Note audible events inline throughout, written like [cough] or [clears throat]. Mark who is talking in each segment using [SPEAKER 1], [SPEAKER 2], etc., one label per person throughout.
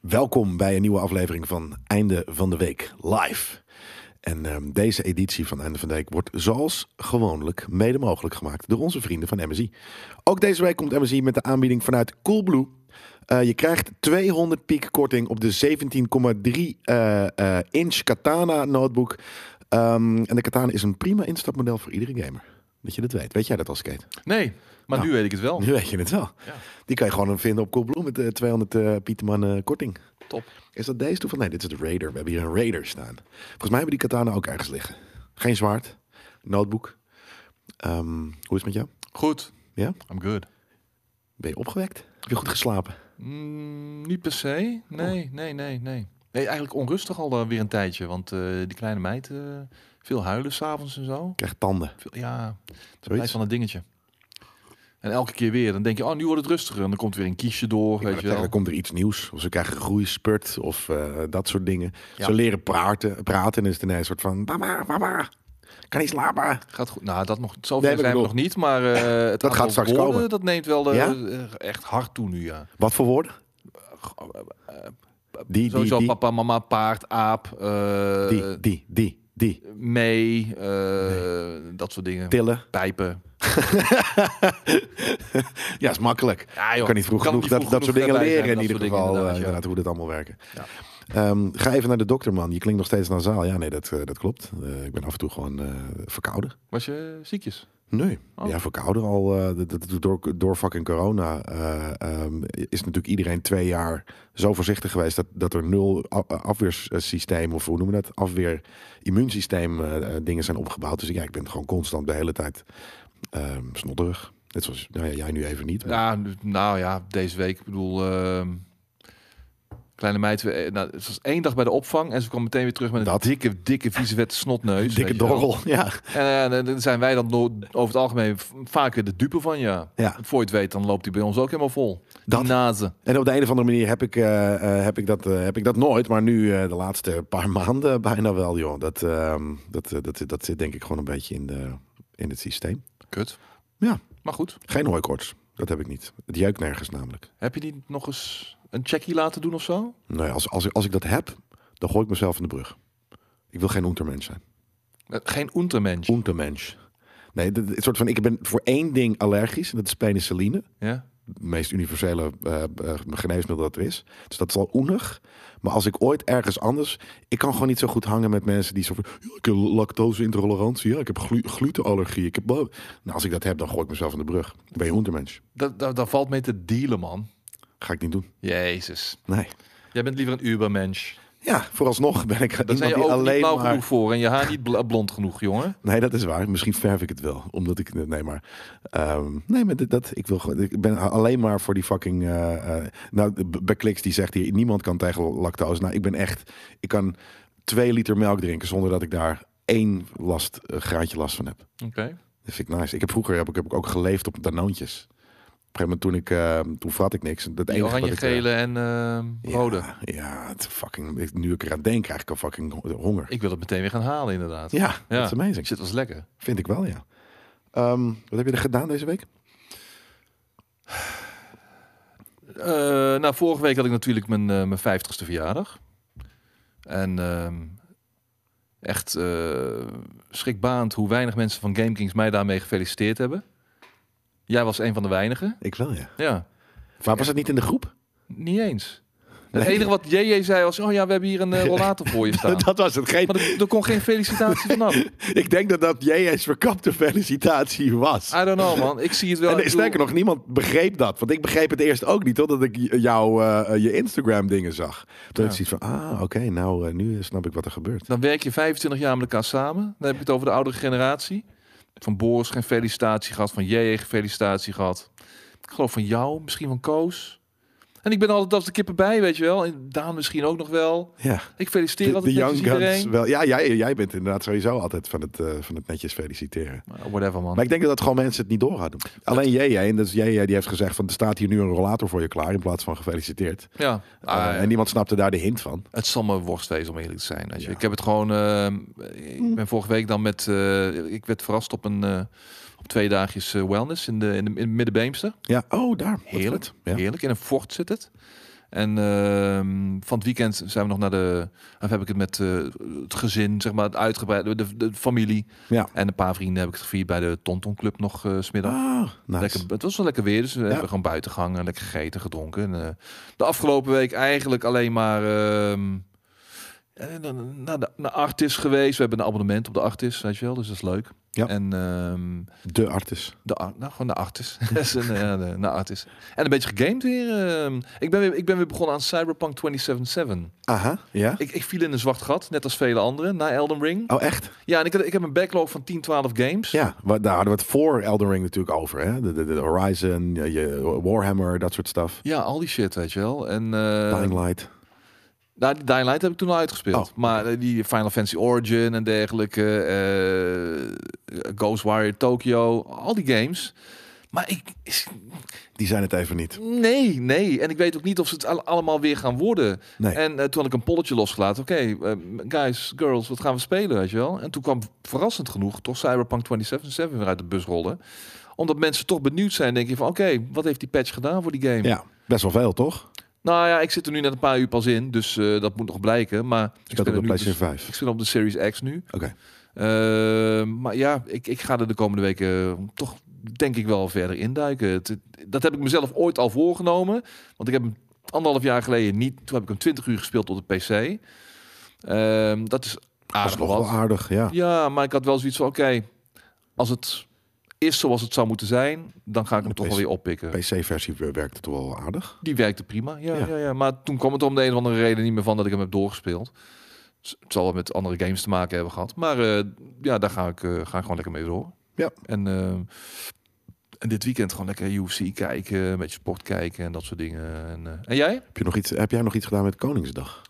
[SPEAKER 1] Welkom bij een nieuwe aflevering van Einde van de Week live. En ehm, deze editie van Einde van de Week wordt zoals gewoonlijk mede mogelijk gemaakt door onze vrienden van MSI. Ook deze week komt MSI met de aanbieding vanuit Coolblue. Eh, je krijgt 200 piek korting op de 17,3 eh, eh, inch Katana notebook. Ehm, en de Katana is een prima instapmodel voor iedere gamer. Dat je dat weet. Weet jij dat al, Skate?
[SPEAKER 2] Nee, maar
[SPEAKER 1] Nou.
[SPEAKER 2] nu weet ik het wel.
[SPEAKER 1] Nu weet je het wel.
[SPEAKER 2] Ja.
[SPEAKER 1] Die kan je gewoon vinden op Coolblue met eh, 200 eh, Pieterman eh, korting.
[SPEAKER 2] Top.
[SPEAKER 1] Is dat deze toeval? Nee, dit is de Raider. We hebben hier een Raider staan. Volgens mij hebben die katana ook ergens liggen. Geen zwaard. Notebook. Ehm, hoe is het met jou?
[SPEAKER 2] Goed.
[SPEAKER 1] Ja?
[SPEAKER 2] I'm good.
[SPEAKER 1] Ben je opgewekt? Heb je goed geslapen?
[SPEAKER 2] Mm, niet per se. Nee, nee, nee, nee. Nee, eigenlijk onrustig al eh, weer een tijdje. Want eh, die kleine meid, eh, veel huilen s'avonds en zo.
[SPEAKER 1] Krijg tanden.
[SPEAKER 2] Veel, ja, blijft
[SPEAKER 1] Zoiets.
[SPEAKER 2] van een dingetje. En elke keer weer. Dan denk je, oh, nu wordt het rustiger. En dan komt weer een kiesje door,
[SPEAKER 1] Ik wou
[SPEAKER 2] weet je
[SPEAKER 1] zeggen,
[SPEAKER 2] wel.
[SPEAKER 1] dan komt er iets nieuws. Of ze krijgen groeispurt of eh, dat soort dingen.
[SPEAKER 2] Ja.
[SPEAKER 1] Ze leren praten, praten en is het ineens een soort van... Mama, mama, kan niet slapen.
[SPEAKER 2] Gaat goed. Nou, dat nog, zover
[SPEAKER 1] Nee, maar ik
[SPEAKER 2] zijn we nog
[SPEAKER 1] bedoel-
[SPEAKER 2] niet.
[SPEAKER 1] [laughs]
[SPEAKER 2] Maar eh, het
[SPEAKER 1] Dat gaat
[SPEAKER 2] aantal
[SPEAKER 1] straks
[SPEAKER 2] woorden,
[SPEAKER 1] komen.
[SPEAKER 2] Dat neemt wel eh,
[SPEAKER 1] Ja?
[SPEAKER 2] eh, echt hard toe nu, ja.
[SPEAKER 1] Wat voor woorden?
[SPEAKER 2] Eh,
[SPEAKER 1] Die, die,
[SPEAKER 2] Sowieso
[SPEAKER 1] die,
[SPEAKER 2] papa, mama, paard, aap. eh,
[SPEAKER 1] die, die, die, die.
[SPEAKER 2] mee, eh, dat soort dingen.
[SPEAKER 1] Tillen.
[SPEAKER 2] Pijpen.
[SPEAKER 1] Ja, is makkelijk.
[SPEAKER 2] Ja,
[SPEAKER 1] Ik kan niet vroeg genoeg
[SPEAKER 2] niet
[SPEAKER 1] dat,
[SPEAKER 2] vroeg
[SPEAKER 1] dat soort
[SPEAKER 2] genoeg
[SPEAKER 1] dingen
[SPEAKER 2] bij zijn,
[SPEAKER 1] leren in
[SPEAKER 2] dat
[SPEAKER 1] ieder
[SPEAKER 2] soort dingen
[SPEAKER 1] geval. eh,
[SPEAKER 2] inderdaad,
[SPEAKER 1] inderdaad, hoe dit allemaal werken.
[SPEAKER 2] Ja.
[SPEAKER 1] Ehm, ga even naar de dokter, man. Je klinkt nog steeds nasaal. Ja, nee, dat, eh, dat klopt. Eh, ik ben af en toe gewoon eh, verkouden.
[SPEAKER 2] ja. Was je ziekjes?
[SPEAKER 1] Nee.
[SPEAKER 2] Oh.
[SPEAKER 1] Ja, verkouden al. eh, dat- dat- door, door fucking corona eh, ehm, is natuurlijk iedereen twee jaar zo voorzichtig geweest dat, dat er nul a- afweersysteem, of hoe noemen we dat? Afweer immuunsysteem eh, eh, dingen zijn opgebouwd. Dus ja, ik ben gewoon constant de hele tijd ehm, snodderig. Net zoals nou ja, jij nu even niet. maar-
[SPEAKER 2] Ja, nu- nou ja, deze week. Ik bedoel, ehm, kleine meid. we- eh, Nou, het was één dag bij de opvang en ze kwam meteen weer terug met een
[SPEAKER 1] Dat.
[SPEAKER 2] dikke, dikke, vieze wette
[SPEAKER 1] Dikke
[SPEAKER 2] snotneus. dus weet je wel.
[SPEAKER 1] dorrel, [laughs] ja.
[SPEAKER 2] En eh, dan- dan zijn wij dan no- over het algemeen v- vaak weer de dupe van, ja.
[SPEAKER 1] ja.
[SPEAKER 2] Voor je het weet, dan loopt die bij ons ook helemaal vol.
[SPEAKER 1] Dat.
[SPEAKER 2] Die nazen.
[SPEAKER 1] En op de een of andere manier heb ik, eh, eh, heb ik, dat, eh, heb ik dat nooit. Maar nu eh, de laatste paar [laughs] maanden bijna wel, joh. Dat, ehm, dat, eh, dat, dat zit denk ik gewoon een beetje in, de, in het systeem.
[SPEAKER 2] Kut.
[SPEAKER 1] Ja.
[SPEAKER 2] Maar goed,
[SPEAKER 1] Geen hooikoorts. Dat heb ik niet. Het jeukt nergens namelijk.
[SPEAKER 2] heb je die nog eens een checkie laten doen of zo?
[SPEAKER 1] Nee, als, als, ik- als ik dat heb, dan gooi ik mezelf van de brug. Ik wil geen untermens zijn.
[SPEAKER 2] Eh, Geen untermensch.
[SPEAKER 1] Untermens. Nee, dit- dit soort van, ik ben voor één ding allergisch. En dat is penicilline.
[SPEAKER 2] Ja?
[SPEAKER 1] het meest universele eh, eh, geneesmiddel dat er is. Dus dat is al oenig. Maar als ik ooit ergens anders... Ik kan gewoon niet zo goed hangen met mensen die zo van... "Ja, ik heb lactose-intolerantie, ja, ik heb glu- glutenallergie, ik heb... bla-" Nou, als ik dat heb, dan gooi ik mezelf van de brug. Dan ben je hoendermens.
[SPEAKER 2] Dat, dat, dat valt mee te dealen, man.
[SPEAKER 1] Ga ik niet doen.
[SPEAKER 2] Jezus.
[SPEAKER 1] Nee.
[SPEAKER 2] Jij bent liever een Ubermensch.
[SPEAKER 1] Ja, vooralsnog ben ik
[SPEAKER 2] Daar
[SPEAKER 1] iemand
[SPEAKER 2] zijn je
[SPEAKER 1] die
[SPEAKER 2] ogen niet
[SPEAKER 1] alleen
[SPEAKER 2] blauw
[SPEAKER 1] maar...
[SPEAKER 2] genoeg voor en je haar niet bla- blond genoeg, jongen.
[SPEAKER 1] Nee, dat is waar. Misschien verf ik het wel. Omdat ik... Nee, maar... ehm, nee, maar dit- dat... Ik, wil, gewoon- ik ben alleen maar voor die fucking... eh, eh, nou, B- Beklix die zegt hier... Niemand kan tegen lactose. Nou, ik ben echt... Ik kan twee liter melk drinken zonder dat ik daar één last, eh, graadje last van heb.
[SPEAKER 2] Oké.
[SPEAKER 1] Dat vind ik nice. Ik heb vroeger heb ik, heb ik ook geleefd op danoontjes. Op een gegeven moment toen ik... eh, toen vrat ik niks. Dat
[SPEAKER 2] Die
[SPEAKER 1] enige wat
[SPEAKER 2] oranje,
[SPEAKER 1] ik, eh,
[SPEAKER 2] gele en ehm,
[SPEAKER 1] ja,
[SPEAKER 2] rode.
[SPEAKER 1] Ja, het fucking... Nu ik eraan denk, krijg ik al fucking ho- honger.
[SPEAKER 2] Ik wil het meteen weer gaan halen, inderdaad.
[SPEAKER 1] Ja, dat is amazing.
[SPEAKER 2] Shit, was lekker.
[SPEAKER 1] Vind ik wel, ja. Ehm, wat heb je er gedaan deze week?
[SPEAKER 2] Eh, nou, vorige week had ik natuurlijk mijn, eh, mijn 50ste verjaardag. En ehm, echt eh, schrikbarend hoe weinig mensen van GameKings mij daarmee gefeliciteerd hebben. Jij was een van de weinigen.
[SPEAKER 1] Ik wel, ja.
[SPEAKER 2] Ja,
[SPEAKER 1] Maar was het niet in de groep?
[SPEAKER 2] niet eens. Het
[SPEAKER 1] Nee.
[SPEAKER 2] enige wat JJ zei was, oh ja, we hebben hier een eh, rollator
[SPEAKER 1] [laughs]
[SPEAKER 2] voor je staan.
[SPEAKER 1] Dat was het. Geen...
[SPEAKER 2] Maar er, er kon geen felicitatie vanaf.
[SPEAKER 1] [laughs] Ik denk dat dat JS verkapte felicitatie was.
[SPEAKER 2] [laughs] I don't know, man. Ik zie het wel. Ah, Ik
[SPEAKER 1] En
[SPEAKER 2] bedoel,
[SPEAKER 1] sterker nog, niemand begreep dat. Want ik begreep het eerst ook niet, totdat ik j- jou eh, je Instagram-dingen zag. Toen
[SPEAKER 2] Ja.
[SPEAKER 1] had ik zoiets van, ah, oké, nou, eh, nu snap ik wat er gebeurt.
[SPEAKER 2] Dan werk je 25 jaar met elkaar samen. Dan heb ik het over de oudere generatie. Van Boris geen felicitatie gehad. Van JJ geen felicitatie gehad. Ik geloof van jou, misschien van Koos. En ik ben altijd als de kippen bij, weet je wel. En Daan misschien ook nog wel.
[SPEAKER 1] Ja,
[SPEAKER 2] Ik feliciteer
[SPEAKER 1] de, de
[SPEAKER 2] altijd
[SPEAKER 1] Young
[SPEAKER 2] netjes
[SPEAKER 1] Guns.
[SPEAKER 2] iedereen.
[SPEAKER 1] Wel, ja, jij, jij bent inderdaad sowieso altijd van het, eh, van het netjes feliciteren.
[SPEAKER 2] Maar Whatever, man.
[SPEAKER 1] Maar ik denk dat gewoon mensen het niet door hadden. Alleen JJ, en dat is JJ die heeft gezegd van, er staat hier nu een rollator voor je klaar in plaats van gefeliciteerd.
[SPEAKER 2] Ja.
[SPEAKER 1] Eh,
[SPEAKER 2] Ah,
[SPEAKER 1] en niemand snapte daar de hint van.
[SPEAKER 2] Het zal me worst wezen om eerlijk te zijn. Weet je.
[SPEAKER 1] Ja.
[SPEAKER 2] Ik heb het gewoon. ehm, ik ben vorige week dan met. eh, ik werd verrast op een eh, op twee dagjes eh, wellness in de in de in Middenbeemster.
[SPEAKER 1] Ja, oh, daar. Wat
[SPEAKER 2] Heerlijk.
[SPEAKER 1] vet. Ja.
[SPEAKER 2] Heerlijk. In een fort zit het. En ehm, van het weekend zijn we nog naar de. Of heb ik het met eh, het gezin, zeg maar, het uitgebreide, de, de familie.
[SPEAKER 1] Ja.
[SPEAKER 2] En een paar vrienden heb ik het gevierd bij de Tonton Club nog eh smiddag.
[SPEAKER 1] Ah, nice.
[SPEAKER 2] Lekker, het was wel lekker weer, dus we hebben gewoon buiten gehangen, en lekker gegeten, gedronken. En, eh, de afgelopen week eigenlijk alleen maar ehm, eh, na- naar de naar Artis geweest. We hebben een abonnement op de Artis, weet je wel, dus dat is leuk.
[SPEAKER 1] Ja.
[SPEAKER 2] En ehm,
[SPEAKER 1] De artis.
[SPEAKER 2] de, ar- nou, gewoon de Artis. [laughs] Dat is een, ja, de, de Artis. En een beetje gegamed weer. ehm. ik, ben weer ik ben weer begonnen aan Cyberpunk 2077.
[SPEAKER 1] Aha, ja.
[SPEAKER 2] Ik, ik viel in een zwart gat, net als vele anderen, na Elden Ring.
[SPEAKER 1] Oh, echt?
[SPEAKER 2] Ja, en ik, had- ik heb een backlog van 10, 12 games.
[SPEAKER 1] Ja, wa- daar hadden we het voor Elden Ring natuurlijk over. Hè? De, de, de Horizon, je, je Warhammer, dat soort stuff.
[SPEAKER 2] Ja, al die shit, weet je wel. En, eh,
[SPEAKER 1] Dying Light.
[SPEAKER 2] Nou, die Dying Light heb ik toen al uitgespeeld.
[SPEAKER 1] Oh.
[SPEAKER 2] Maar eh, die Final Fantasy Origin en dergelijke, eh Ghostwire Tokyo, al die games. Maar ik... is-
[SPEAKER 1] Die zijn het even niet.
[SPEAKER 2] Nee, nee. En ik weet ook niet of ze het al- allemaal weer gaan worden.
[SPEAKER 1] Nee.
[SPEAKER 2] En eh, toen had ik een polletje losgelaten. Oké, eh, guys, girls, wat gaan we spelen, weet je wel? En toen kwam verrassend genoeg toch Cyberpunk 2077 weer uit de bus rollen. Omdat mensen toch benieuwd zijn, denk je van... Oké, wat heeft die patch gedaan voor die game?
[SPEAKER 1] Ja, best wel veel, toch?
[SPEAKER 2] Nou ja, ik zit er nu net een paar uur pas in, dus eh, dat moet nog blijken. Maar ik
[SPEAKER 1] Ik dat
[SPEAKER 2] er
[SPEAKER 1] op de
[SPEAKER 2] nu
[SPEAKER 1] PlayStation
[SPEAKER 2] dus-
[SPEAKER 1] 5.
[SPEAKER 2] ik speel op de Series X nu.
[SPEAKER 1] Oké.
[SPEAKER 2] Eh, maar ja, ik, ik ga er de komende weken eh, toch denk ik wel verder induiken. Het- het- dat heb ik mezelf ooit al voorgenomen. Want ik heb hem anderhalf jaar geleden niet... Toen heb ik hem 20 uur gespeeld op de PC. Ehm, dat is
[SPEAKER 1] Dat is
[SPEAKER 2] aardig
[SPEAKER 1] nog
[SPEAKER 2] wat.
[SPEAKER 1] wel aardig, ja.
[SPEAKER 2] Ja, maar ik had wel zoiets van... Oké, als het is zoals het zou moeten zijn... dan ga ik
[SPEAKER 1] De
[SPEAKER 2] hem toch wel
[SPEAKER 1] PC
[SPEAKER 2] weer oppikken.
[SPEAKER 1] PC-versie werkte toch wel aardig.
[SPEAKER 2] Die werkte prima, ja,
[SPEAKER 1] Ja.
[SPEAKER 2] ja. Ja, Maar toen kwam het om de een of andere reden niet meer van dat ik hem heb doorgespeeld. Dus het zal wel met andere games te maken hebben gehad. Maar eh, ja, daar ga ik, eh, ga ik gewoon lekker mee door.
[SPEAKER 1] Ja.
[SPEAKER 2] En, eh, en dit weekend gewoon lekker UFC kijken, een beetje sport kijken en dat soort dingen. En, eh, en jij?
[SPEAKER 1] Heb, je nog iets, heb jij nog iets gedaan met Koningsdag?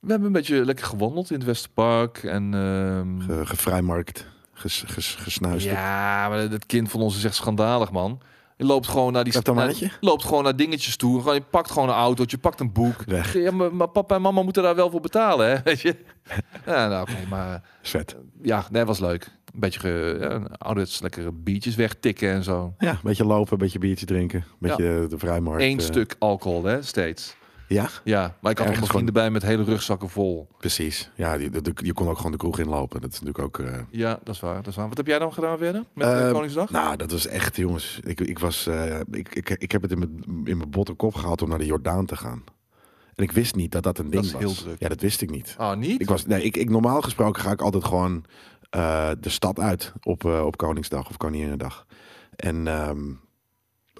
[SPEAKER 2] We hebben een beetje lekker gewandeld in het Westerpark. En, ehm,
[SPEAKER 1] Ge, gevrijmarkt, ges, ges, gesnuist.
[SPEAKER 2] ja, maar dat kind van ons is echt schandalig, man. Je loopt gewoon naar die
[SPEAKER 1] Heb je dat
[SPEAKER 2] naar-
[SPEAKER 1] maatje?
[SPEAKER 2] loopt gewoon naar dingetjes toe. Gewoon, je pakt gewoon een autootje, pakt een boek.
[SPEAKER 1] Weg.
[SPEAKER 2] Ja, maar, maar papa en mama moeten daar wel voor betalen, hè? [laughs] Weet je? Ja, nou, oké, maar
[SPEAKER 1] Is vet.
[SPEAKER 2] ja, nee, was leuk. Een beetje ge, ja, een ouderwets lekkere biertjes wegtikken en zo.
[SPEAKER 1] Ja, een beetje lopen, een beetje biertje drinken. Een beetje de vrijmarkt.
[SPEAKER 2] Eén
[SPEAKER 1] eh,
[SPEAKER 2] stuk alcohol, hè, steeds.
[SPEAKER 1] Ja,
[SPEAKER 2] Ja, maar ik had nog
[SPEAKER 1] Ergens
[SPEAKER 2] mijn vrienden bij met hele rugzakken vol.
[SPEAKER 1] precies. Ja, je, de- de- je kon ook gewoon de kroeg inlopen. Dat is natuurlijk ook... eh,
[SPEAKER 2] Ja, dat is waar, dat is waar. Wat heb jij dan gedaan verder met eh,
[SPEAKER 1] Ehm,
[SPEAKER 2] Koningsdag?
[SPEAKER 1] Nou, dat was echt, jongens. Ik, ik, was, eh, ik, ik, ik heb het in mijn, in mijn botte kop gehaald om naar de Jordaan te gaan. En ik wist niet dat dat een ding
[SPEAKER 2] is
[SPEAKER 1] was.
[SPEAKER 2] heel druk.
[SPEAKER 1] Ja, dat wist ik niet.
[SPEAKER 2] Oh, niet?
[SPEAKER 1] Ik was, nee, ik, ik, normaal gesproken ga ik altijd gewoon eh, de stad uit op, eh, op Koningsdag of Koninginnedag. En ehm,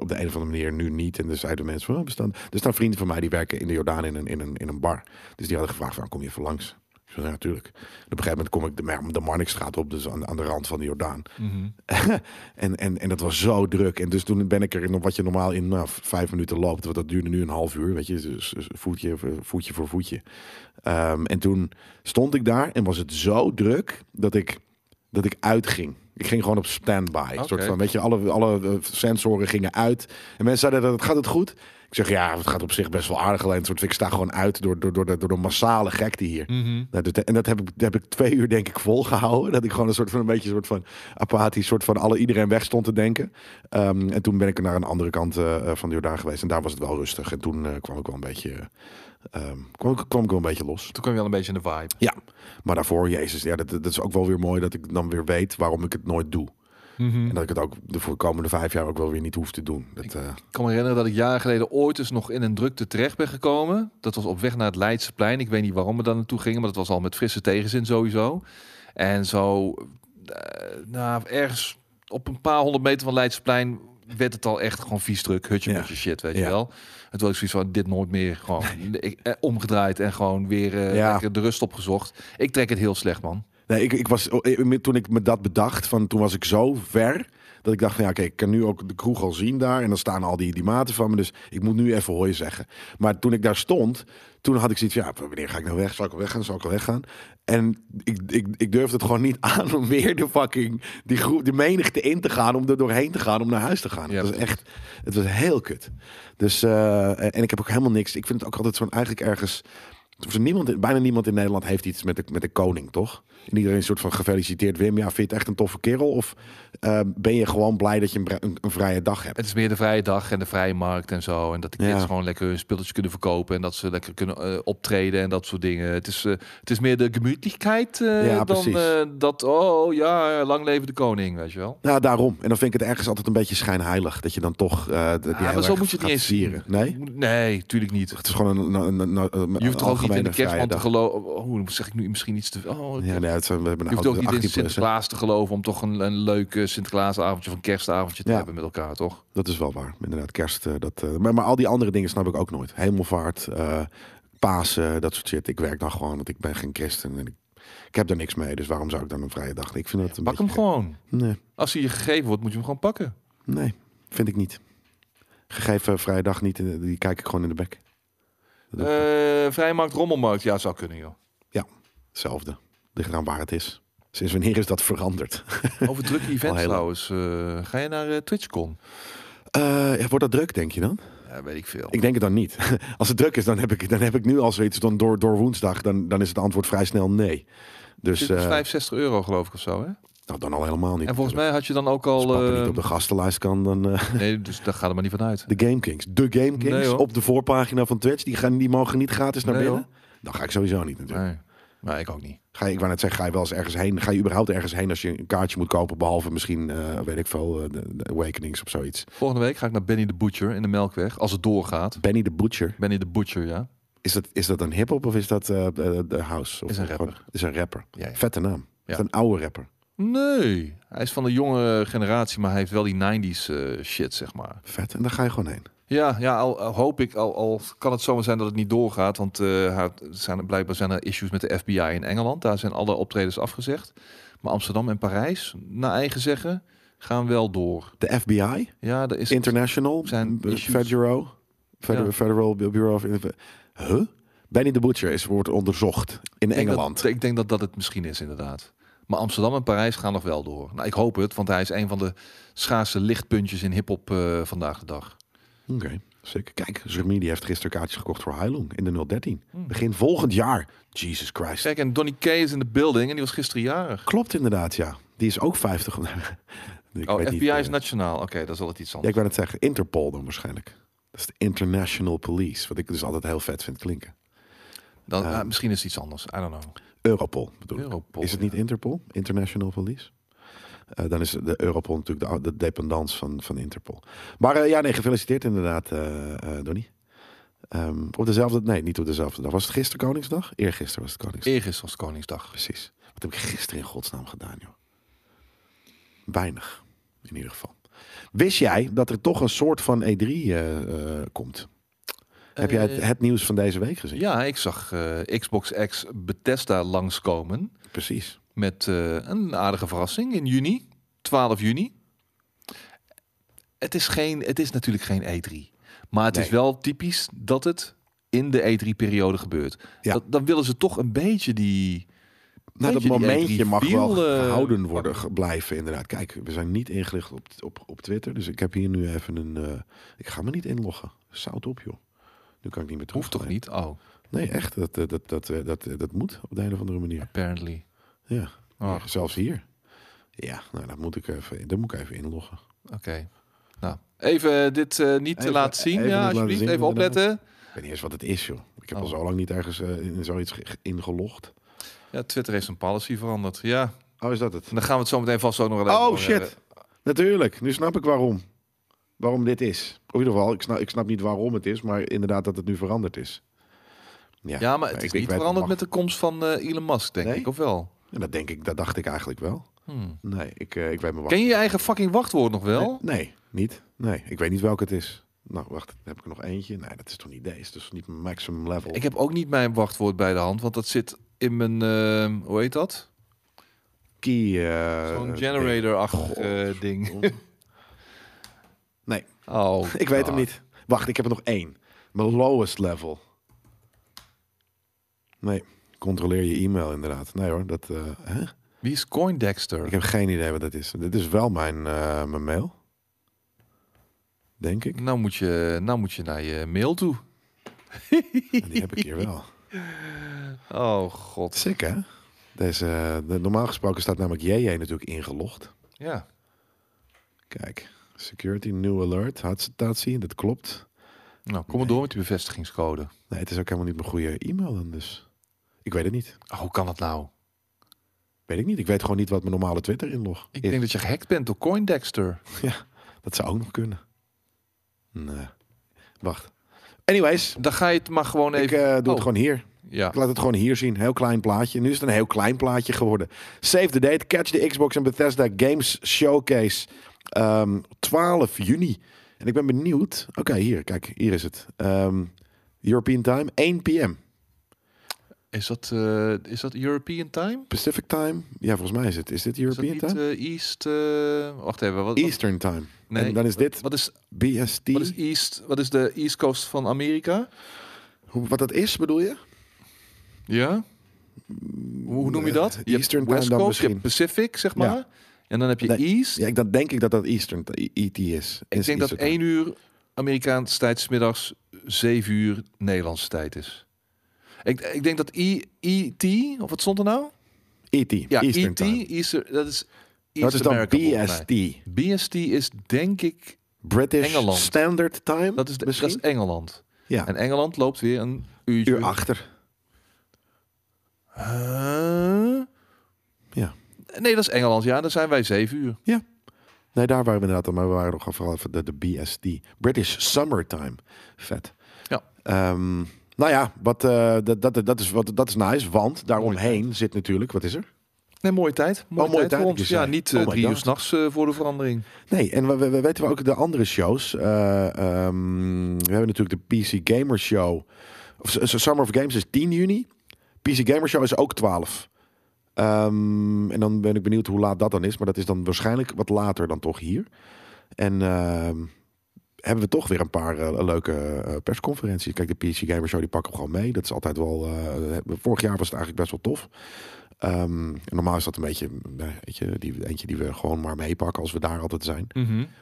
[SPEAKER 1] op de een of andere manier nu niet. En dus zeiden mensen van, oh, we staan- er staan vrienden van mij die werken in de Jordaan in een, in een, in een bar. Dus die hadden gevraagd, van, kom je even langs? Ik zei, ja, natuurlijk. En op een gegeven moment kom ik de, Mar- de Marnixstraat op, dus aan, aan de rand van de Jordaan.
[SPEAKER 2] Mhm.
[SPEAKER 1] En, en, en dat was zo druk. En dus toen ben ik er, in wat je normaal in nou, vijf minuten loopt, want dat duurde nu een half uur, weet je, dus dus voetje, voor- voetje voor voetje. Ehm, en toen stond ik daar en was het zo druk dat ik, dat ik uitging. Ik ging gewoon op standby. Een soort
[SPEAKER 2] Oké.
[SPEAKER 1] van, weet je, alle, alle eh, sensoren gingen uit. En mensen zeiden, dat gaat het goed? Ik zeg, ja, het gaat op zich best wel aardig. Alleen, het soort, ik sta gewoon uit door, door, door, de, door de massale gekte hier.
[SPEAKER 2] Mhm.
[SPEAKER 1] Nou, dat- en dat heb, ik, dat heb ik twee uur denk ik volgehouden. Dat ik gewoon een soort van een beetje een soort van apathisch, soort van alle iedereen weg stond te denken. Ehm, en toen ben ik naar een andere kant eh, eh, van de Jordaan geweest. En daar was het wel rustig. En toen eh, kwam ik wel een beetje. ehm, kwam, ik- kwam ik wel een beetje los.
[SPEAKER 2] Toen kwam je wel een beetje in de vibe.
[SPEAKER 1] Ja, maar daarvoor, Jezus, ja, dat, dat is ook wel weer mooi dat ik dan weer weet waarom ik het nooit doe.
[SPEAKER 2] Mhm.
[SPEAKER 1] En dat ik het ook de voor de komende vijf jaar ook wel weer niet hoef te doen. Dat, eh,
[SPEAKER 2] Ik kan me herinneren dat ik jaren geleden ooit eens nog in een drukte terecht ben gekomen. Dat was op weg naar het Leidseplein. Ik weet niet waarom we daar naartoe gingen, maar dat was al met frisse tegenzin sowieso. En zo, eh, nou, ergens op een paar honderd meter van Leidseplein werd het al echt gewoon vies druk. Hutje
[SPEAKER 1] Ja.
[SPEAKER 2] mutje shit, weet
[SPEAKER 1] Ja.
[SPEAKER 2] je wel. En toen had ik zoiets van, dit nooit meer. Gewoon ik, eh, omgedraaid en gewoon weer eh,
[SPEAKER 1] Ja.
[SPEAKER 2] lekker de rust opgezocht. Ik trek het heel slecht, man.
[SPEAKER 1] Nee, ik, ik was, oh, eh, toen ik me dat bedacht, van, toen was ik zo ver. Dat ik dacht van ja, kijk, ik kan nu ook de kroeg al zien daar. En dan staan al die, die maten van me. Dus ik moet nu even hooi zeggen. Maar toen ik daar stond, toen had ik zoiets van ja, wanneer ga ik nou weg? Zal ik al weggaan? Zal ik al weggaan? En ik, ik, ik durfde het gewoon niet [laughs] aan om weer de fucking die groep, de menigte in te gaan. Om er doorheen te gaan, om naar huis te gaan.
[SPEAKER 2] Ja,
[SPEAKER 1] het was
[SPEAKER 2] precies.
[SPEAKER 1] echt, het was heel kut. Dus, eh, en ik heb ook helemaal niks. Ik vind het ook altijd zo'n eigenlijk ergens Of er niemand, bijna niemand in Nederland heeft iets met de, met de koning, toch? En iedereen een soort van gefeliciteerd. Wim, ja, vind je het echt een toffe kerel? Of eh, ben je gewoon blij dat je een, bra- een, een vrije dag hebt?
[SPEAKER 2] Het is meer de vrije dag en de vrije markt en zo. En dat de kids
[SPEAKER 1] Ja.
[SPEAKER 2] gewoon lekker hun spulletjes kunnen verkopen. En dat ze lekker kunnen eh, optreden en dat soort dingen. Het is, eh, het is meer de gemütlichkeit eh,
[SPEAKER 1] Ja,
[SPEAKER 2] dan
[SPEAKER 1] precies.
[SPEAKER 2] eh, dat, oh ja, lang leven de koning, weet je wel.
[SPEAKER 1] Nou, daarom. En dan vind ik het ergens altijd een beetje schijnheilig. Dat je dan toch... eh dat die
[SPEAKER 2] Ja, Ah, maar
[SPEAKER 1] heel
[SPEAKER 2] zo
[SPEAKER 1] erg
[SPEAKER 2] moet je het
[SPEAKER 1] gaat
[SPEAKER 2] niet eens
[SPEAKER 1] vieren. Nee?
[SPEAKER 2] Nee, tuurlijk niet.
[SPEAKER 1] Het is gewoon een, een, een, een, een
[SPEAKER 2] Je hoeft toch ook niet in de
[SPEAKER 1] algemene vrije
[SPEAKER 2] kerstman te
[SPEAKER 1] dag.
[SPEAKER 2] geloven. Oh, hoe zeg ik nu misschien iets te veel? Oh,
[SPEAKER 1] Ja, nee, het zijn, we hebben
[SPEAKER 2] je
[SPEAKER 1] een
[SPEAKER 2] hoeft ook
[SPEAKER 1] oude
[SPEAKER 2] niet in
[SPEAKER 1] 18 plus. hè.
[SPEAKER 2] Sinterklaas te geloven om toch een, een leuk eh, Sinterklaasavondje of een kerstavondje te
[SPEAKER 1] Ja.
[SPEAKER 2] hebben met elkaar, toch?
[SPEAKER 1] Dat is wel waar. Inderdaad, kerst. eh, dat, eh, maar, maar al die andere dingen snap ik ook nooit. Hemelvaart, eh Pasen, dat soort shit. Ik werk dan gewoon, want ik ben geen christen. En ik, ik heb daar niks mee, dus waarom zou ik dan een vrije dag? Ik vind dat een
[SPEAKER 2] Pak hem
[SPEAKER 1] beetje
[SPEAKER 2] gewoon.
[SPEAKER 1] gek. Nee,
[SPEAKER 2] Als hij je gegeven wordt, moet je hem gewoon pakken.
[SPEAKER 1] nee, vind ik niet. Gegeven vrije dag niet, eh, die kijk ik gewoon in de bek. Dat doe ik
[SPEAKER 2] Eh vrijmarkt, rommelmarkt, ja, zou kunnen, joh.
[SPEAKER 1] Hetzelfde. Ligt eraan waar het is. Sinds wanneer is dat veranderd? [laughs]
[SPEAKER 2] Over drukke
[SPEAKER 1] Al
[SPEAKER 2] events
[SPEAKER 1] heel
[SPEAKER 2] trouwens. eh, ga je naar eh, TwitchCon?
[SPEAKER 1] Eh, wordt dat druk, denk je dan?
[SPEAKER 2] Ja, weet ik veel.
[SPEAKER 1] Ik denk het dan niet. [laughs] Als het druk is, dan heb ik, dan heb ik nu al zoiets. Dan door, door woensdag, dan, dan is het antwoord vrij snel nee. Dus
[SPEAKER 2] Dit is
[SPEAKER 1] eh,
[SPEAKER 2] 65 euro geloof ik of zo, hè?
[SPEAKER 1] nou, dan al helemaal niet.
[SPEAKER 2] En
[SPEAKER 1] natuurlijk.
[SPEAKER 2] volgens mij had je dan ook
[SPEAKER 1] Als
[SPEAKER 2] al...
[SPEAKER 1] papa niet
[SPEAKER 2] eh,
[SPEAKER 1] op de gastenlijst kan, dan eh,
[SPEAKER 2] nee, dus daar gaat er maar niet van
[SPEAKER 1] [laughs]
[SPEAKER 2] uit.
[SPEAKER 1] de Game Kings. De Game Kings
[SPEAKER 2] Nee, hoor.
[SPEAKER 1] op de voorpagina van Twitch. Die, gaan, die mogen niet gratis naar
[SPEAKER 2] Nee,
[SPEAKER 1] binnen. Dan ga ik sowieso niet natuurlijk.
[SPEAKER 2] Nee. Maar ik ook niet.
[SPEAKER 1] Ga je, ik wou net zeggen, ga je wel eens ergens heen? Ga je überhaupt ergens heen als je een kaartje moet kopen? Behalve misschien, eh, weet ik veel, eh, de, de Awakenings of zoiets.
[SPEAKER 2] Volgende week ga ik naar Benny the Butcher in de Melkweg. Als het doorgaat.
[SPEAKER 1] Benny the Butcher.
[SPEAKER 2] Benny the Butcher, ja.
[SPEAKER 1] Is dat, is dat een hip-hop of is dat eh, de de house? Of
[SPEAKER 2] Is een rapper.
[SPEAKER 1] gewoon- Is een rapper.
[SPEAKER 2] Ja, ja.
[SPEAKER 1] Vette naam. Is een oude rapper.
[SPEAKER 2] Nee. Hij is van de jonge generatie, maar hij heeft wel die 90s eh, shit, zeg maar.
[SPEAKER 1] Vet. En daar ga je gewoon heen.
[SPEAKER 2] Ja, ja al, al hoop ik, al, al kan het zomaar zijn dat het niet doorgaat. Want eh, hij- zijn, er- blijkbaar zijn er issues met de FBI in Engeland. Daar zijn alle optredens afgezegd. Maar Amsterdam en Parijs, naar eigen zeggen, gaan wel door.
[SPEAKER 1] De FBI,
[SPEAKER 2] Ja, er is
[SPEAKER 1] International,
[SPEAKER 2] zijn
[SPEAKER 1] b-
[SPEAKER 2] issues.
[SPEAKER 1] Federal, Federal,
[SPEAKER 2] Ja.
[SPEAKER 1] Federal Bureau of... Inve- Huh? Benny de Butcher is, wordt onderzocht in
[SPEAKER 2] Ik denk
[SPEAKER 1] Engeland.
[SPEAKER 2] Dat, ik denk dat dat het misschien is, inderdaad. Maar Amsterdam en Parijs gaan nog wel door. Nou, ik hoop het, want hij is een van de schaarse lichtpuntjes in hip-hop eh, vandaag de dag.
[SPEAKER 1] Oké, zeker. Kijk, Zermi die heeft gisteren kaartjes gekocht voor Heilung in de 013.
[SPEAKER 2] Hmm.
[SPEAKER 1] Begin volgend jaar. Jesus Christ.
[SPEAKER 2] Kijk, en Donny K is in de building en die was gisteren jarig.
[SPEAKER 1] Klopt inderdaad, ja. Die is ook 50. [laughs] ik
[SPEAKER 2] Oh,
[SPEAKER 1] weet
[SPEAKER 2] FBI
[SPEAKER 1] niet, eh,
[SPEAKER 2] is nationaal. Oké, dat is altijd iets
[SPEAKER 1] Ja,
[SPEAKER 2] anders.
[SPEAKER 1] ik wou het zeggen. Interpol dan waarschijnlijk. Dat is de International Police. Wat ik dus altijd heel vet vind klinken.
[SPEAKER 2] Dan,
[SPEAKER 1] eh,
[SPEAKER 2] ah, misschien is het iets anders. I don't know.
[SPEAKER 1] Europol bedoel ik.
[SPEAKER 2] Europol.
[SPEAKER 1] Is het niet Interpol? International Police? Eh, dan is de Europol natuurlijk de, ou- de dependance van, van Interpol. Maar eh, ja, nee, gefeliciteerd inderdaad, eh eh Donnie. Ehm, op dezelfde, nee, niet op dezelfde dag. Was het gisteren Koningsdag? Eergisteren was het Koningsdag.
[SPEAKER 2] Eergisteren was Koningsdag.
[SPEAKER 1] Precies. Wat heb ik gisteren in godsnaam gedaan, joh? Weinig, in ieder geval. Wist jij dat er toch een soort van E3 eh, eh, komt? heb jij het,
[SPEAKER 2] Eh,
[SPEAKER 1] het nieuws van deze week gezien?
[SPEAKER 2] Ja, ik zag eh, Xbox X Bethesda langskomen
[SPEAKER 1] Precies.
[SPEAKER 2] met eh, een aardige verrassing in juni, 12 juni. Het is, geen, het is natuurlijk geen E3, maar het is
[SPEAKER 1] Nee.
[SPEAKER 2] wel typisch dat het in de E3-periode gebeurt.
[SPEAKER 1] Ja.
[SPEAKER 2] Dat, dan willen ze toch een beetje die...
[SPEAKER 1] Nou, dat
[SPEAKER 2] Weet je, die
[SPEAKER 1] momentje
[SPEAKER 2] E3
[SPEAKER 1] mag wel
[SPEAKER 2] viel, eh,
[SPEAKER 1] gehouden worden, ge- blijven inderdaad. Kijk, we zijn niet ingelicht op, op, op Twitter, dus ik heb hier nu even een... eh, ik ga me niet inloggen. Zout op, joh. Nu kan ik niet meer terug.
[SPEAKER 2] Hoeft toch niet? Oh,
[SPEAKER 1] Nee, echt. Dat, eh, dat, dat, eh, dat, eh, dat moet op de een of andere manier.
[SPEAKER 2] apparently.
[SPEAKER 1] Ja,
[SPEAKER 2] Oh, Oké.
[SPEAKER 1] zelfs hier. Ja, nou, dat moet ik even, dat moet ik even inloggen.
[SPEAKER 2] Nou, even dit eh, niet
[SPEAKER 1] Even-
[SPEAKER 2] laten zien,
[SPEAKER 1] even niet
[SPEAKER 2] ja,
[SPEAKER 1] laten
[SPEAKER 2] alsjeblieft.
[SPEAKER 1] zien,
[SPEAKER 2] even
[SPEAKER 1] inderdaad.
[SPEAKER 2] opletten.
[SPEAKER 1] Ik weet niet eens wat het is, joh. Ik heb
[SPEAKER 2] Oh.
[SPEAKER 1] al zo lang niet ergens eh, in zoiets ge- ge- ingelogd.
[SPEAKER 2] Ja, Twitter heeft zijn policy veranderd. Ja,
[SPEAKER 1] Oh, is dat het?
[SPEAKER 2] En dan gaan we het zo meteen vast ook nog wel even
[SPEAKER 1] Oh,
[SPEAKER 2] over hebben.
[SPEAKER 1] shit. Natuurlijk. Nu snap ik waarom. Waarom dit is. Of in ieder geval, ik snap, ik snap niet waarom het is, maar inderdaad dat het nu veranderd is.
[SPEAKER 2] Ja, maar het
[SPEAKER 1] ik-
[SPEAKER 2] is
[SPEAKER 1] ik weet
[SPEAKER 2] niet
[SPEAKER 1] het
[SPEAKER 2] veranderd
[SPEAKER 1] mag.
[SPEAKER 2] met de komst van eh, Elon Musk, denk
[SPEAKER 1] Nee?
[SPEAKER 2] ik, of wel?
[SPEAKER 1] En dat denk ik, dat dacht ik eigenlijk wel.
[SPEAKER 2] Hmm.
[SPEAKER 1] Nee, ik, eh, ik weet me wat.
[SPEAKER 2] Ken je je eigen fucking wachtwoord nog wel?
[SPEAKER 1] Nee, nee, niet. Nee, ik weet niet welke het is. Nou, wacht, heb ik er nog eentje? Nee, dat is toch niet deze? Dat is toch niet mijn maximum level?
[SPEAKER 2] Ik heb ook niet mijn wachtwoord bij de hand, want dat zit in mijn, eh, hoe heet dat?
[SPEAKER 1] key... eh,
[SPEAKER 2] Zo'n
[SPEAKER 1] ding.
[SPEAKER 2] generator-achtig
[SPEAKER 1] God.
[SPEAKER 2] eh, ding.
[SPEAKER 1] Nee.
[SPEAKER 2] Oh,
[SPEAKER 1] [laughs] [laughs] Ik weet hem
[SPEAKER 2] God.
[SPEAKER 1] niet. Wacht, ik heb er nog één. Mijn lowest level. Nee, controleer je e-mail inderdaad. Nee hoor, dat... eh, hè?
[SPEAKER 2] Wie is Coindexter?
[SPEAKER 1] Ik heb geen idee wat dat is. Dit is wel mijn, eh, mijn mail. Denk ik.
[SPEAKER 2] Nou, moet je, nou moet je naar je mail toe. [laughs]
[SPEAKER 1] En Die heb ik hier wel.
[SPEAKER 2] Oh god.
[SPEAKER 1] Sick, hè? Deze, eh, de- normaal gesproken staat namelijk JJ natuurlijk ingelogd.
[SPEAKER 2] Ja.
[SPEAKER 1] Kijk, security, new alert, hartstatie, dat klopt.
[SPEAKER 2] Nou, kom maar door met die bevestigingscode.
[SPEAKER 1] Nee, het is ook helemaal niet mijn goede e-mail dan dus. Ik weet het niet.
[SPEAKER 2] Oh, hoe kan dat nou?
[SPEAKER 1] Weet ik niet. Ik weet gewoon niet wat mijn normale Twitter inlog
[SPEAKER 2] Ik
[SPEAKER 1] is.
[SPEAKER 2] denk dat je gehackt bent door Coindexter.
[SPEAKER 1] Dat zou ook nog kunnen. Nee. Wacht. Anyways,
[SPEAKER 2] Dan ga je het maar gewoon even...
[SPEAKER 1] ik eh, doe het
[SPEAKER 2] Oh.
[SPEAKER 1] gewoon hier.
[SPEAKER 2] Ja.
[SPEAKER 1] Ik laat het gewoon hier zien. Heel klein plaatje. Nu is het een heel klein plaatje geworden. Save the date. Catch the Xbox en Bethesda Games Showcase. Ehm, 12 juni. En ik ben benieuwd. Oké, hier. Kijk, hier is het. Ehm, European Time, 1 p.m.
[SPEAKER 2] Is dat, eh, is dat European time?
[SPEAKER 1] Pacific Time. Ja, volgens mij is het. Is dit
[SPEAKER 2] Is dat
[SPEAKER 1] European
[SPEAKER 2] niet
[SPEAKER 1] Time?
[SPEAKER 2] eh, East... eh, wacht even. Wat, wat,
[SPEAKER 1] Eastern Time.
[SPEAKER 2] nee.
[SPEAKER 1] En dan is dit
[SPEAKER 2] wat, is,
[SPEAKER 1] BST.
[SPEAKER 2] wat is East... Wat is de East Coast van Amerika?
[SPEAKER 1] Hoe- Wat dat is, bedoel je?
[SPEAKER 2] Ja? Hoe, hoe noem je dat? Je hebt
[SPEAKER 1] Eh, Eastern Time
[SPEAKER 2] West
[SPEAKER 1] dan
[SPEAKER 2] Coast, je hebt
[SPEAKER 1] misschien.
[SPEAKER 2] Pacific, zeg maar. En dan heb je
[SPEAKER 1] Nee.
[SPEAKER 2] East.
[SPEAKER 1] Ja, ik, dan denk ik dat dat Eastern I- ET is.
[SPEAKER 2] Ik denk dat 1 uur Amerikaans tijd 's middags 7 uur Nederlandse tijd is. Ik, ik denk dat I, IT, of wat stond er nou?
[SPEAKER 1] ET.
[SPEAKER 2] Ja,
[SPEAKER 1] E Eastern
[SPEAKER 2] IT,
[SPEAKER 1] Time.
[SPEAKER 2] Easter, dat is
[SPEAKER 1] Dat is
[SPEAKER 2] East
[SPEAKER 1] dan
[SPEAKER 2] America volgens mij.
[SPEAKER 1] BST.
[SPEAKER 2] BST is denk ik,
[SPEAKER 1] British
[SPEAKER 2] Engeland.
[SPEAKER 1] Standard Time.
[SPEAKER 2] dat is, de, dat
[SPEAKER 1] misschien.
[SPEAKER 2] is Engeland.
[SPEAKER 1] ja.
[SPEAKER 2] En Engeland loopt weer een uurtje.
[SPEAKER 1] uur achter.
[SPEAKER 2] Huh?
[SPEAKER 1] Ja.
[SPEAKER 2] Eh? Nee, dat is Engeland. Ja, dan zijn wij 7 uur.
[SPEAKER 1] Nee, daar waren we inderdaad al, maar we waren nog vooral voor de, de BST. British Summertime. Vet.
[SPEAKER 2] Ja.
[SPEAKER 1] Ehm, nou ja, wat, eh, dat, dat, dat, is, wat, dat is nice, want daaromheen zit natuurlijk, wat is er?
[SPEAKER 2] Nee, mooie tijd. Oh, Mooie,
[SPEAKER 1] mooie tijd,
[SPEAKER 2] voor
[SPEAKER 1] je
[SPEAKER 2] ons.
[SPEAKER 1] zei.
[SPEAKER 2] Ja, niet
[SPEAKER 1] Oh
[SPEAKER 2] eh,
[SPEAKER 1] my
[SPEAKER 2] drie uur
[SPEAKER 1] God.
[SPEAKER 2] s'nachts nachts eh, voor de verandering.
[SPEAKER 1] Nee, en we, we- we weten we ook de andere shows. Eh, ehm, we hebben natuurlijk de PC Gamer Show. Of, S- S- Summer of Games is 10 juni. PC Gamer Show is ook 12. Ehm, en dan ben ik benieuwd hoe laat dat dan is. Maar dat is dan waarschijnlijk wat later dan toch hier. En ehm, hebben we toch weer een paar eh, leuke eh, persconferenties. Kijk, de PC Gamer Show die pakken we gewoon mee. Dat is altijd wel... eh, vorig jaar was het eigenlijk best wel tof. Ehm, en normaal is dat een beetje... nou, Weet je, die, eentje die we gewoon maar meepakken als we daar altijd zijn.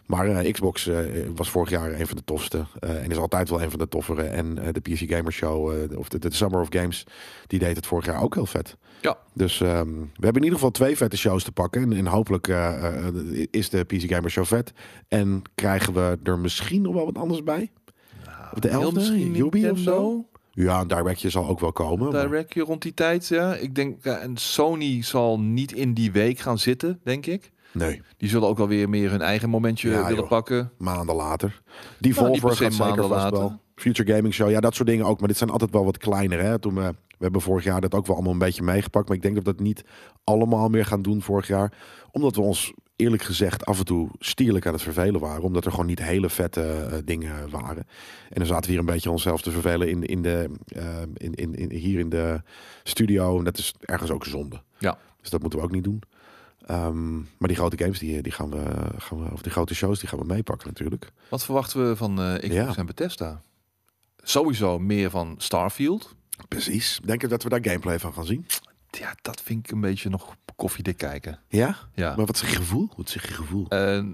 [SPEAKER 1] Maar eh, Xbox eh, was vorig jaar een van de tofste. eh, en is altijd wel een van de toffere. En eh, de PC Gamer Show, eh, of de, de Summer of Games, die deed het vorig jaar ook heel vet.
[SPEAKER 2] Ja.
[SPEAKER 1] Dus ehm, we hebben in ieder geval twee vette shows te pakken. En, en hopelijk eh, eh, is de PC Gamer Show vet. En krijgen we er misschien nog wel wat anders bij. Op de 11e, Yubi
[SPEAKER 2] eh,
[SPEAKER 1] of zo.
[SPEAKER 2] Oh
[SPEAKER 1] Ja, een directje zal ook wel komen. maar-
[SPEAKER 2] Direct je rond die tijd, ja. Ik denk, ja, en Sony zal niet in die week gaan zitten, denk ik.
[SPEAKER 1] nee,
[SPEAKER 2] Die zullen ook wel weer meer hun eigen momentje
[SPEAKER 1] Ja,
[SPEAKER 2] eh, willen
[SPEAKER 1] joh.
[SPEAKER 2] pakken.
[SPEAKER 1] maanden later. Die Volver
[SPEAKER 2] per se
[SPEAKER 1] gaat zeker
[SPEAKER 2] Nou, maanden
[SPEAKER 1] vast
[SPEAKER 2] later.
[SPEAKER 1] wel. Future Gaming Show, ja, dat soort dingen ook. Maar dit zijn altijd wel wat kleiner. Hè? Toen, eh, we hebben vorig jaar dat ook wel allemaal een beetje meegepakt. Maar ik denk dat we dat niet allemaal meer gaan doen vorig jaar. Omdat we ons eerlijk gezegd af en toe stierlijk aan het vervelen waren. Omdat er gewoon niet hele vette eh, dingen waren. En dan zaten we hier een beetje onszelf te vervelen in, in de, eh, in, in, in, hier in de studio. En dat is ergens ook zonde.
[SPEAKER 2] Ja.
[SPEAKER 1] Dus dat moeten we ook niet doen. Ehm, maar die grote games, die, die gaan, we, gaan we, of die grote shows, die gaan we meepakken natuurlijk.
[SPEAKER 2] Wat verwachten we van eh Xbox
[SPEAKER 1] Ja.
[SPEAKER 2] en Bethesda? Sowieso meer van Starfield.
[SPEAKER 1] Precies. Denk je dat we daar gameplay van gaan zien?
[SPEAKER 2] Ja, dat vind ik een beetje nog koffiedik kijken.
[SPEAKER 1] Ja?
[SPEAKER 2] Ja.
[SPEAKER 1] Maar wat is je gevoel? Wat zeg je gevoel?
[SPEAKER 2] Eh,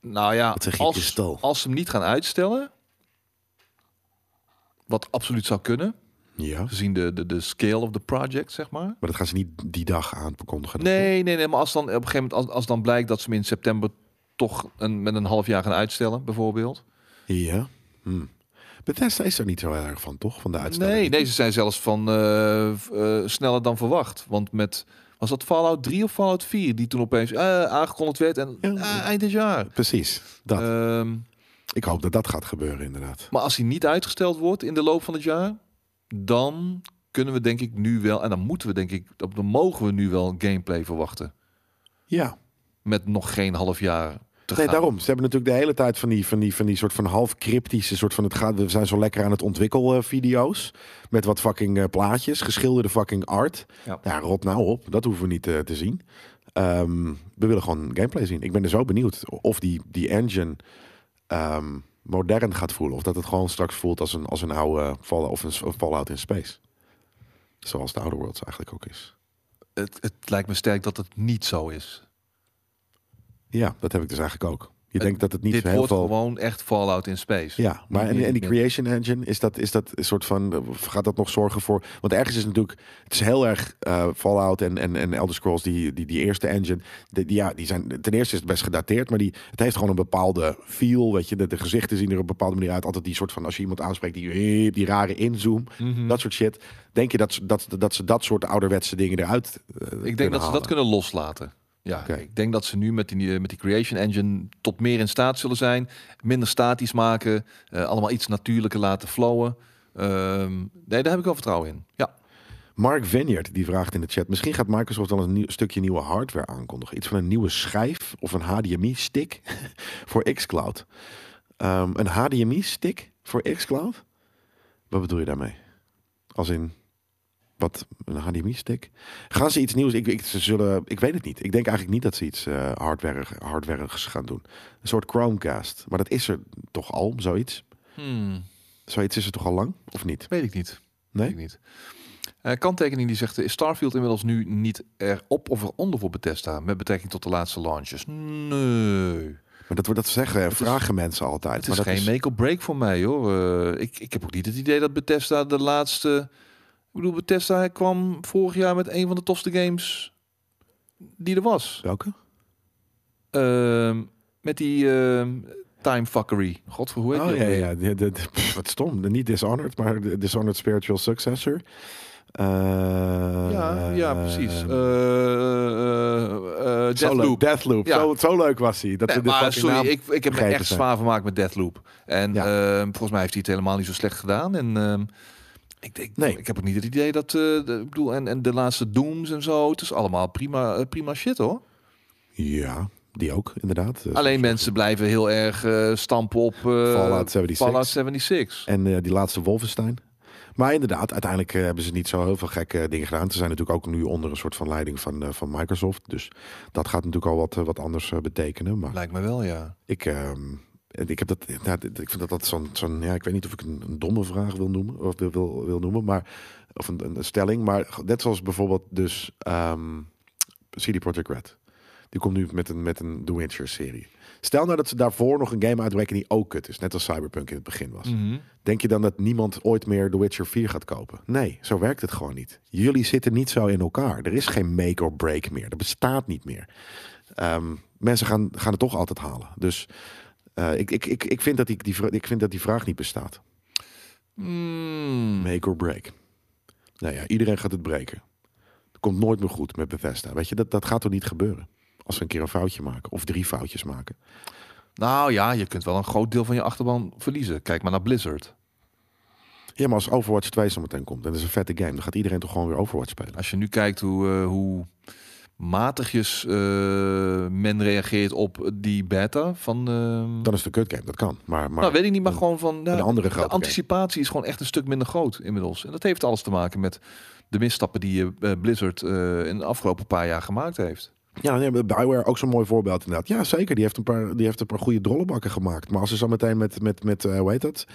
[SPEAKER 2] nou ja,
[SPEAKER 1] Wat zeg je
[SPEAKER 2] als,
[SPEAKER 1] kristal?
[SPEAKER 2] als ze hem niet gaan uitstellen... wat absoluut zou kunnen,
[SPEAKER 1] Ja.
[SPEAKER 2] gezien de, de, de scale of the project, zeg maar...
[SPEAKER 1] Maar dat gaan ze niet die dag aankondigen.
[SPEAKER 2] Nee, nee, nee. Maar als dan op een gegeven moment, als, als dan blijkt dat ze hem in september toch een, met een half jaar gaan uitstellen, bijvoorbeeld.
[SPEAKER 1] Ja. Hm. Bethesda is er niet zo erg van, toch? Van de uitstelling.
[SPEAKER 2] Nee, nee, ze zijn zelfs van eh, v- eh, sneller dan verwacht. Want met was dat Fallout 3 of Fallout 4 die toen opeens eh, aangekondigd werd en
[SPEAKER 1] Ja.
[SPEAKER 2] ah, eind dit jaar.
[SPEAKER 1] Precies. Dat.
[SPEAKER 2] Ehm,
[SPEAKER 1] Ik hoop dat dat gaat gebeuren, inderdaad.
[SPEAKER 2] maar als hij niet uitgesteld wordt in de loop van het jaar, dan kunnen we denk ik nu wel en dan moeten we denk ik, dan mogen we nu wel gameplay verwachten
[SPEAKER 1] Ja.
[SPEAKER 2] met nog geen half jaar te
[SPEAKER 1] Nee,
[SPEAKER 2] gaan.
[SPEAKER 1] daarom. Ze hebben natuurlijk de hele tijd van die, van die, van die soort van half cryptische soort van het gaat. We zijn zo lekker aan het ontwikkelen video's. Met wat fucking eh, plaatjes, geschilderde fucking art.
[SPEAKER 2] Ja.
[SPEAKER 1] Ja, rot nou op. Dat hoeven we niet eh, te zien. Ehm, we willen gewoon gameplay zien. Ik ben er zo benieuwd of die, die engine ehm, modern gaat voelen. Of dat het gewoon straks voelt als een, als een oude Fallout, of een, s- een Fallout in Space. Zoals de Outer Worlds eigenlijk ook is.
[SPEAKER 2] het, het lijkt me sterk dat het niet zo is.
[SPEAKER 1] Ja, dat heb ik dus eigenlijk ook. Je denkt dat het niet
[SPEAKER 2] Dit
[SPEAKER 1] heel
[SPEAKER 2] wordt
[SPEAKER 1] veel...
[SPEAKER 2] gewoon echt Fallout in Space.
[SPEAKER 1] Ja, maar en, en die Creation Engine, is dat, is dat een soort van, eh, gaat dat nog zorgen voor? Want ergens is natuurlijk, het is heel erg eh, Fallout en, en, en Elder Scrolls, die, die, die eerste engine, die, die- ja, die zijn, ten eerste is het best gedateerd, maar die, het heeft gewoon een bepaalde feel, weet je, de, de gezichten zien er op een bepaalde manier uit. Altijd die soort van, als je iemand aanspreekt, die, die rare inzoom,
[SPEAKER 2] Mhm.
[SPEAKER 1] dat soort shit. Denk je dat, ze- dat, dat ze dat soort ouderwetse dingen eruit eh,
[SPEAKER 2] Ik
[SPEAKER 1] kunnen
[SPEAKER 2] denk dat ze
[SPEAKER 1] halen?
[SPEAKER 2] dat kunnen loslaten. Ja,
[SPEAKER 1] Oké.
[SPEAKER 2] ik denk dat ze nu met die, eh, met die Creation Engine tot meer in staat zullen zijn. Minder statisch maken, eh, allemaal iets natuurlijker laten flowen. Ehm, nee, daar heb ik wel vertrouwen in. Ja,
[SPEAKER 1] Mark Vineyard die vraagt in de chat: misschien gaat Microsoft wel een nieuw, stukje nieuwe hardware aankondigen. Iets van een nieuwe schijf of een HDMI-stick [laughs] voor xCloud. Ehm, een HDMI-stick voor xCloud? Wat bedoel je daarmee? Als in wat een HDMI-stick? Gaan ze iets nieuws? Ik, ik, ze zullen, ik weet het niet. Ik denk eigenlijk niet dat ze iets eh hardware, hardwareigs gaan doen. Een soort Chromecast. Maar dat is er toch al, zoiets?
[SPEAKER 2] Hmm,
[SPEAKER 1] Zoiets is er toch al lang? Of niet?
[SPEAKER 2] weet ik niet.
[SPEAKER 1] Nee?
[SPEAKER 2] Weet ik niet. Eh, kanttekening die zegt, eh, is Starfield inmiddels nu niet erop of eronder voor Bethesda met betrekking tot de laatste launches? Nee.
[SPEAKER 1] Maar dat, wordt- dat zeggen
[SPEAKER 2] is-
[SPEAKER 1] vragen mensen altijd.
[SPEAKER 2] Het
[SPEAKER 1] maar
[SPEAKER 2] is
[SPEAKER 1] dat
[SPEAKER 2] geen make or break voor mij hoor. Eh, ik, ik heb ook niet het idee dat Bethesda de laatste. Ik bedoel, Bethesda kwam vorig jaar met een van de tofste games die er was.
[SPEAKER 1] Welke?
[SPEAKER 2] Ehm, met die ehm, Time Fuckery. Godver, hoe heet
[SPEAKER 1] Oh
[SPEAKER 2] die
[SPEAKER 1] ja,
[SPEAKER 2] ook weer?
[SPEAKER 1] ja. ja. De- de- pff, wat stom. De- Niet Dishonored, maar de Dishonored Spiritual Successor. Eh,
[SPEAKER 2] ja, ja,
[SPEAKER 1] eh,
[SPEAKER 2] precies. Eh eh, eh,
[SPEAKER 1] zo leuk.
[SPEAKER 2] Deathloop.
[SPEAKER 1] Deathloop.
[SPEAKER 2] Ja.
[SPEAKER 1] Zo, zo leuk was hij. Dat
[SPEAKER 2] Nee,
[SPEAKER 1] we de
[SPEAKER 2] maar
[SPEAKER 1] fucking naam-
[SPEAKER 2] sorry, ik, ik heb me
[SPEAKER 1] vergeten
[SPEAKER 2] echt
[SPEAKER 1] zijn.
[SPEAKER 2] zwaar vermaakt met Deathloop. En
[SPEAKER 1] Ja.
[SPEAKER 2] ehm, volgens mij heeft hij het helemaal niet zo slecht gedaan. En ehm, ik denk,
[SPEAKER 1] Nee.
[SPEAKER 2] ik heb ook niet het idee dat, eh, de, ik bedoel, en, en de laatste Dooms en zo, het is allemaal prima, eh, prima shit hoor.
[SPEAKER 1] Ja, die ook, inderdaad. Eh,
[SPEAKER 2] Alleen mensen blijven heel erg eh, stampen op eh,
[SPEAKER 1] Fallout 76.
[SPEAKER 2] Fallout 76.
[SPEAKER 1] En eh, die laatste Wolfenstein. Maar inderdaad, uiteindelijk eh, hebben ze niet zo heel veel gekke dingen gedaan. Ze zijn natuurlijk ook nu onder een soort van leiding van, eh, van Microsoft. Dus dat gaat natuurlijk al wat, eh, wat anders eh, betekenen. Maar
[SPEAKER 2] Lijkt me wel, ja.
[SPEAKER 1] Ik, ehm, ik heb dat. ja, dit- ik vind dat dat zo'n. zo'n ja, ik weet niet of ik een, een domme vraag wil noemen. Of wil, wil, wil noemen. Maar, of een, een, een stelling. Maar net zoals bijvoorbeeld dus ehm CD Projekt Red. Die komt nu met een, met een The Witcher serie. Stel nou dat ze daarvoor nog een game uitwerken die ook kut is. Net als Cyberpunk in het begin was.
[SPEAKER 2] Mhm.
[SPEAKER 1] Denk je dan dat niemand ooit meer The Witcher 4 gaat kopen? Nee, zo werkt het gewoon niet. Jullie zitten niet zo in elkaar. Er is geen make or break meer. Dat bestaat niet meer. Ehm, mensen gaan, gaan het toch altijd halen. Dus eh, ik, ik, ik, ik, vind dat die, die, vra- ik vind dat die vraag niet bestaat.
[SPEAKER 2] Mm.
[SPEAKER 1] Make or break. Nou ja, iedereen gaat het breken. Het komt nooit meer goed met Bethesda. Weet je, dat, dat gaat toch niet gebeuren? Als we een keer een foutje maken of drie foutjes maken.
[SPEAKER 2] Nou ja, je kunt wel een groot deel van je achterban verliezen. Kijk maar naar Blizzard.
[SPEAKER 1] Ja, maar als Overwatch 2 zometeen komt en dat is een vette game, dan gaat iedereen toch gewoon weer Overwatch spelen.
[SPEAKER 2] Als je nu kijkt hoe, eh, hoe matigjes eh, men reageert op die beta van... ehm,
[SPEAKER 1] Dan is het een kutgame, dat kan. Maar, maar
[SPEAKER 2] nou, weet ik niet, maar gewoon van... nou,
[SPEAKER 1] een andere grote
[SPEAKER 2] de
[SPEAKER 1] game.
[SPEAKER 2] anticipatie is gewoon echt een stuk minder groot inmiddels. En dat heeft alles te maken met de misstappen die eh, Blizzard eh, in de afgelopen paar jaar gemaakt heeft.
[SPEAKER 1] Ja, nee, maar Bioware ook zo'n mooi voorbeeld inderdaad. Ja, zeker. Die heeft een paar, die heeft een paar goede drollebakken gemaakt. Maar als ze zo meteen met, met, met eh, hoe heet dat?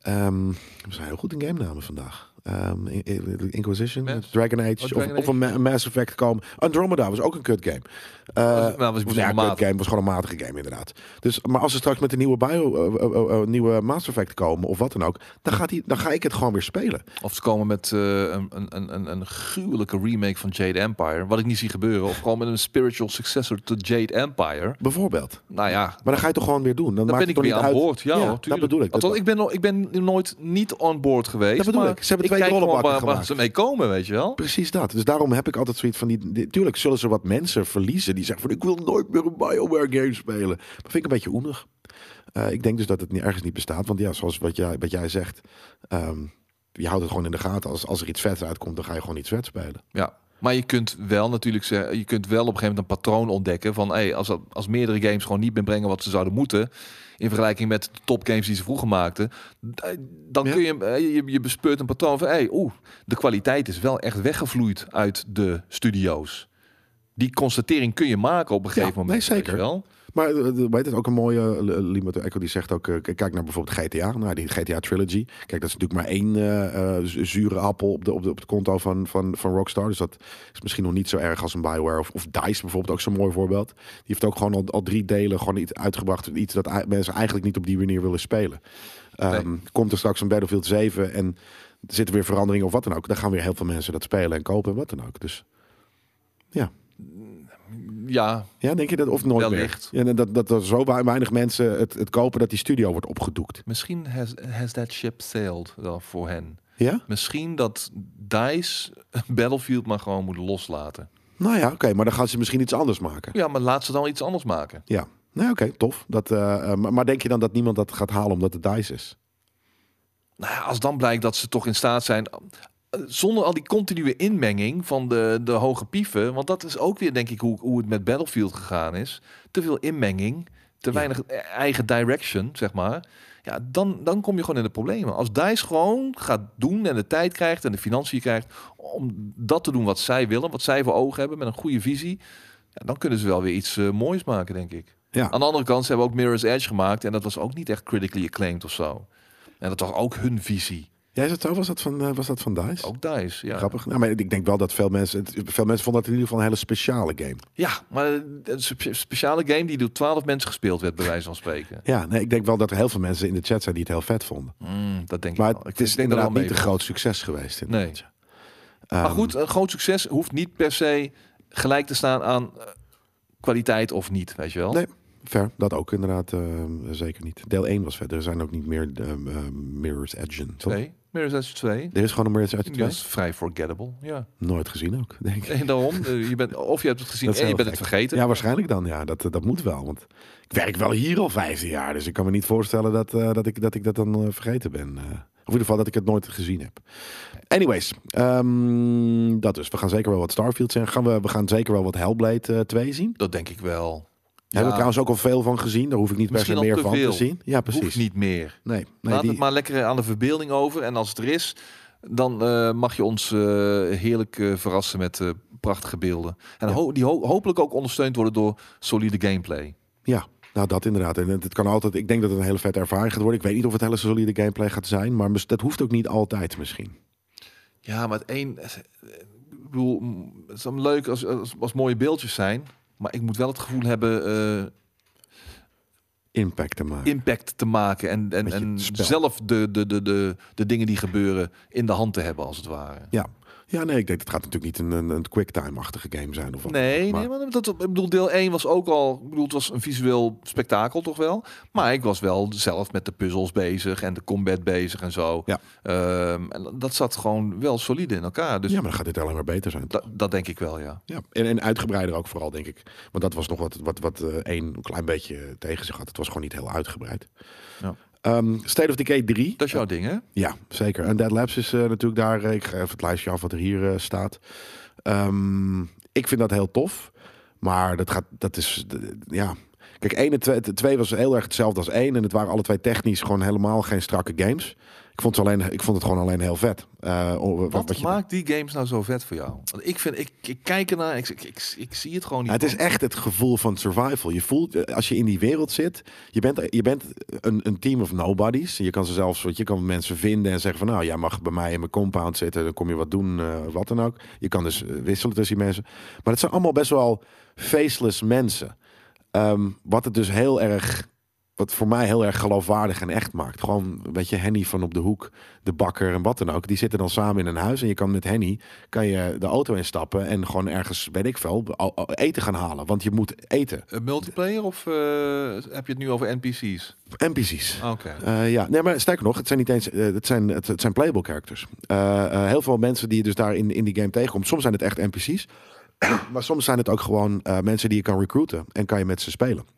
[SPEAKER 1] Ehm, we zijn heel goed in game namen vandaag. Ehm, In- In- Inquisition,
[SPEAKER 2] Mass?
[SPEAKER 1] Dragon Age,
[SPEAKER 2] Oh,
[SPEAKER 1] of,
[SPEAKER 2] Dragon
[SPEAKER 1] of een Ma- Mass Effect komen. Andromeda was ook een kut game.
[SPEAKER 2] was-
[SPEAKER 1] Eh
[SPEAKER 2] nou, was- was
[SPEAKER 1] ja,
[SPEAKER 2] een maat.
[SPEAKER 1] kut game was gewoon een matige game inderdaad. Dus, maar als ze straks met een nieuwe bio, eh, eh, eh, eh, nieuwe Mass Effect komen of wat dan ook, dan, gaat die, dan ga ik het gewoon weer spelen.
[SPEAKER 2] Of ze komen met eh, een, een, een, een- een gruwelijke remake van Jade Empire. Wat ik niet zie gebeuren. Of gewoon met een spiritual successor to Jade Empire.
[SPEAKER 1] Bijvoorbeeld.
[SPEAKER 2] Nou ja,
[SPEAKER 1] Maar dan ga je het toch gewoon weer doen. Dan
[SPEAKER 2] Dan
[SPEAKER 1] maakt
[SPEAKER 2] ben
[SPEAKER 1] het
[SPEAKER 2] ik
[SPEAKER 1] toch
[SPEAKER 2] weer
[SPEAKER 1] niet
[SPEAKER 2] aan
[SPEAKER 1] uit.
[SPEAKER 2] boord. Ja, hoor,
[SPEAKER 1] dat
[SPEAKER 2] tuurlijk.
[SPEAKER 1] bedoel ik. Dat-
[SPEAKER 2] Althans, ik, ben, no- ik ben nooit niet on board geweest.
[SPEAKER 1] Dat bedoel
[SPEAKER 2] maar
[SPEAKER 1] ik. Ze hebben twee
[SPEAKER 2] kijk gewoon
[SPEAKER 1] rollenbakken
[SPEAKER 2] waar, waar
[SPEAKER 1] gemaakt.
[SPEAKER 2] ze mee komen, weet je wel.
[SPEAKER 1] Precies dat. Dus daarom heb ik altijd zoiets van die, die- Tuurlijk zullen ze wat mensen verliezen die zeggen van ik wil nooit meer een Bioware game spelen. Dat vind ik een beetje oenig. Eh, ik denk dus dat het niet, ergens niet bestaat. Want ja, zoals wat jij, wat jij zegt, ehm, je houdt het gewoon in de gaten. Als, als er iets vets uitkomt, dan ga je gewoon iets vets spelen.
[SPEAKER 2] Ja. Maar je kunt wel natuurlijk zeggen, je kunt wel op een gegeven moment een patroon ontdekken van hey, als, dat- als meerdere games gewoon niet meer brengen wat ze zouden moeten. In vergelijking met de topgames die ze vroeger maakten. d- Dan
[SPEAKER 1] Ja.
[SPEAKER 2] kun je, eh, je, je bespeurt een patroon van hey, oeh, de kwaliteit is wel echt weggevloeid uit de studio's. die constatering kun je maken op een gegeven
[SPEAKER 1] Ja,
[SPEAKER 2] moment.
[SPEAKER 1] nee,
[SPEAKER 2] weet je
[SPEAKER 1] zeker.
[SPEAKER 2] Wel.
[SPEAKER 1] Maar eh, eh, weet het ook een mooie Limato Echo die zegt ook: eh, k- kijk naar bijvoorbeeld GTA, naar die GTA Trilogy. Kijk, dat is natuurlijk maar één eh, eh, z- zure appel op, de, op, de, op het konto van, van, van Rockstar. Dus dat is misschien nog niet zo erg als een Bioware of, of DICE bijvoorbeeld, ook zo'n mooi voorbeeld. Die heeft ook gewoon al, al drie delen gewoon iets uitgebracht. Iets dat ei- mensen eigenlijk niet op die manier willen spelen. Ehm, Komt er straks een Battlefield 7 en er zitten weer veranderingen of wat dan ook. Dan gaan weer heel veel mensen dat spelen en kopen en wat dan ook. Dus
[SPEAKER 2] Ja,
[SPEAKER 1] ja, denk je dat of nooit
[SPEAKER 2] Wellicht.
[SPEAKER 1] meer? Ja, dat, dat er zo weinig mensen het, het kopen dat die studio wordt opgedoekt.
[SPEAKER 2] misschien has, has that ship sailed wel voor hen.
[SPEAKER 1] Ja?
[SPEAKER 2] Misschien dat DICE Battlefield maar gewoon moet loslaten.
[SPEAKER 1] Nou ja, oké, maar dan gaan ze misschien iets anders maken.
[SPEAKER 2] Ja, maar laat ze dan iets anders maken.
[SPEAKER 1] Ja. Nou, oké, tof. Dat, eh, eh, maar maar denk je dan dat niemand dat gaat halen omdat het DICE is?
[SPEAKER 2] Nou ja, als dan blijkt dat ze toch in staat zijn... eh, Zonder al die continue inmenging van de, de hoge pieven... want dat is ook weer, denk ik, hoe, hoe het met Battlefield gegaan is. Te veel inmenging, te
[SPEAKER 1] Ja.
[SPEAKER 2] weinig eh, eigen direction, zeg maar. Ja, dan, dan kom je gewoon in de problemen. Als DICE gewoon gaat doen en de tijd krijgt en de financiën krijgt... om dat te doen wat zij willen, wat zij voor ogen hebben... met een goede visie, ja, dan kunnen ze wel weer iets eh, moois maken, denk ik.
[SPEAKER 1] Ja.
[SPEAKER 2] Aan de andere kant, ze hebben ook Mirror's Edge gemaakt... en dat was ook niet echt critically acclaimed of zo. En dat was ook hun visie.
[SPEAKER 1] Jij zat zo, was dat van, eh, was dat van DICE?
[SPEAKER 2] Ook DICE, Oh, ja.
[SPEAKER 1] Grappig. Nou, maar ik denk wel dat veel mensen, het, veel mensen vonden dat in ieder geval een hele speciale game.
[SPEAKER 2] Ja, maar eh, een spe- speciale game die door twaalf mensen gespeeld werd, bij wijze van spreken.
[SPEAKER 1] Ja, nee, ik denk wel dat er heel veel mensen in de chat zijn die het heel vet vonden.
[SPEAKER 2] Mm, dat denk
[SPEAKER 1] Maar
[SPEAKER 2] ik wel.
[SPEAKER 1] het,
[SPEAKER 2] Ik
[SPEAKER 1] is
[SPEAKER 2] denk dat
[SPEAKER 1] inderdaad
[SPEAKER 2] wel
[SPEAKER 1] niet een
[SPEAKER 2] mee-
[SPEAKER 1] groot succes geweest.
[SPEAKER 2] Nee.
[SPEAKER 1] inderdaad, ja.
[SPEAKER 2] Maar
[SPEAKER 1] Ehm,
[SPEAKER 2] goed, een groot succes hoeft niet per se gelijk te staan aan eh, kwaliteit of niet, weet je wel.
[SPEAKER 1] Nee. Ver, dat ook inderdaad ehm, zeker niet. Deel 1 was verder. Er zijn ook niet meer ehm, ehm, Mirror's Edge. toch?
[SPEAKER 2] Twee. Mirror's Edge 2.
[SPEAKER 1] Er is gewoon een Mirror's Edge 2.
[SPEAKER 2] Dat is vrij forgettable, ja. [laughs]
[SPEAKER 1] Nooit gezien ook, denk ik.
[SPEAKER 2] En daarom, eh, je bent, of je hebt het gezien
[SPEAKER 1] Dat is
[SPEAKER 2] en je
[SPEAKER 1] heel
[SPEAKER 2] bent het
[SPEAKER 1] gek.
[SPEAKER 2] vergeten.
[SPEAKER 1] Ja, waarschijnlijk dan. Ja, dat, dat moet wel. Want ik werk wel hier al 15 jaar. Dus ik kan me niet voorstellen dat, eh, dat, ik, dat ik dat dan eh, vergeten ben. Eh, of in ieder geval dat ik het nooit gezien heb. Anyways, ehm, dat dus. We gaan zeker wel wat Starfield zijn. Gaan we, we gaan zeker wel wat Hellblade eh, 2 zien.
[SPEAKER 2] Dat denk ik wel.
[SPEAKER 1] Daar hebben we trouwens ook al veel van gezien. Daar hoef ik niet per se
[SPEAKER 2] Misschien al
[SPEAKER 1] meer
[SPEAKER 2] te
[SPEAKER 1] van
[SPEAKER 2] veel.
[SPEAKER 1] te zien. Ja, precies.
[SPEAKER 2] hoeft niet meer.
[SPEAKER 1] Nee, nee
[SPEAKER 2] Laat
[SPEAKER 1] die,
[SPEAKER 2] het maar lekker eh, aan de verbeelding over. En als het er is, dan eh, mag je ons eh, heerlijk eh, verrassen met eh, prachtige beelden. En
[SPEAKER 1] Ja.
[SPEAKER 2] ho- die ho- hopelijk ook ondersteund worden door solide gameplay.
[SPEAKER 1] Ja, nou dat inderdaad. En het het kan altijd. Ik denk dat het een hele vette ervaring gaat worden. Ik weet niet of het hele solide gameplay gaat zijn, maar mis- dat hoeft ook niet altijd misschien.
[SPEAKER 2] Ja, maar het één... Ik bedoel, mm, het is dan leuk als, als, als mooie beeldjes zijn. Maar ik moet wel het gevoel hebben eh,
[SPEAKER 1] Impact te maken.
[SPEAKER 2] impact te maken. En, en,
[SPEAKER 1] Met je
[SPEAKER 2] en
[SPEAKER 1] spel.
[SPEAKER 2] zelf de, de, de, de, de dingen die gebeuren in de hand te hebben, als het ware.
[SPEAKER 1] Ja. ja, nee, ik denk het gaat natuurlijk niet een, een, een quicktime-achtige game zijn of wat.
[SPEAKER 2] Nee,
[SPEAKER 1] maar-
[SPEAKER 2] nee maar dat, ik bedoel, deel 1 was ook al... Ik bedoel, het was een visueel spektakel toch wel. Maar ik was wel zelf met de puzzels bezig en de combat bezig en zo.
[SPEAKER 1] Ja.
[SPEAKER 2] Ehm, en dat zat gewoon wel solide in elkaar. Dus
[SPEAKER 1] ja, maar dan gaat dit alleen maar beter zijn.
[SPEAKER 2] da- dat denk ik wel, ja.
[SPEAKER 1] Ja. En, en uitgebreider ook vooral, denk ik. Want dat was nog wat, wat, wat eh, één klein beetje tegen zich had. Het was gewoon niet heel uitgebreid.
[SPEAKER 2] Ja.
[SPEAKER 1] Ehm, State of Decay 3.
[SPEAKER 2] Dat is jouw ding, hè?
[SPEAKER 1] Ja, zeker. En Dead Labs is eh, natuurlijk daar. eh, ik ga even het lijstje af wat er hier eh, staat. Ehm, ik vind dat heel tof. Maar dat gaat, dat is, d- d- ja. Kijk, 1 en 2, 2 was heel erg hetzelfde als 1. En het waren alle twee technisch gewoon helemaal geen strakke games. Ik vond, ze alleen, ik vond het gewoon alleen heel vet. Eh, o- wat-
[SPEAKER 2] Wat,
[SPEAKER 1] wat je-
[SPEAKER 2] maakt die games nou zo vet voor jou? Want ik vind, ik, ik kijk ernaar, ik, ik, ik, ik zie het gewoon niet.
[SPEAKER 1] Ja, het is echt het gevoel van survival. Je voelt, eh, als je in die wereld zit, je bent, je bent een, een team of nobodies. Je kan ze zelfs, want je kan mensen vinden en zeggen van, nou, jij mag bij mij in mijn compound zitten, dan kom je wat doen, eh, wat dan ook. Je kan dus eh, wisselen tussen die mensen. Maar het zijn allemaal best wel faceless mensen. Ehm, wat het dus heel erg, wat voor mij heel erg geloofwaardig en echt maakt. Gewoon, weet je, Henny van op de hoek, de bakker en wat dan ook. Die zitten dan samen in een huis en je kan met Henny kan je de auto instappen en gewoon ergens, weet ik veel, al- al- eten gaan halen. Want je moet eten.
[SPEAKER 2] Een multiplayer of eh, heb je het nu over NPC's?
[SPEAKER 1] NPC's.
[SPEAKER 2] Ah, Oké.
[SPEAKER 1] Eh, ja, nee, maar sterker nog, het zijn niet eens, eh, het, zijn, het, het zijn playable characters. Eh, eh, heel veel mensen die je dus daar in, in die game tegenkomt. Soms zijn het echt NPC's, [clears throat] maar soms zijn het ook gewoon eh, mensen die je kan recruiten en kan je met ze spelen.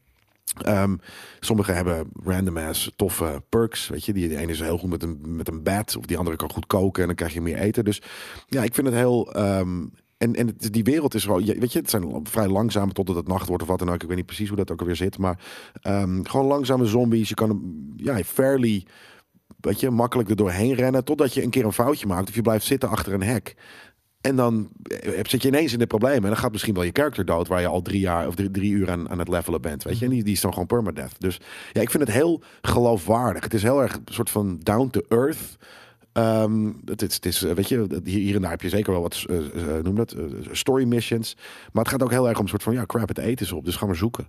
[SPEAKER 1] Ehm, sommigen hebben random ass toffe perks. Weet je, die, die ene is heel goed met een, met een bat, of die andere kan goed koken en dan krijg je meer eten. Dus ja, ik vind het heel. ehm, en, en het- die wereld is wel, je- weet je, het zijn al vrij langzame totdat het nacht wordt of wat dan ook. Ik weet niet precies hoe dat ook alweer zit, maar ehm, gewoon langzame zombies. Je kan hem, ja, fairly, weet je, makkelijk er doorheen rennen totdat je een keer een foutje maakt of je blijft zitten achter een hek. En dan eh, zit je ineens in de problemen. En dan gaat misschien wel je character dood, waar je al drie jaar of drie, drie uur aan, aan het levelen bent. Weet je? En die, die is dan gewoon permadeath. Dus ja, ik vind het heel geloofwaardig. Het is heel erg een soort van down to earth. Ehm, het, is, het is, eh, weet je, dat- hier, hier en daar heb je zeker wel wat, eh, eh, noem dat, eh, story missions. Maar het gaat ook heel erg om een soort van, ja, crap, het eten is op, dus ga maar zoeken.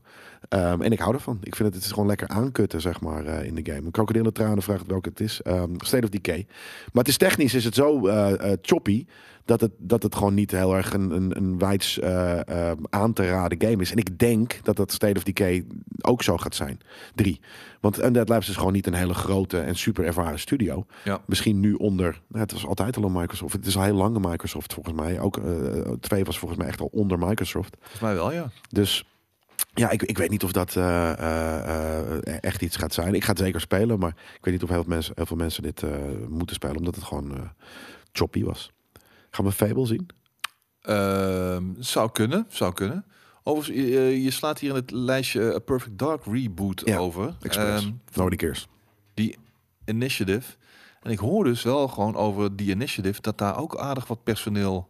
[SPEAKER 1] Ehm, en ik hou ervan. Ik vind het, het is gewoon lekker aankutten, zeg maar, eh, in de game. Krokodillentranen vraagt welke het is. Ehm State of Decay. Maar het is technisch, is het zo eh, eh, choppy, dat het, dat het gewoon niet heel erg een, een, een wijds eh, eh, aan te raden game is. En ik denk dat dat State of Decay ook zo gaat zijn. Drie. Want Undead Labs is gewoon niet een hele grote en super ervaren studio
[SPEAKER 2] Ja.
[SPEAKER 1] misschien nu onder. nou, het was altijd al een Microsoft. Het is al heel lang een Microsoft volgens mij. Ook eh, twee was volgens mij echt al onder Microsoft.
[SPEAKER 2] Volgens mij wel, ja.
[SPEAKER 1] Dus ja, ik, ik weet niet of dat eh, eh, eh, echt iets gaat zijn. Ik ga het zeker spelen, maar ik weet niet of heel veel mensen, heel veel mensen dit eh, moeten spelen, omdat het gewoon eh, choppy was. Gaan we Fable zien?
[SPEAKER 2] Ehm, zou kunnen, zou kunnen. Overigens, je, eh, je- je slaat hier in het lijstje eh, A Perfect Dark reboot
[SPEAKER 1] Ja,
[SPEAKER 2] over.
[SPEAKER 1] Express. Nou,
[SPEAKER 2] Ehm,
[SPEAKER 1] Nobody cares.
[SPEAKER 2] Initiative. En ik hoor dus wel gewoon over die Initiative dat daar ook aardig wat personeel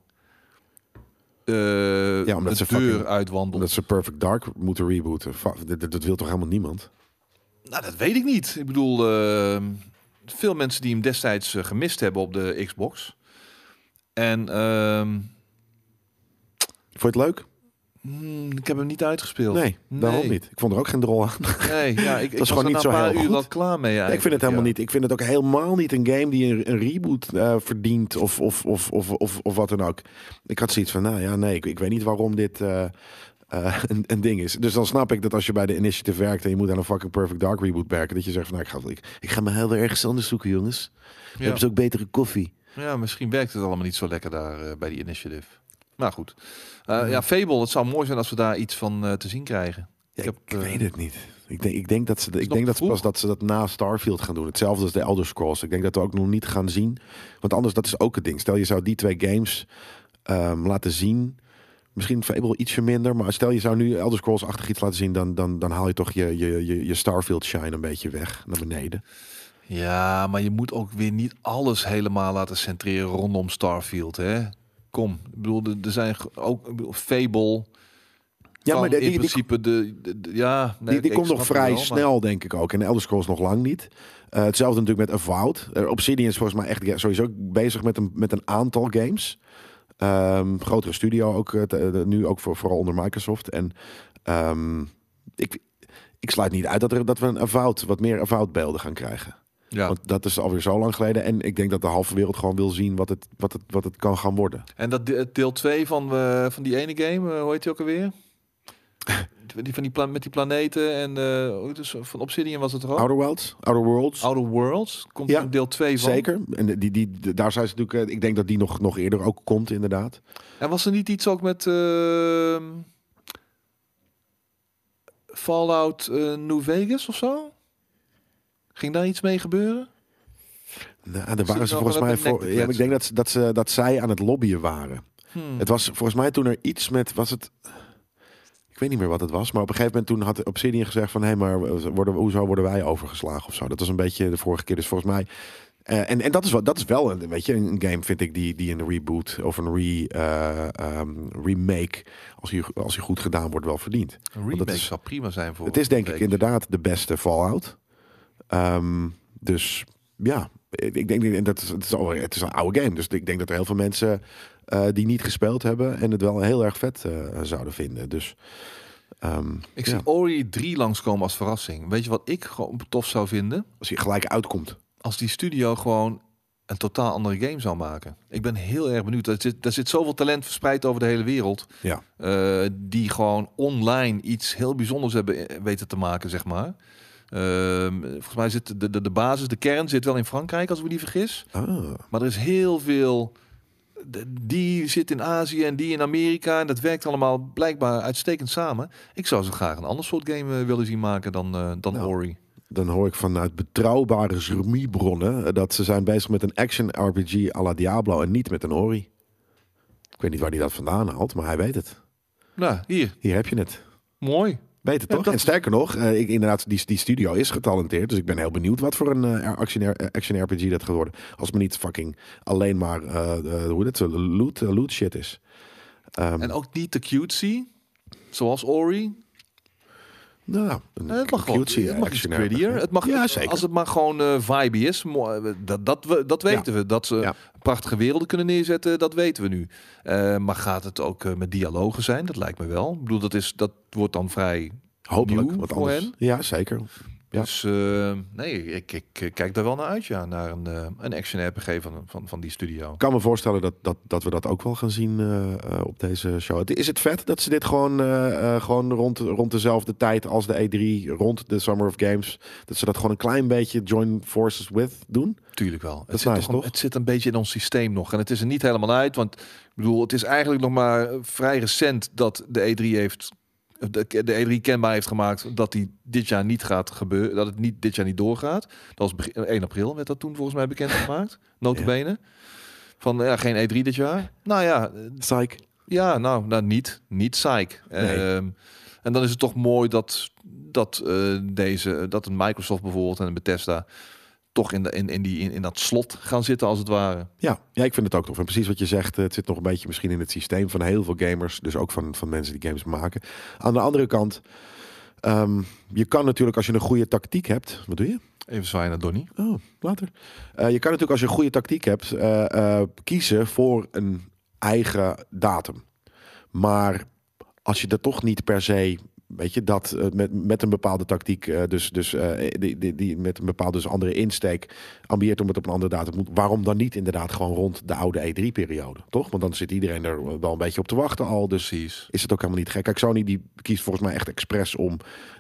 [SPEAKER 2] eh,
[SPEAKER 1] Ja, omdat
[SPEAKER 2] de
[SPEAKER 1] ze
[SPEAKER 2] deur
[SPEAKER 1] fucking-
[SPEAKER 2] uitwandelt.
[SPEAKER 1] Omdat ze Perfect Dark moeten rebooten. Fa- Dat, dat- dat wil toch helemaal niemand?
[SPEAKER 2] Nou, dat weet ik niet. Ik bedoel, ehm, veel mensen die hem destijds eh, gemist hebben op de Xbox. En ehm,
[SPEAKER 1] Vond je het leuk?
[SPEAKER 2] hmm, ik heb hem niet uitgespeeld.
[SPEAKER 1] Nee, daarom
[SPEAKER 2] Nee.
[SPEAKER 1] niet. Ik vond er ook geen drol aan.
[SPEAKER 2] Nee,
[SPEAKER 1] [laughs]
[SPEAKER 2] ja, ik, ik was
[SPEAKER 1] gewoon
[SPEAKER 2] er
[SPEAKER 1] niet
[SPEAKER 2] na
[SPEAKER 1] zo
[SPEAKER 2] een paar
[SPEAKER 1] heel
[SPEAKER 2] uur
[SPEAKER 1] goed.
[SPEAKER 2] wel klaar mee.
[SPEAKER 1] Ja, ik vind het
[SPEAKER 2] eigenlijk,
[SPEAKER 1] helemaal
[SPEAKER 2] ja.
[SPEAKER 1] niet. Ik vind het ook helemaal niet een game die een, een reboot eh, verdient of, of, of, of, of, of wat dan ook. Ik had zoiets van, nou ja, nee, ik, ik weet niet waarom dit eh, eh, [laughs] een, een ding is. Dus dan snap ik dat als je bij de Initiative werkt en je moet aan een fucking Perfect Dark reboot werken, dat je zegt van, nou, ik ga, ik, ik ga me heel ergens anders zoeken, jongens. Dan
[SPEAKER 2] Ja.
[SPEAKER 1] hebben ze ook betere koffie.
[SPEAKER 2] Ja, misschien werkt het allemaal niet zo lekker daar eh, bij die initiative. Maar goed. Eh, ja, Fable, het zou mooi zijn als we daar iets van eh, te zien krijgen.
[SPEAKER 1] Hmm. Ja, ik
[SPEAKER 2] Ik heb, eh,
[SPEAKER 1] weet het niet. Ik denk, ik denk dat ze, ik
[SPEAKER 2] nog
[SPEAKER 1] denk dat ze
[SPEAKER 2] vroeg.
[SPEAKER 1] pas dat ze dat na Starfield gaan doen. Hetzelfde als de Elder Scrolls. Ik denk dat we ook nog niet gaan zien. Want anders, dat is ook het ding. Stel je zou die twee games ehm, laten zien. Misschien Fable ietsje minder. Maar stel je zou nu Elder Scrolls-achtig iets laten zien. Dan, dan, dan haal je toch je, je, je, je Starfield shine een beetje weg naar beneden.
[SPEAKER 2] Ja, maar je moet ook weer niet alles helemaal laten centreren rondom Starfield, hè? Kom, ik bedoel, er- er zijn ge- ook ik bedoel, Fable.
[SPEAKER 1] Ja,
[SPEAKER 2] kan
[SPEAKER 1] maar die,
[SPEAKER 2] in
[SPEAKER 1] die, die,
[SPEAKER 2] principe de, de- de- ja, nee,
[SPEAKER 1] die, die
[SPEAKER 2] ik
[SPEAKER 1] komt nog
[SPEAKER 2] snap het
[SPEAKER 1] vrij
[SPEAKER 2] wel, maar-
[SPEAKER 1] snel, denk ik ook. En Elder Scrolls nog lang niet. Eh, hetzelfde natuurlijk met Avowed. Eh, Obsidian is volgens mij echt ja, sowieso bezig met een, met een aantal games. Ehm, grotere studio ook eh, te- eh, nu ook voor, vooral onder Microsoft. En ehm, ik, ik sluit niet uit dat, er, dat we een Avowed, wat meer Avowed beelden gaan krijgen.
[SPEAKER 2] Ja.
[SPEAKER 1] Want dat is alweer zo lang geleden. En ik denk dat de halve wereld gewoon wil zien wat het, wat het, wat het kan gaan worden.
[SPEAKER 2] En dat de- deel 2 van, eh, van die ene game, eh, hoe heet die
[SPEAKER 1] [laughs]
[SPEAKER 2] ook alweer? die van die plan met die planeten en eh, dus van Obsidian was het er ook?
[SPEAKER 1] Outer Worlds? Outer Worlds?
[SPEAKER 2] Outer Worlds komt
[SPEAKER 1] Ja,
[SPEAKER 2] ook deel 2 van.
[SPEAKER 1] Zeker. En die, die, die- daar zijn ze natuurlijk. eh, Ik denk dat die nog, nog eerder ook komt, inderdaad.
[SPEAKER 2] En was er niet iets ook met ehm, Fallout eh, New Vegas of zo? Ging daar iets mee gebeuren?
[SPEAKER 1] Nou, daar waren
[SPEAKER 2] Dus die
[SPEAKER 1] ze
[SPEAKER 2] wel
[SPEAKER 1] volgens
[SPEAKER 2] wel
[SPEAKER 1] mij
[SPEAKER 2] even nek
[SPEAKER 1] voor.
[SPEAKER 2] te
[SPEAKER 1] Ja, maar ik denk dat, ze- dat, ze, dat zij aan het lobbyen waren.
[SPEAKER 2] Hmm.
[SPEAKER 1] Het was volgens mij toen er iets met. Was het. Ik weet niet meer wat het was, maar op een gegeven moment toen had Obsidian gezegd van hé, maar worden, we- hoezo worden wij overgeslagen of zo? Dat was een beetje de vorige keer. Dus volgens mij. eh, en, en dat is wel, dat is wel een, weet je, een game, vind ik, die, die een reboot of een re, eh, ehm, remake, als hij als die goed gedaan wordt, wel verdient.
[SPEAKER 2] Een remake
[SPEAKER 1] is-
[SPEAKER 2] zou prima zijn voor.
[SPEAKER 1] Het is denk ik
[SPEAKER 2] Vegas.
[SPEAKER 1] inderdaad de beste Fallout. Ehm, dus ja, ik denk en dat is, het, is al, het is een oude game. Dus ik denk dat er heel veel mensen eh, die niet gespeeld hebben en het wel heel erg vet eh, zouden vinden. Dus ehm,
[SPEAKER 2] Ik
[SPEAKER 1] ja,
[SPEAKER 2] zie Ori 3 langskomen als verrassing. Weet je wat ik gewoon tof zou vinden?
[SPEAKER 1] als hij gelijk uitkomt.
[SPEAKER 2] Als die studio gewoon een totaal andere game zou maken. Ik ben heel erg benieuwd. Er zit, er zit zoveel talent verspreid over de hele wereld.
[SPEAKER 1] Ja.
[SPEAKER 2] eh, die gewoon online iets heel bijzonders hebben eh, weten te maken, zeg maar. Ehm, volgens mij zit de, de, de basis, de kern zit wel in Frankrijk, als ik me niet vergis.
[SPEAKER 1] Ah,
[SPEAKER 2] Maar er is heel veel. de- Die zit in Azië en die in Amerika. En dat werkt allemaal blijkbaar uitstekend samen. Ik zou zo graag een ander soort game eh, willen zien maken dan, eh, dan
[SPEAKER 1] Nou.
[SPEAKER 2] Ori.
[SPEAKER 1] dan hoor ik vanuit betrouwbare Zrumi-bronnen eh, dat ze zijn bezig met een action RPG à la Diablo en niet met een Ori. Ik weet niet waar hij dat vandaan haalt, maar hij weet het.
[SPEAKER 2] Nou, hier.
[SPEAKER 1] Hier heb je het.
[SPEAKER 2] Mooi.
[SPEAKER 1] Weet het
[SPEAKER 2] Ja,
[SPEAKER 1] toch?
[SPEAKER 2] dat
[SPEAKER 1] En
[SPEAKER 2] is-
[SPEAKER 1] sterker nog, eh, ik, inderdaad, die, die studio is getalenteerd. Dus ik ben heel benieuwd wat voor een eh, action, eh, action RPG dat gaat worden. Als het me niet fucking alleen maar, eh, eh, hoe dat, loot, eh, loot shit is. Ehm,
[SPEAKER 2] En ook niet te cutesy, zoals Ori.
[SPEAKER 1] nou, een
[SPEAKER 2] Eh, Het mag gewoon,
[SPEAKER 1] cutesy
[SPEAKER 2] het mag iets
[SPEAKER 1] action RPG.
[SPEAKER 2] prettier. Het mag,
[SPEAKER 1] Ja, zeker.
[SPEAKER 2] Als het maar gewoon eh vibe is, mo- dat, dat, we, dat weten we. Dat ze
[SPEAKER 1] Ja.
[SPEAKER 2] prachtige werelden kunnen neerzetten, dat weten we nu. Eh, maar gaat het ook eh, met dialogen zijn? Dat lijkt me wel. Ik bedoel, dat, is, dat wordt dan vrij...
[SPEAKER 1] Hopelijk,
[SPEAKER 2] nieuw
[SPEAKER 1] wat
[SPEAKER 2] voor
[SPEAKER 1] anders.
[SPEAKER 2] hen.
[SPEAKER 1] Ja, zeker. Ja.
[SPEAKER 2] Dus eh, nee, ik, ik eh, kijk daar wel naar uit, ja. Naar een, eh, een action RPG van, van, van die studio.
[SPEAKER 1] Ik kan me voorstellen dat, dat, dat we dat ook wel gaan zien eh, eh, op deze show. Het- Is het vet dat ze dit gewoon, eh, eh, gewoon rond, rond dezelfde tijd als de E3, rond de Summer of Games, dat ze dat gewoon een klein beetje join forces with doen?
[SPEAKER 2] Tuurlijk wel.
[SPEAKER 1] is
[SPEAKER 2] het, zit
[SPEAKER 1] nice,
[SPEAKER 2] een-
[SPEAKER 1] toch?
[SPEAKER 2] het zit een beetje in ons systeem nog. En het is er niet helemaal uit. Want ik bedoel, het is eigenlijk nog maar eh, vrij recent dat de E3 heeft. eh, De, de E3 kenbaar heeft gemaakt dat die dit jaar niet gaat gebeuren. Dat het niet, dit jaar niet doorgaat. Dat was begin- 1 april werd dat toen volgens
[SPEAKER 1] [laughs]
[SPEAKER 2] mij bekendgemaakt. Notabene. Van ja, geen E3 dit jaar. Nou ja, eh,
[SPEAKER 1] Psych.
[SPEAKER 2] ja, nou, nou niet, niet psych.
[SPEAKER 1] Nee.
[SPEAKER 2] Ehm, en dan is het toch mooi dat, dat, eh, deze, dat een Microsoft bijvoorbeeld en een Bethesda toch in, de, in, in, die, in, in dat slot gaan zitten als het ware.
[SPEAKER 1] Ja, ja, ik vind het ook tof. En precies wat je zegt, eh, het zit nog een beetje misschien in het systeem van heel veel gamers. Dus ook van, van mensen die games maken. Aan de andere kant, ehm, je kan natuurlijk als je een goede tactiek hebt. Wat doe je?
[SPEAKER 2] Even zwaaien naar Donnie.
[SPEAKER 1] Oh, later. Eh, je kan natuurlijk als je een goede tactiek hebt, eh, eh, kiezen voor een eigen datum. Maar als je dat toch niet per se, weet je, dat eh, met, met een bepaalde tactiek, eh, dus, dus eh, die, die, die met een bepaalde dus andere insteek, ambieert om het op een andere datum moet. Waarom dan niet inderdaad gewoon rond de oude E3-periode, toch? Want dan zit iedereen er wel een beetje op te wachten al, dus
[SPEAKER 2] Precies.
[SPEAKER 1] is het ook helemaal niet gek. Kijk, Sony die kiest volgens mij echt expres om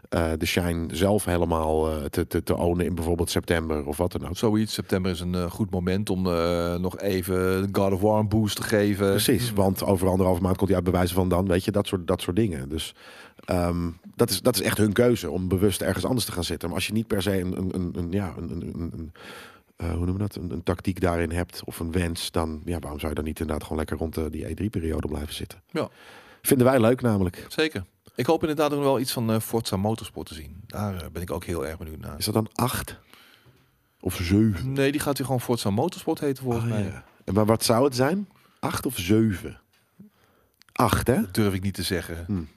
[SPEAKER 1] eh, de Shine zelf helemaal eh, te, te, te ownen in bijvoorbeeld september of wat dan ook.
[SPEAKER 2] Zoiets. September is een eh, goed moment om eh, nog even de God of War een boost te geven.
[SPEAKER 1] Precies, Eh, want over anderhalve maand komt hij uit bewijzen van dan, weet je, dat soort, dat soort dingen. Dus ehm, dat, is, dat is echt hun keuze om bewust ergens anders te gaan zitten. Maar als je niet per se een, een, een, een- ja, een, een, een, een, eh, hoe noemen we dat, een, een tactiek daarin hebt of een wens, dan ja, waarom zou je dan niet inderdaad gewoon lekker rond eh, die E3-periode blijven zitten?
[SPEAKER 2] Ja.
[SPEAKER 1] Vinden wij leuk namelijk.
[SPEAKER 2] Zeker. Ik hoop inderdaad ook wel iets van eh, Forza Motorsport te zien. Daar eh, ben ik ook heel erg benieuwd naar.
[SPEAKER 1] Is dat dan acht of zeven?
[SPEAKER 2] Nee, die gaat hier gewoon Forza Motorsport heten volgens
[SPEAKER 1] Ah,
[SPEAKER 2] mij.
[SPEAKER 1] ja. En Maar wat zou het zijn? Acht of zeven? Acht, hè?
[SPEAKER 2] Dat durf ik niet te zeggen.
[SPEAKER 1] Hmm.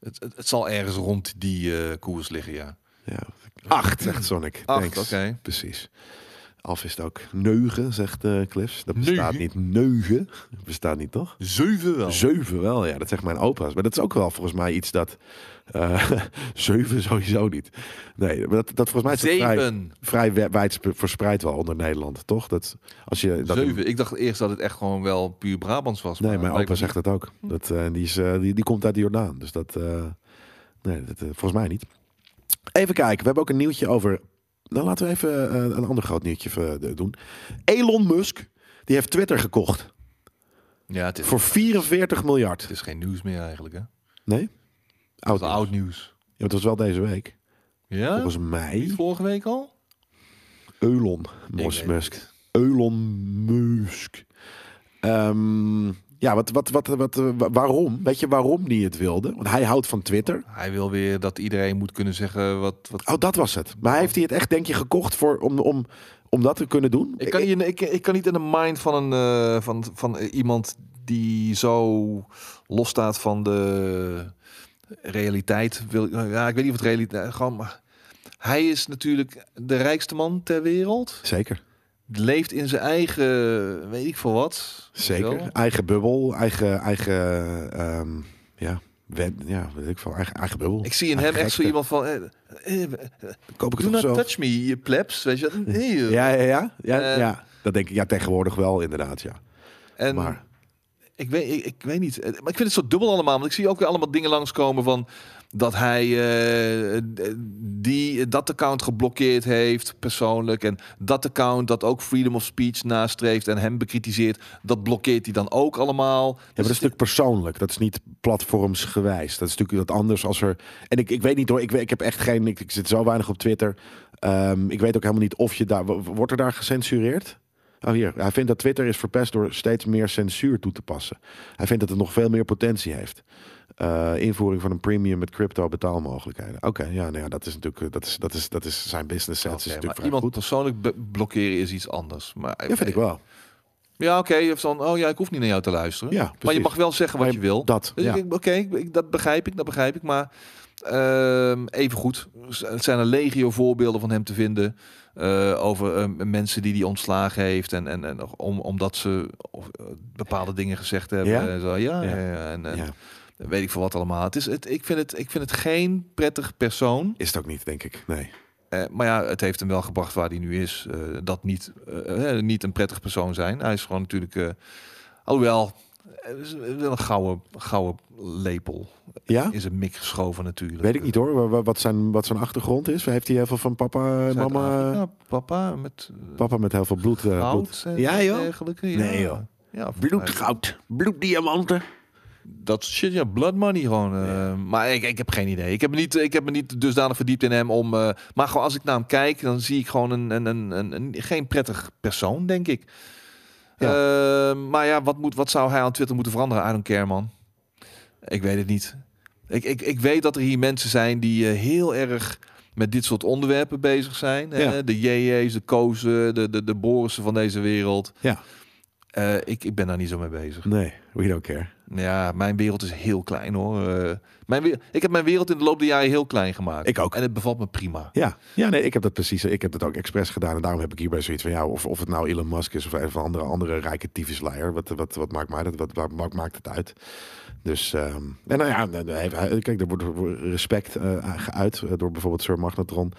[SPEAKER 2] Het, het, het zal ergens rond die eh, koers liggen, ja.
[SPEAKER 1] Ja. Acht, zegt Sonic.
[SPEAKER 2] Acht,
[SPEAKER 1] Thanks.
[SPEAKER 2] oké.
[SPEAKER 1] Precies. Alf is het ook. Neugen, zegt eh Cliffs. Dat bestaat
[SPEAKER 2] Neugen?
[SPEAKER 1] niet. Neugen bestaat niet, toch?
[SPEAKER 2] Zeven wel.
[SPEAKER 1] Zeven wel, ja. Dat zegt mijn opa's. Maar dat is ook wel volgens mij iets dat... eh, [laughs] zeven sowieso niet. Nee, maar dat, dat volgens mij is dat vrij,
[SPEAKER 2] Zeven.
[SPEAKER 1] vrij we- wijd verspreid wel onder Nederland, toch? Dat, als je dat in-
[SPEAKER 2] Zeven. Ik dacht eerst dat het echt gewoon wel puur Brabants was.
[SPEAKER 1] Nee,
[SPEAKER 2] maar
[SPEAKER 1] mijn
[SPEAKER 2] lijkt
[SPEAKER 1] opa
[SPEAKER 2] me Hm.
[SPEAKER 1] zegt dat ook. Dat, eh, die, is, eh, die, die komt uit de Jordaan. Dus dat. eh, nee, dat, eh, volgens mij niet. Even kijken. We hebben ook een nieuwtje over. Nou, laten we even eh, een ander groot nieuwtje eh, doen. Elon Musk. Die heeft Twitter gekocht.
[SPEAKER 2] niet. Ja, het is,
[SPEAKER 1] Voor 44 miljard.
[SPEAKER 2] het is geen nieuws meer eigenlijk, hè?
[SPEAKER 1] Nee? Oud.
[SPEAKER 2] Oud,
[SPEAKER 1] Ja,
[SPEAKER 2] oud nieuws.
[SPEAKER 1] het was wel deze week.
[SPEAKER 2] Ja?
[SPEAKER 1] Volgens mij.
[SPEAKER 2] Niet vorige week al?
[SPEAKER 1] Elon
[SPEAKER 2] Ik
[SPEAKER 1] Musk.
[SPEAKER 2] weet
[SPEAKER 1] Musk.
[SPEAKER 2] het.
[SPEAKER 1] Elon Musk. Ehm, ja, wat, wat, wat, wat, eh, wa- waarom? Weet je waarom die het wilde? Want hij houdt van Twitter.
[SPEAKER 2] Hij wil weer dat iedereen moet kunnen zeggen wat... wat...
[SPEAKER 1] Oh, dat was het. Maar hij heeft hij het echt, denk je, gekocht voor, om, om, om dat te kunnen doen?
[SPEAKER 2] Ik, kan hier, ik, ik kan niet in de mind van, een, eh, van, van eh, iemand die zo los staat van de realiteit. Wil, ja, ik weet niet of het realiteit... nou, Gewoon, maar hij is natuurlijk de rijkste man ter wereld.
[SPEAKER 1] Zeker.
[SPEAKER 2] leeft in zijn eigen, weet ik veel wat.
[SPEAKER 1] Zeker.
[SPEAKER 2] Wel.
[SPEAKER 1] Eigen bubbel, eigen, eigen ehm, ja, wet, ja, weet ik veel, eigen, eigen bubbel.
[SPEAKER 2] Ik zie in hem
[SPEAKER 1] Eigen
[SPEAKER 2] echt zo
[SPEAKER 1] gekte.
[SPEAKER 2] iemand van, eh, eh, eh,
[SPEAKER 1] Koop ik
[SPEAKER 2] do
[SPEAKER 1] het
[SPEAKER 2] not
[SPEAKER 1] toch zo?
[SPEAKER 2] touch me, je plebs, weet je. Nee, joh.
[SPEAKER 1] Ja, ja, ja. ja,
[SPEAKER 2] Eh.
[SPEAKER 1] ja. Dat denk ik ja, tegenwoordig wel, inderdaad, ja.
[SPEAKER 2] en
[SPEAKER 1] maar
[SPEAKER 2] ik, weet, ik, ik weet niet, Eh, maar ik vind het zo dubbel allemaal, want ik zie ook weer allemaal dingen langskomen van dat hij eh, die, eh, dat account geblokkeerd heeft persoonlijk en dat account dat ook freedom of speech nastreeft en hem bekritiseert, dat blokkeert hij dan ook allemaal.
[SPEAKER 1] Ja, maar
[SPEAKER 2] Dus
[SPEAKER 1] dat is natuurlijk persoonlijk. Dat is niet platformsgewijs. Dat is natuurlijk wat anders als er. En ik, ik weet niet hoor. Ik, weet- ik heb echt geen. Ik, ik zit zo weinig op Twitter. Ehm, ik weet ook helemaal niet of je daar. wo- Wordt er daar gecensureerd? Oh hier. Hij vindt dat Twitter is verpest door steeds meer censuur toe te passen. Hij vindt dat het nog veel meer potentie heeft. Eh, invoering van een premium met crypto betaalmogelijkheden. Oké, ja, nou ja, dat is natuurlijk eh, dat is, dat is, dat is zijn business sense.
[SPEAKER 2] Oké,
[SPEAKER 1] is
[SPEAKER 2] maar
[SPEAKER 1] natuurlijk vrij
[SPEAKER 2] iemand
[SPEAKER 1] goed.
[SPEAKER 2] persoonlijk be- blokkeren is iets anders. Maar,
[SPEAKER 1] Ja, vind ik wel.
[SPEAKER 2] Ja, oké. je hebt dan, oh ja, ik hoef niet naar jou te luisteren.
[SPEAKER 1] Ja,
[SPEAKER 2] maar je
[SPEAKER 1] precies.
[SPEAKER 2] mag wel zeggen wat
[SPEAKER 1] Maar
[SPEAKER 2] je wil.
[SPEAKER 1] Dat.
[SPEAKER 2] Dus
[SPEAKER 1] ja.
[SPEAKER 2] ik denk, oké, ik- ik- dat begrijp ik, dat begrijp ik. Maar ehm even goed, het zijn er legio voorbeelden van hem te vinden. eh, over ehm, mensen die hij ontslagen heeft. En, en, en om, omdat ze of, eh, bepaalde dingen gezegd hebben.
[SPEAKER 1] Ja?
[SPEAKER 2] En zo, ja,
[SPEAKER 1] Ja.
[SPEAKER 2] ja. ja, en, en
[SPEAKER 1] Ja.
[SPEAKER 2] weet ik veel wat allemaal. Het is, het, ik, vind het, ik vind het geen prettig persoon.
[SPEAKER 1] Is het ook niet, denk ik. Nee.
[SPEAKER 2] Eh, maar ja, het heeft hem wel gebracht waar hij nu is. Eh, dat niet, eh, eh, niet een prettig persoon zijn. Hij is gewoon natuurlijk... eh alhoewel, eh, is wel een gouden, gouden lepel
[SPEAKER 1] Ja?
[SPEAKER 2] is een mik geschoven natuurlijk.
[SPEAKER 1] Weet ik niet hoor, wa- wa- wat zijn, wat zijn achtergrond is. Heeft hij heel veel van papa en eh, mama?
[SPEAKER 2] Zuid-Afrika, papa met
[SPEAKER 1] Papa met heel veel bloed. eh, bloed.
[SPEAKER 2] goud en
[SPEAKER 1] Ja, joh.
[SPEAKER 2] dergelijke. Ja.
[SPEAKER 1] Nee, joh.
[SPEAKER 2] Ja, volgens mij-
[SPEAKER 1] Bloedgoud, bloeddiamanten.
[SPEAKER 2] Dat shit, ja, blood money gewoon. eh, Maar ik, ik heb geen idee. Ik heb, me niet, ik heb me niet dusdanig verdiept in hem om... eh, maar gewoon als ik naar hem kijk, dan zie ik gewoon een, een, een, een, een- geen prettig persoon, denk ik.
[SPEAKER 1] Ja.
[SPEAKER 2] Eh, maar ja, wat, moet, wat zou hij aan Twitter moeten veranderen? I don't care, man. Ik weet het niet. Ik, ik, ik weet dat er hier mensen zijn die eh, heel erg met dit soort onderwerpen bezig zijn.
[SPEAKER 1] Ja.
[SPEAKER 2] Hè? De JJ's, de Kozen, de, de, de Borissen van deze wereld.
[SPEAKER 1] Ja.
[SPEAKER 2] Eh, ik, ik ben daar niet zo mee bezig.
[SPEAKER 1] Nee, we don't care.
[SPEAKER 2] Ja, mijn wereld is heel klein hoor. Eh, mijn we- ik heb mijn wereld in de loop der jaren heel klein gemaakt.
[SPEAKER 1] Ik ook.
[SPEAKER 2] En het bevalt me prima.
[SPEAKER 1] Ja, ja nee, ik heb dat precies. Ik heb dat ook expres gedaan. En daarom heb ik hierbij zoiets van ja, of, of het nou Elon Musk is of een van andere, andere rijke tyfusleier. Wat, wat, wat maakt mij dat? Wat, wat, wat maakt het uit? Dus, ehm, en nou ja, nee, nee, hij- kijk, er wordt respect eh, geuit eh, door bijvoorbeeld Sir Magnetron.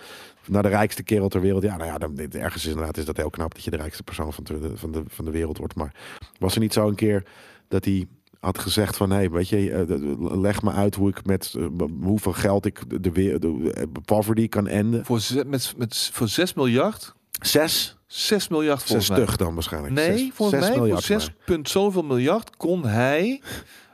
[SPEAKER 1] Naar de rijkste kerel ter wereld. Ja, nou ja, dan, ergens is inderdaad is dat heel knap dat je de rijkste persoon van de, van de, van de wereld wordt. Maar was er niet zo een keer dat hij had gezegd van, hé, hey, weet je, eh, d- d- leg me uit hoe ik met eh, b- hoeveel geld ik de, de, we- de- eh, poverty kan enden.
[SPEAKER 2] Voor, ze- met, met, voor 6 miljard?
[SPEAKER 1] Zes?
[SPEAKER 2] 6 miljard
[SPEAKER 1] Zes
[SPEAKER 2] volgens
[SPEAKER 1] stug dan waarschijnlijk.
[SPEAKER 2] mij. Nee,
[SPEAKER 1] Zes-
[SPEAKER 2] volgens
[SPEAKER 1] zes
[SPEAKER 2] mij voor
[SPEAKER 1] miljard
[SPEAKER 2] 6
[SPEAKER 1] maar.
[SPEAKER 2] punt zoveel miljard kon hij,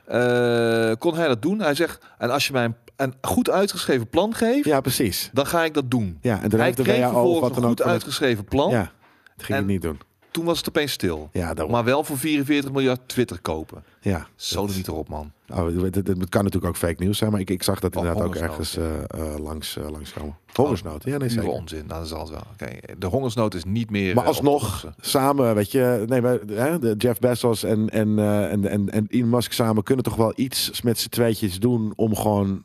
[SPEAKER 2] eh, kon hij dat doen. Hij zegt, en als je mij een, een goed uitgeschreven plan geeft,
[SPEAKER 1] Ja, precies.
[SPEAKER 2] dan ga ik dat doen.
[SPEAKER 1] Ja, en toen
[SPEAKER 2] hij
[SPEAKER 1] heeft de
[SPEAKER 2] kreeg
[SPEAKER 1] WHO of
[SPEAKER 2] vervolgens
[SPEAKER 1] wat
[SPEAKER 2] een
[SPEAKER 1] dan ook.
[SPEAKER 2] goed
[SPEAKER 1] van het-
[SPEAKER 2] uitgeschreven plan.
[SPEAKER 1] Ja, dat ging
[SPEAKER 2] En-
[SPEAKER 1] hij niet doen.
[SPEAKER 2] Toen was het opeens stil.
[SPEAKER 1] Ja, daarom.
[SPEAKER 2] Maar wel voor 44 miljard Twitter kopen.
[SPEAKER 1] ja.
[SPEAKER 2] Zo niet erop, man.
[SPEAKER 1] Oh, het, het- het kan natuurlijk ook fake nieuws zijn, maar ik, ik zag dat
[SPEAKER 2] Oh,
[SPEAKER 1] inderdaad ook ergens
[SPEAKER 2] hongersnood,
[SPEAKER 1] eh, eh, langs, eh, langskomen. Hongersnood, ja, nee,
[SPEAKER 2] Pure
[SPEAKER 1] zeker.
[SPEAKER 2] onzin. Nou, dat is altijd wel. Oké, de hongersnood is niet meer.
[SPEAKER 1] Maar
[SPEAKER 2] eh, op te
[SPEAKER 1] alsnog,
[SPEAKER 2] lossen.
[SPEAKER 1] samen, weet je, nee, maar, hè, de Jeff Bezos en, en, eh, en, en, en Elon Musk samen kunnen toch wel iets met z'n tweetjes doen om gewoon...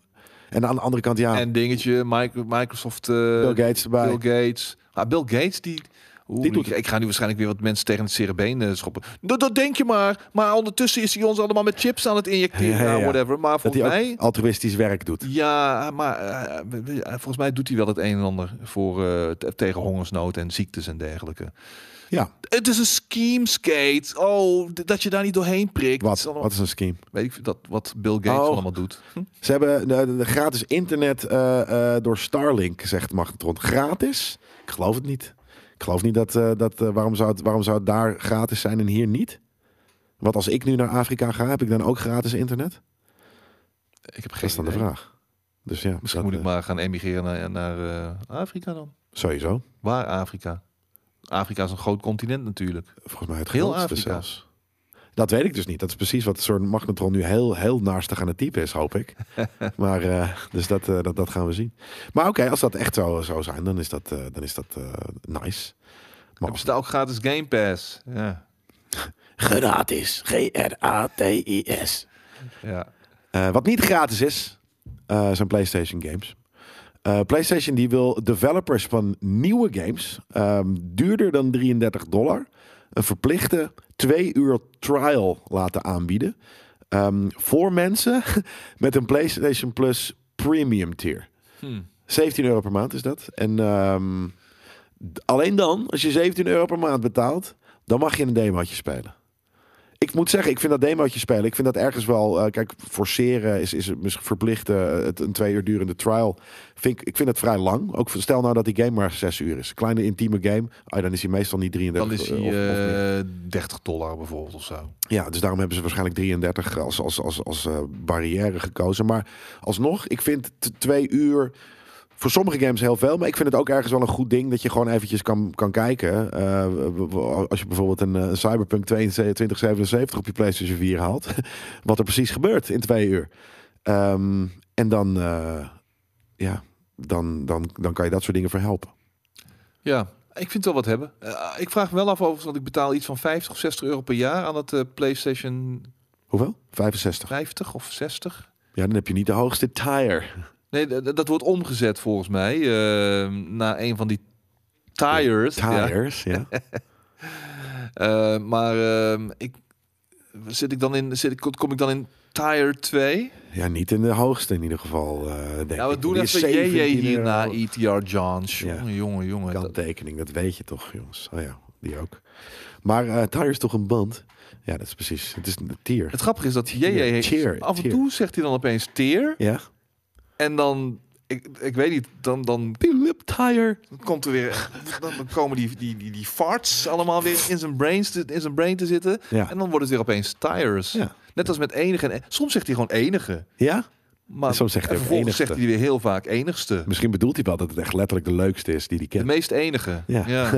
[SPEAKER 1] En aan de andere kant, ja,
[SPEAKER 2] En dingetje, Mic- Microsoft, eh,
[SPEAKER 1] Bill Gates erbij.
[SPEAKER 2] Bill Gates. Ah, Bill Gates die. Oeh,
[SPEAKER 1] Die doet
[SPEAKER 2] ik, ik ga nu waarschijnlijk weer wat mensen tegen het cerebeen eh, schoppen. Dat, dat denk je maar. Maar ondertussen is hij ons allemaal met chips aan het injecteren.
[SPEAKER 1] Ja, ja,
[SPEAKER 2] nou,
[SPEAKER 1] ja.
[SPEAKER 2] Whatever. Maar
[SPEAKER 1] dat
[SPEAKER 2] volgens
[SPEAKER 1] hij ook
[SPEAKER 2] mij.
[SPEAKER 1] altruïstisch werk doet.
[SPEAKER 2] Ja, maar eh, we- we- eh, volgens mij doet hij wel het een en ander voor, eh, te- tegen hongersnood en ziektes en dergelijke.
[SPEAKER 1] Ja,
[SPEAKER 2] Het is een scheme skate. Oh, d- dat je daar niet doorheen prikt. Het
[SPEAKER 1] wat,
[SPEAKER 2] is allemaal-
[SPEAKER 1] wat is een scheme?
[SPEAKER 2] Weet ik dat, wat Bill Gates
[SPEAKER 1] Oh.
[SPEAKER 2] allemaal doet.
[SPEAKER 1] Ze hebben eh, de, de- de gratis internet eh, eh, door Starlink, zegt Magnetron. Gratis? Ik geloof het niet. Ik geloof niet dat... eh, dat eh, waarom, zou het, waarom zou het daar gratis zijn en hier niet? Want als ik nu naar Afrika ga, heb ik dan ook gratis internet?
[SPEAKER 2] Ik heb geen
[SPEAKER 1] Dat is dan de
[SPEAKER 2] idee.
[SPEAKER 1] vraag. Dus ja,
[SPEAKER 2] Misschien
[SPEAKER 1] dat,
[SPEAKER 2] moet ik
[SPEAKER 1] eh,
[SPEAKER 2] maar gaan emigreren naar, naar eh, Afrika dan.
[SPEAKER 1] Sowieso.
[SPEAKER 2] Waar Afrika? Afrika is een groot continent natuurlijk.
[SPEAKER 1] Volgens mij het
[SPEAKER 2] Heel
[SPEAKER 1] grootste
[SPEAKER 2] Afrika.
[SPEAKER 1] zelfs. Dat weet ik dus niet. Dat is precies wat soort magnetron nu heel, heel naastig aan het typen is, hoop
[SPEAKER 2] [laughs]
[SPEAKER 1] ik. maar eh, dus dat, eh, dat, dat gaan we zien. Maar oké, als dat echt zo zou zijn, dan is dat, eh, dan is dat eh, nice. Maar
[SPEAKER 2] Hebben ze daar ook gratis Game Pass? Ja.
[SPEAKER 1] Gratis. G-R-A-T-I-S.
[SPEAKER 2] ja.
[SPEAKER 1] Eh, wat niet gratis is, eh, zijn PlayStation games. Eh, PlayStation die wil developers van nieuwe games ehm, duurder dan 33 dollar een verplichte twee uur trial laten aanbieden. ehm, voor mensen [laughs] met een PlayStation Plus Premium tier.
[SPEAKER 2] Hm.
[SPEAKER 1] 17 euro per maand is dat. En ehm, d- alleen dan, als je 17 euro per maand betaalt, dan mag je een demootje spelen. Ik moet zeggen, ik vind dat demootje spelen, ik vind dat ergens wel... eh, kijk, forceren is, is misschien verplichten, het, een twee uur durende trial. Vind ik, ik vind het vrij lang. Ook voor- stel nou dat die game maar zes uur is. Kleine intieme game, ah, dan is hij meestal niet 33
[SPEAKER 2] Dan is hij
[SPEAKER 1] eh, of- of meer.
[SPEAKER 2] eh, 30 dollar bijvoorbeeld of zo.
[SPEAKER 1] Ja, dus daarom hebben ze waarschijnlijk 33 als, als, als, als eh, barrière gekozen. Maar alsnog, ik vind t- twee uur voor sommige games heel veel. Maar ik vind het ook ergens wel een goed ding dat je gewoon eventjes kan, kan kijken. Eh, w- w- als je bijvoorbeeld een eh, [laughs] Cyberpunk 2077 op je PlayStation 4 haalt. wat er precies gebeurt in twee uur. Ehm, en dan, eh, ja, dan, dan, dan kan je dat soort dingen verhelpen.
[SPEAKER 2] Ja, ik vind het wel wat hebben. Eh, ik vraag me wel af overigens, want ik betaal iets van 50 of 60 euro per jaar aan dat eh, PlayStation
[SPEAKER 1] Hoeveel? 65.
[SPEAKER 2] 50 of 60.
[SPEAKER 1] Ja, dan heb je niet de hoogste tire.
[SPEAKER 2] Nee, d- d- dat wordt omgezet volgens mij eh, naar een van die tires. ja.
[SPEAKER 1] Tires, ja.
[SPEAKER 2] Eh, maar ehm, ik, zit ik dan in, zit ik, kom ik dan in tire 2?
[SPEAKER 1] Ja, niet in de hoogste in ieder geval. eh denk
[SPEAKER 2] Ja, Nou, we
[SPEAKER 1] ik.
[SPEAKER 2] doen
[SPEAKER 1] Die is
[SPEAKER 2] even JJ
[SPEAKER 1] 17
[SPEAKER 2] hier na E
[SPEAKER 1] euro.
[SPEAKER 2] ETR Johns.
[SPEAKER 1] Ja.
[SPEAKER 2] Jongen, jongen, jongen. Dat-
[SPEAKER 1] Kanttekening, dat weet je toch, jongens. Oh ja, die ook. Maar eh tire is toch een band? Ja, dat is precies. Het is een tier.
[SPEAKER 2] Het grappige is dat JJ
[SPEAKER 1] Tier,
[SPEAKER 2] heeft-
[SPEAKER 1] tier,
[SPEAKER 2] af en
[SPEAKER 1] tier.
[SPEAKER 2] toe zegt hij dan opeens teer.
[SPEAKER 1] Ja.
[SPEAKER 2] En dan, ik, ik weet niet, dan, dan
[SPEAKER 1] Tulip tire.
[SPEAKER 2] Dan komt er weer, dan dan komen die, die, die, die farts allemaal weer in zijn, brains te, in zijn brain te zitten.
[SPEAKER 1] Ja.
[SPEAKER 2] En dan worden het weer opeens tires.
[SPEAKER 1] Ja.
[SPEAKER 2] Net als met enige. En, soms zegt hij gewoon enige.
[SPEAKER 1] Ja?
[SPEAKER 2] Maar
[SPEAKER 1] Soms zegt hij
[SPEAKER 2] en
[SPEAKER 1] ook
[SPEAKER 2] vervolgens
[SPEAKER 1] enigste.
[SPEAKER 2] zegt hij weer heel vaak enigste.
[SPEAKER 1] Misschien bedoelt hij wel dat het echt letterlijk de leukste is die hij
[SPEAKER 2] De
[SPEAKER 1] kent.
[SPEAKER 2] meest enige.
[SPEAKER 1] Ja.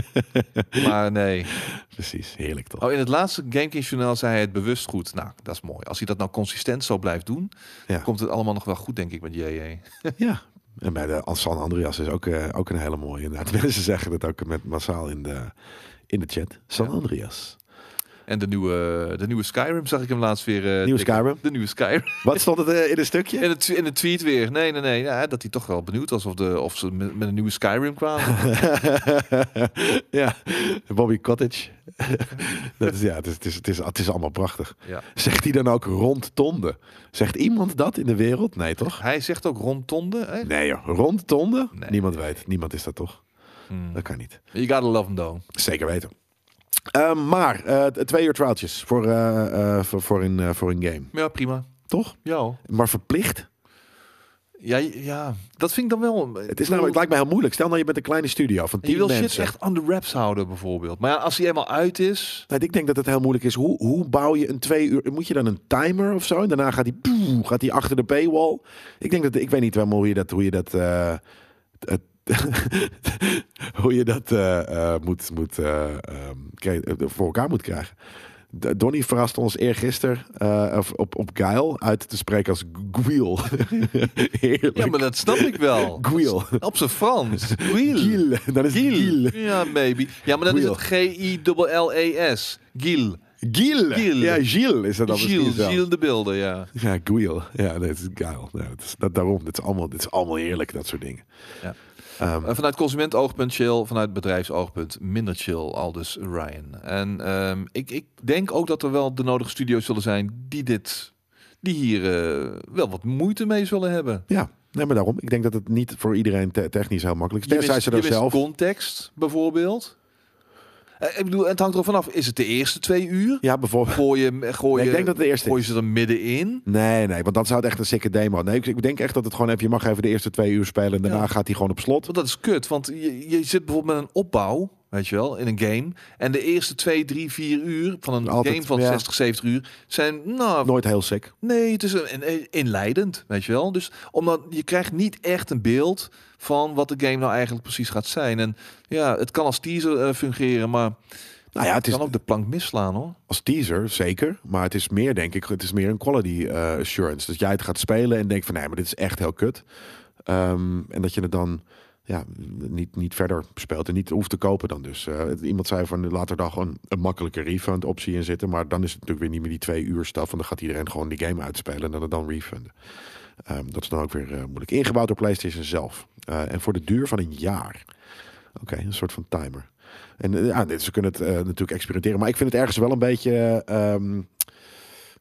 [SPEAKER 1] [laughs]
[SPEAKER 2] maar nee.
[SPEAKER 1] Precies, heerlijk toch?
[SPEAKER 2] Oh, in het laatste GameKings journaal zei hij het bewust goed. Nou, dat is mooi. Als hij dat nou consistent zo blijft doen,
[SPEAKER 1] Ja.
[SPEAKER 2] komt het allemaal nog wel goed, denk ik, met JJ.
[SPEAKER 1] Ja. En bij de San Andreas is ook, eh, ook een hele mooie. Inderdaad, [laughs] mensen zeggen dat ook met massaal in de, in de chat. San
[SPEAKER 2] Ja.
[SPEAKER 1] Andreas.
[SPEAKER 2] En de nieuwe, de nieuwe Skyrim zag ik hem laatst weer. eh,
[SPEAKER 1] Nieuwe
[SPEAKER 2] tikken.
[SPEAKER 1] Skyrim.
[SPEAKER 2] De nieuwe Skyrim. [laughs]
[SPEAKER 1] Wat stond het eh, in een stukje?
[SPEAKER 2] In het, in het tweet weer. Nee, nee, nee. Ja, dat hij toch wel benieuwd was of, de, of ze met, met een nieuwe Skyrim kwamen.
[SPEAKER 1] [laughs] ja, Bobby Cottage. [laughs] dat is, ja, het is, het, is, het, is, het is allemaal prachtig.
[SPEAKER 2] ja.
[SPEAKER 1] Zegt hij dan ook rondtonde? Zegt iemand dat in de wereld? Nee, toch?
[SPEAKER 2] Hij zegt ook rondtonde. Hè?
[SPEAKER 1] Nee joh, rondtonde?
[SPEAKER 2] Nee.
[SPEAKER 1] Niemand weet. Niemand is dat toch?
[SPEAKER 2] Hmm.
[SPEAKER 1] Dat kan niet.
[SPEAKER 2] You gotta love him though.
[SPEAKER 1] Zeker weten. Eh, maar eh, t- twee uur trouwtjes voor, eh, eh, voor, voor, een, eh, voor een game.
[SPEAKER 2] Ja, prima.
[SPEAKER 1] Toch?
[SPEAKER 2] Ja, hoor.
[SPEAKER 1] Maar verplicht?
[SPEAKER 2] ja, ja, dat vind ik dan wel... eh,
[SPEAKER 1] Het, is namelijk, het lijkt mij heel moeilijk. Stel nou, je bent een kleine studio van
[SPEAKER 2] Je
[SPEAKER 1] tien
[SPEAKER 2] wil
[SPEAKER 1] mensen.
[SPEAKER 2] shit echt under wraps houden bijvoorbeeld. Maar ja, als hij eenmaal uit is...
[SPEAKER 1] Nou, ik denk dat het heel moeilijk is. Hoe, hoe bouw je een twee uur? Moet je dan een timer of zo? En daarna gaat die, poeh, gaat die achter de paywall. Ik denk dat ik weet niet helemaal hoe je dat, hoe je dat, eh, [laughs] het- hoe je dat eh, eh, moet, moet eh, ehm, kri- eh, voor elkaar moet krijgen. D- Donnie verraste ons eergisteren eh, of op, op Guile uit te spreken als
[SPEAKER 2] [laughs]
[SPEAKER 1] Guil. Heerlijk.
[SPEAKER 2] Ja, maar dat snap ik [laughs] wel.
[SPEAKER 1] Guil.
[SPEAKER 2] Op zijn [laughs] Frans. Guil.
[SPEAKER 1] Guil. Dan is het Guil.
[SPEAKER 2] Ja, maybe. Ja, maar dan is
[SPEAKER 1] Guil.
[SPEAKER 2] het G-I-L-L-E-S. Gil.
[SPEAKER 1] Gil.
[SPEAKER 2] Gil.
[SPEAKER 1] Ja, Gil is dat dan
[SPEAKER 2] Gil.
[SPEAKER 1] misschien wel.
[SPEAKER 2] Gil de beelden, ja.
[SPEAKER 1] Ja, Guil. Ja, nee, het is geil. Ja, het is, dat, daarom, dit is, allemaal, dit is allemaal heerlijk, dat soort dingen.
[SPEAKER 2] Ja.
[SPEAKER 1] Ehm,
[SPEAKER 2] Uh, Vanuit consumentoogpunt chill, vanuit bedrijfsoogpunt minder chill, al dus Ryan. En ehm, ik, ik denk ook dat er wel de nodige studio's zullen zijn die dit, die hier eh, wel wat moeite mee zullen hebben.
[SPEAKER 1] ja, nee, maar daarom. Ik denk dat het niet voor iedereen te- technisch heel makkelijk is. Tenzij ze
[SPEAKER 2] je
[SPEAKER 1] er
[SPEAKER 2] mist
[SPEAKER 1] zelf...
[SPEAKER 2] context bijvoorbeeld. Eh, ik bedoel, het hangt er vanaf. Is het de eerste twee uur?
[SPEAKER 1] Ja, bijvoorbeeld...
[SPEAKER 2] Gooi je, gooi
[SPEAKER 1] Nee, ik
[SPEAKER 2] je-
[SPEAKER 1] denk dat het de eerste
[SPEAKER 2] gooi je ze er middenin?
[SPEAKER 1] Nee, nee, want dan zou het echt een sikke demo. Nee, ik, ik denk echt dat het gewoon even... Je mag even de eerste twee uur spelen en daarna
[SPEAKER 2] Ja.
[SPEAKER 1] gaat hij gewoon op slot.
[SPEAKER 2] Want dat is kut, want je, je zit bijvoorbeeld met een opbouw, weet je wel, in een game. En de eerste twee, drie, vier uur van een
[SPEAKER 1] Altijd,
[SPEAKER 2] game van
[SPEAKER 1] ja.
[SPEAKER 2] 60, 70 uur zijn, nou,
[SPEAKER 1] Nooit heel sick.
[SPEAKER 2] Nee, het is een, een- inleidend, weet je wel. Dus omdat je krijgt niet echt een beeld van wat de game nou eigenlijk precies gaat zijn. En ja, het kan als teaser eh, fungeren, maar
[SPEAKER 1] Nou ja, het is
[SPEAKER 2] kan ook de plank misslaan hoor.
[SPEAKER 1] als teaser, zeker. Maar het is meer, denk ik, het is meer een quality eh, assurance. Dat jij het gaat spelen en denkt van... Nee, maar dit is echt heel kut. Ehm, en dat je het dan ja, niet, niet verder speelt en niet hoeft te kopen dan dus. Eh, het- iemand zei van later dag een, een makkelijke refund optie in zitten. Maar dan is het natuurlijk weer niet meer die twee uur staf. En dan gaat iedereen gewoon die game uitspelen en dan het dan refunden. Ehm, dat is dan ook weer eh, moeilijk. Ingebouwd door PlayStation zelf. Eh, en voor de duur van een jaar. Oké, een soort van timer. En eh, ja, dit- ze kunnen het eh, natuurlijk experimenteren. Maar ik vind het ergens wel een beetje... eh, ehm,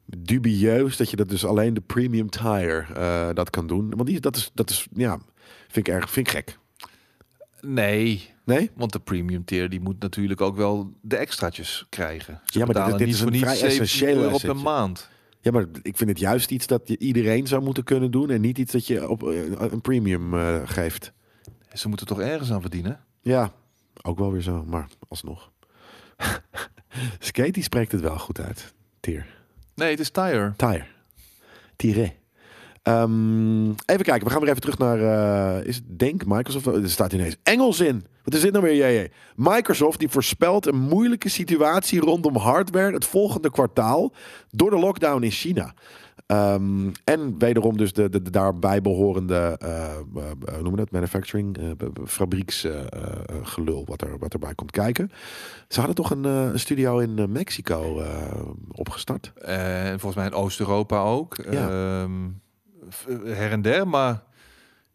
[SPEAKER 1] dubieus dat je dat dus alleen de premium tire eh, dat kan doen. Want die, dat, is, dat is, ja, vind ik erg, vind ik gek.
[SPEAKER 2] Nee,
[SPEAKER 1] Nee?
[SPEAKER 2] want de premium tier die moet natuurlijk ook wel de extraatjes krijgen.
[SPEAKER 1] Ja, maar dit-
[SPEAKER 2] Betalen
[SPEAKER 1] dit
[SPEAKER 2] niet
[SPEAKER 1] is
[SPEAKER 2] voor
[SPEAKER 1] een
[SPEAKER 2] niets
[SPEAKER 1] vrij
[SPEAKER 2] 17
[SPEAKER 1] essentiële
[SPEAKER 2] euro per
[SPEAKER 1] assetje.
[SPEAKER 2] maand.
[SPEAKER 1] Ja, maar ik vind het juist iets dat je iedereen zou moeten kunnen doen en niet iets dat je op eh, een premium eh, geeft.
[SPEAKER 2] Ze moeten toch ergens aan verdienen?
[SPEAKER 1] Ja, ook wel weer zo, maar alsnog. [laughs] Skate die spreekt het wel goed uit. Tier.
[SPEAKER 2] Nee, het is tire.
[SPEAKER 1] Tire. Tire. Ehm, even kijken, we gaan weer even terug naar. eh, is het denk Microsoft? Oh, Er staat ineens Engels in. Wat is dit nou weer? JJ? Microsoft die voorspelt een moeilijke situatie rondom hardware het volgende kwartaal door de lockdown in China. Ehm, en wederom dus de, de, de daarbij behorende, eh, eh, hoe noemen we dat, manufacturing, eh, fabrieksgelul eh, wat, er, wat erbij komt kijken. Ze hadden toch een eh, een studio in eh, Mexico eh, opgestart?
[SPEAKER 2] Eh, volgens mij in Oost-Europa ook. Ehm, f- her en der. Maar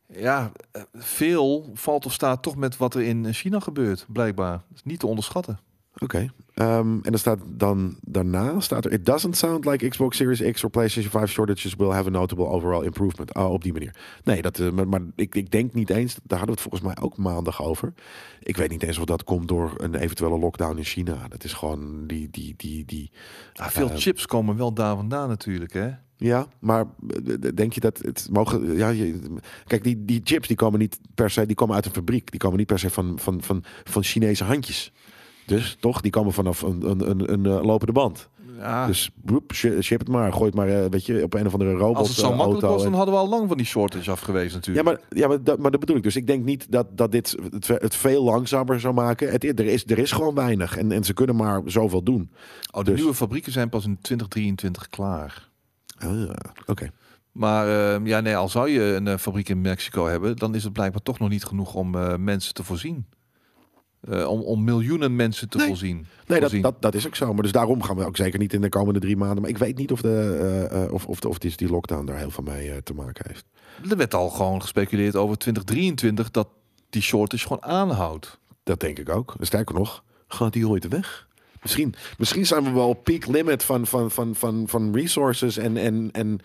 [SPEAKER 2] ja, eh, veel valt of staat toch met wat er in China gebeurt, blijkbaar. Dat is niet te onderschatten.
[SPEAKER 1] Oké. Ehm, en dan staat dan daarna staat er: It doesn't sound like Xbox Series X or PlayStation 5 shortages will have a notable overall improvement. Oh, op die manier. Nee, dat, eh, maar, maar ik, ik denk niet eens. Daar hadden we het volgens mij ook maandag over. Ik weet niet eens of dat komt door een eventuele lockdown in China. Dat is gewoon die die die die.
[SPEAKER 2] Ah, veel
[SPEAKER 1] Eh,
[SPEAKER 2] chips komen wel daar vandaan natuurlijk, hè?
[SPEAKER 1] Ja, maar eh, denk je dat het mogen? eh, Ja, je- kijk, die, die chips die komen niet per se, die komen uit een fabriek, die komen niet per se van, van, van, van Chinese handjes. Dus toch, die komen vanaf een, een, een, een eh, lopende band.
[SPEAKER 2] Ja,
[SPEAKER 1] Dus boep, shi- ship het maar, gooi het maar, eh, weet je, op een of andere robot.
[SPEAKER 2] als het zo
[SPEAKER 1] eh,
[SPEAKER 2] makkelijk
[SPEAKER 1] auto
[SPEAKER 2] was,
[SPEAKER 1] en-
[SPEAKER 2] dan hadden we al lang van die shortage afgewezen
[SPEAKER 1] ja,
[SPEAKER 2] natuurlijk.
[SPEAKER 1] maar, ja maar, dat, maar dat bedoel ik. Dus ik denk niet dat, dat dit het, het veel langzamer zou maken. Het, er, is, er is gewoon weinig. En, en ze kunnen maar zoveel doen.
[SPEAKER 2] oh, de
[SPEAKER 1] dus-
[SPEAKER 2] nieuwe fabrieken zijn pas in 2023 klaar.
[SPEAKER 1] Ah, ja. Oké.
[SPEAKER 2] Maar ehm, ja, nee, al zou je een eh, fabriek in Mexico hebben, dan is het blijkbaar toch nog niet genoeg om eh, mensen te voorzien. Eh, om, om miljoenen mensen te
[SPEAKER 1] Nee.
[SPEAKER 2] voorzien.
[SPEAKER 1] Nee, dat,
[SPEAKER 2] Voorzien.
[SPEAKER 1] dat, dat is ook zo. Maar dus daarom gaan we ook zeker niet in de komende drie maanden. Maar ik weet niet of, de, eh, eh, of, of, of die, die lockdown daar heel veel mee eh, te maken heeft.
[SPEAKER 2] Er werd al gewoon gespeculeerd over 2023 dat die shortage gewoon aanhoudt.
[SPEAKER 1] Dat denk ik ook. Sterker nog, gaat die ooit weg? Misschien, misschien zijn we wel op peak limit van, van, van, van, van resources en, en, en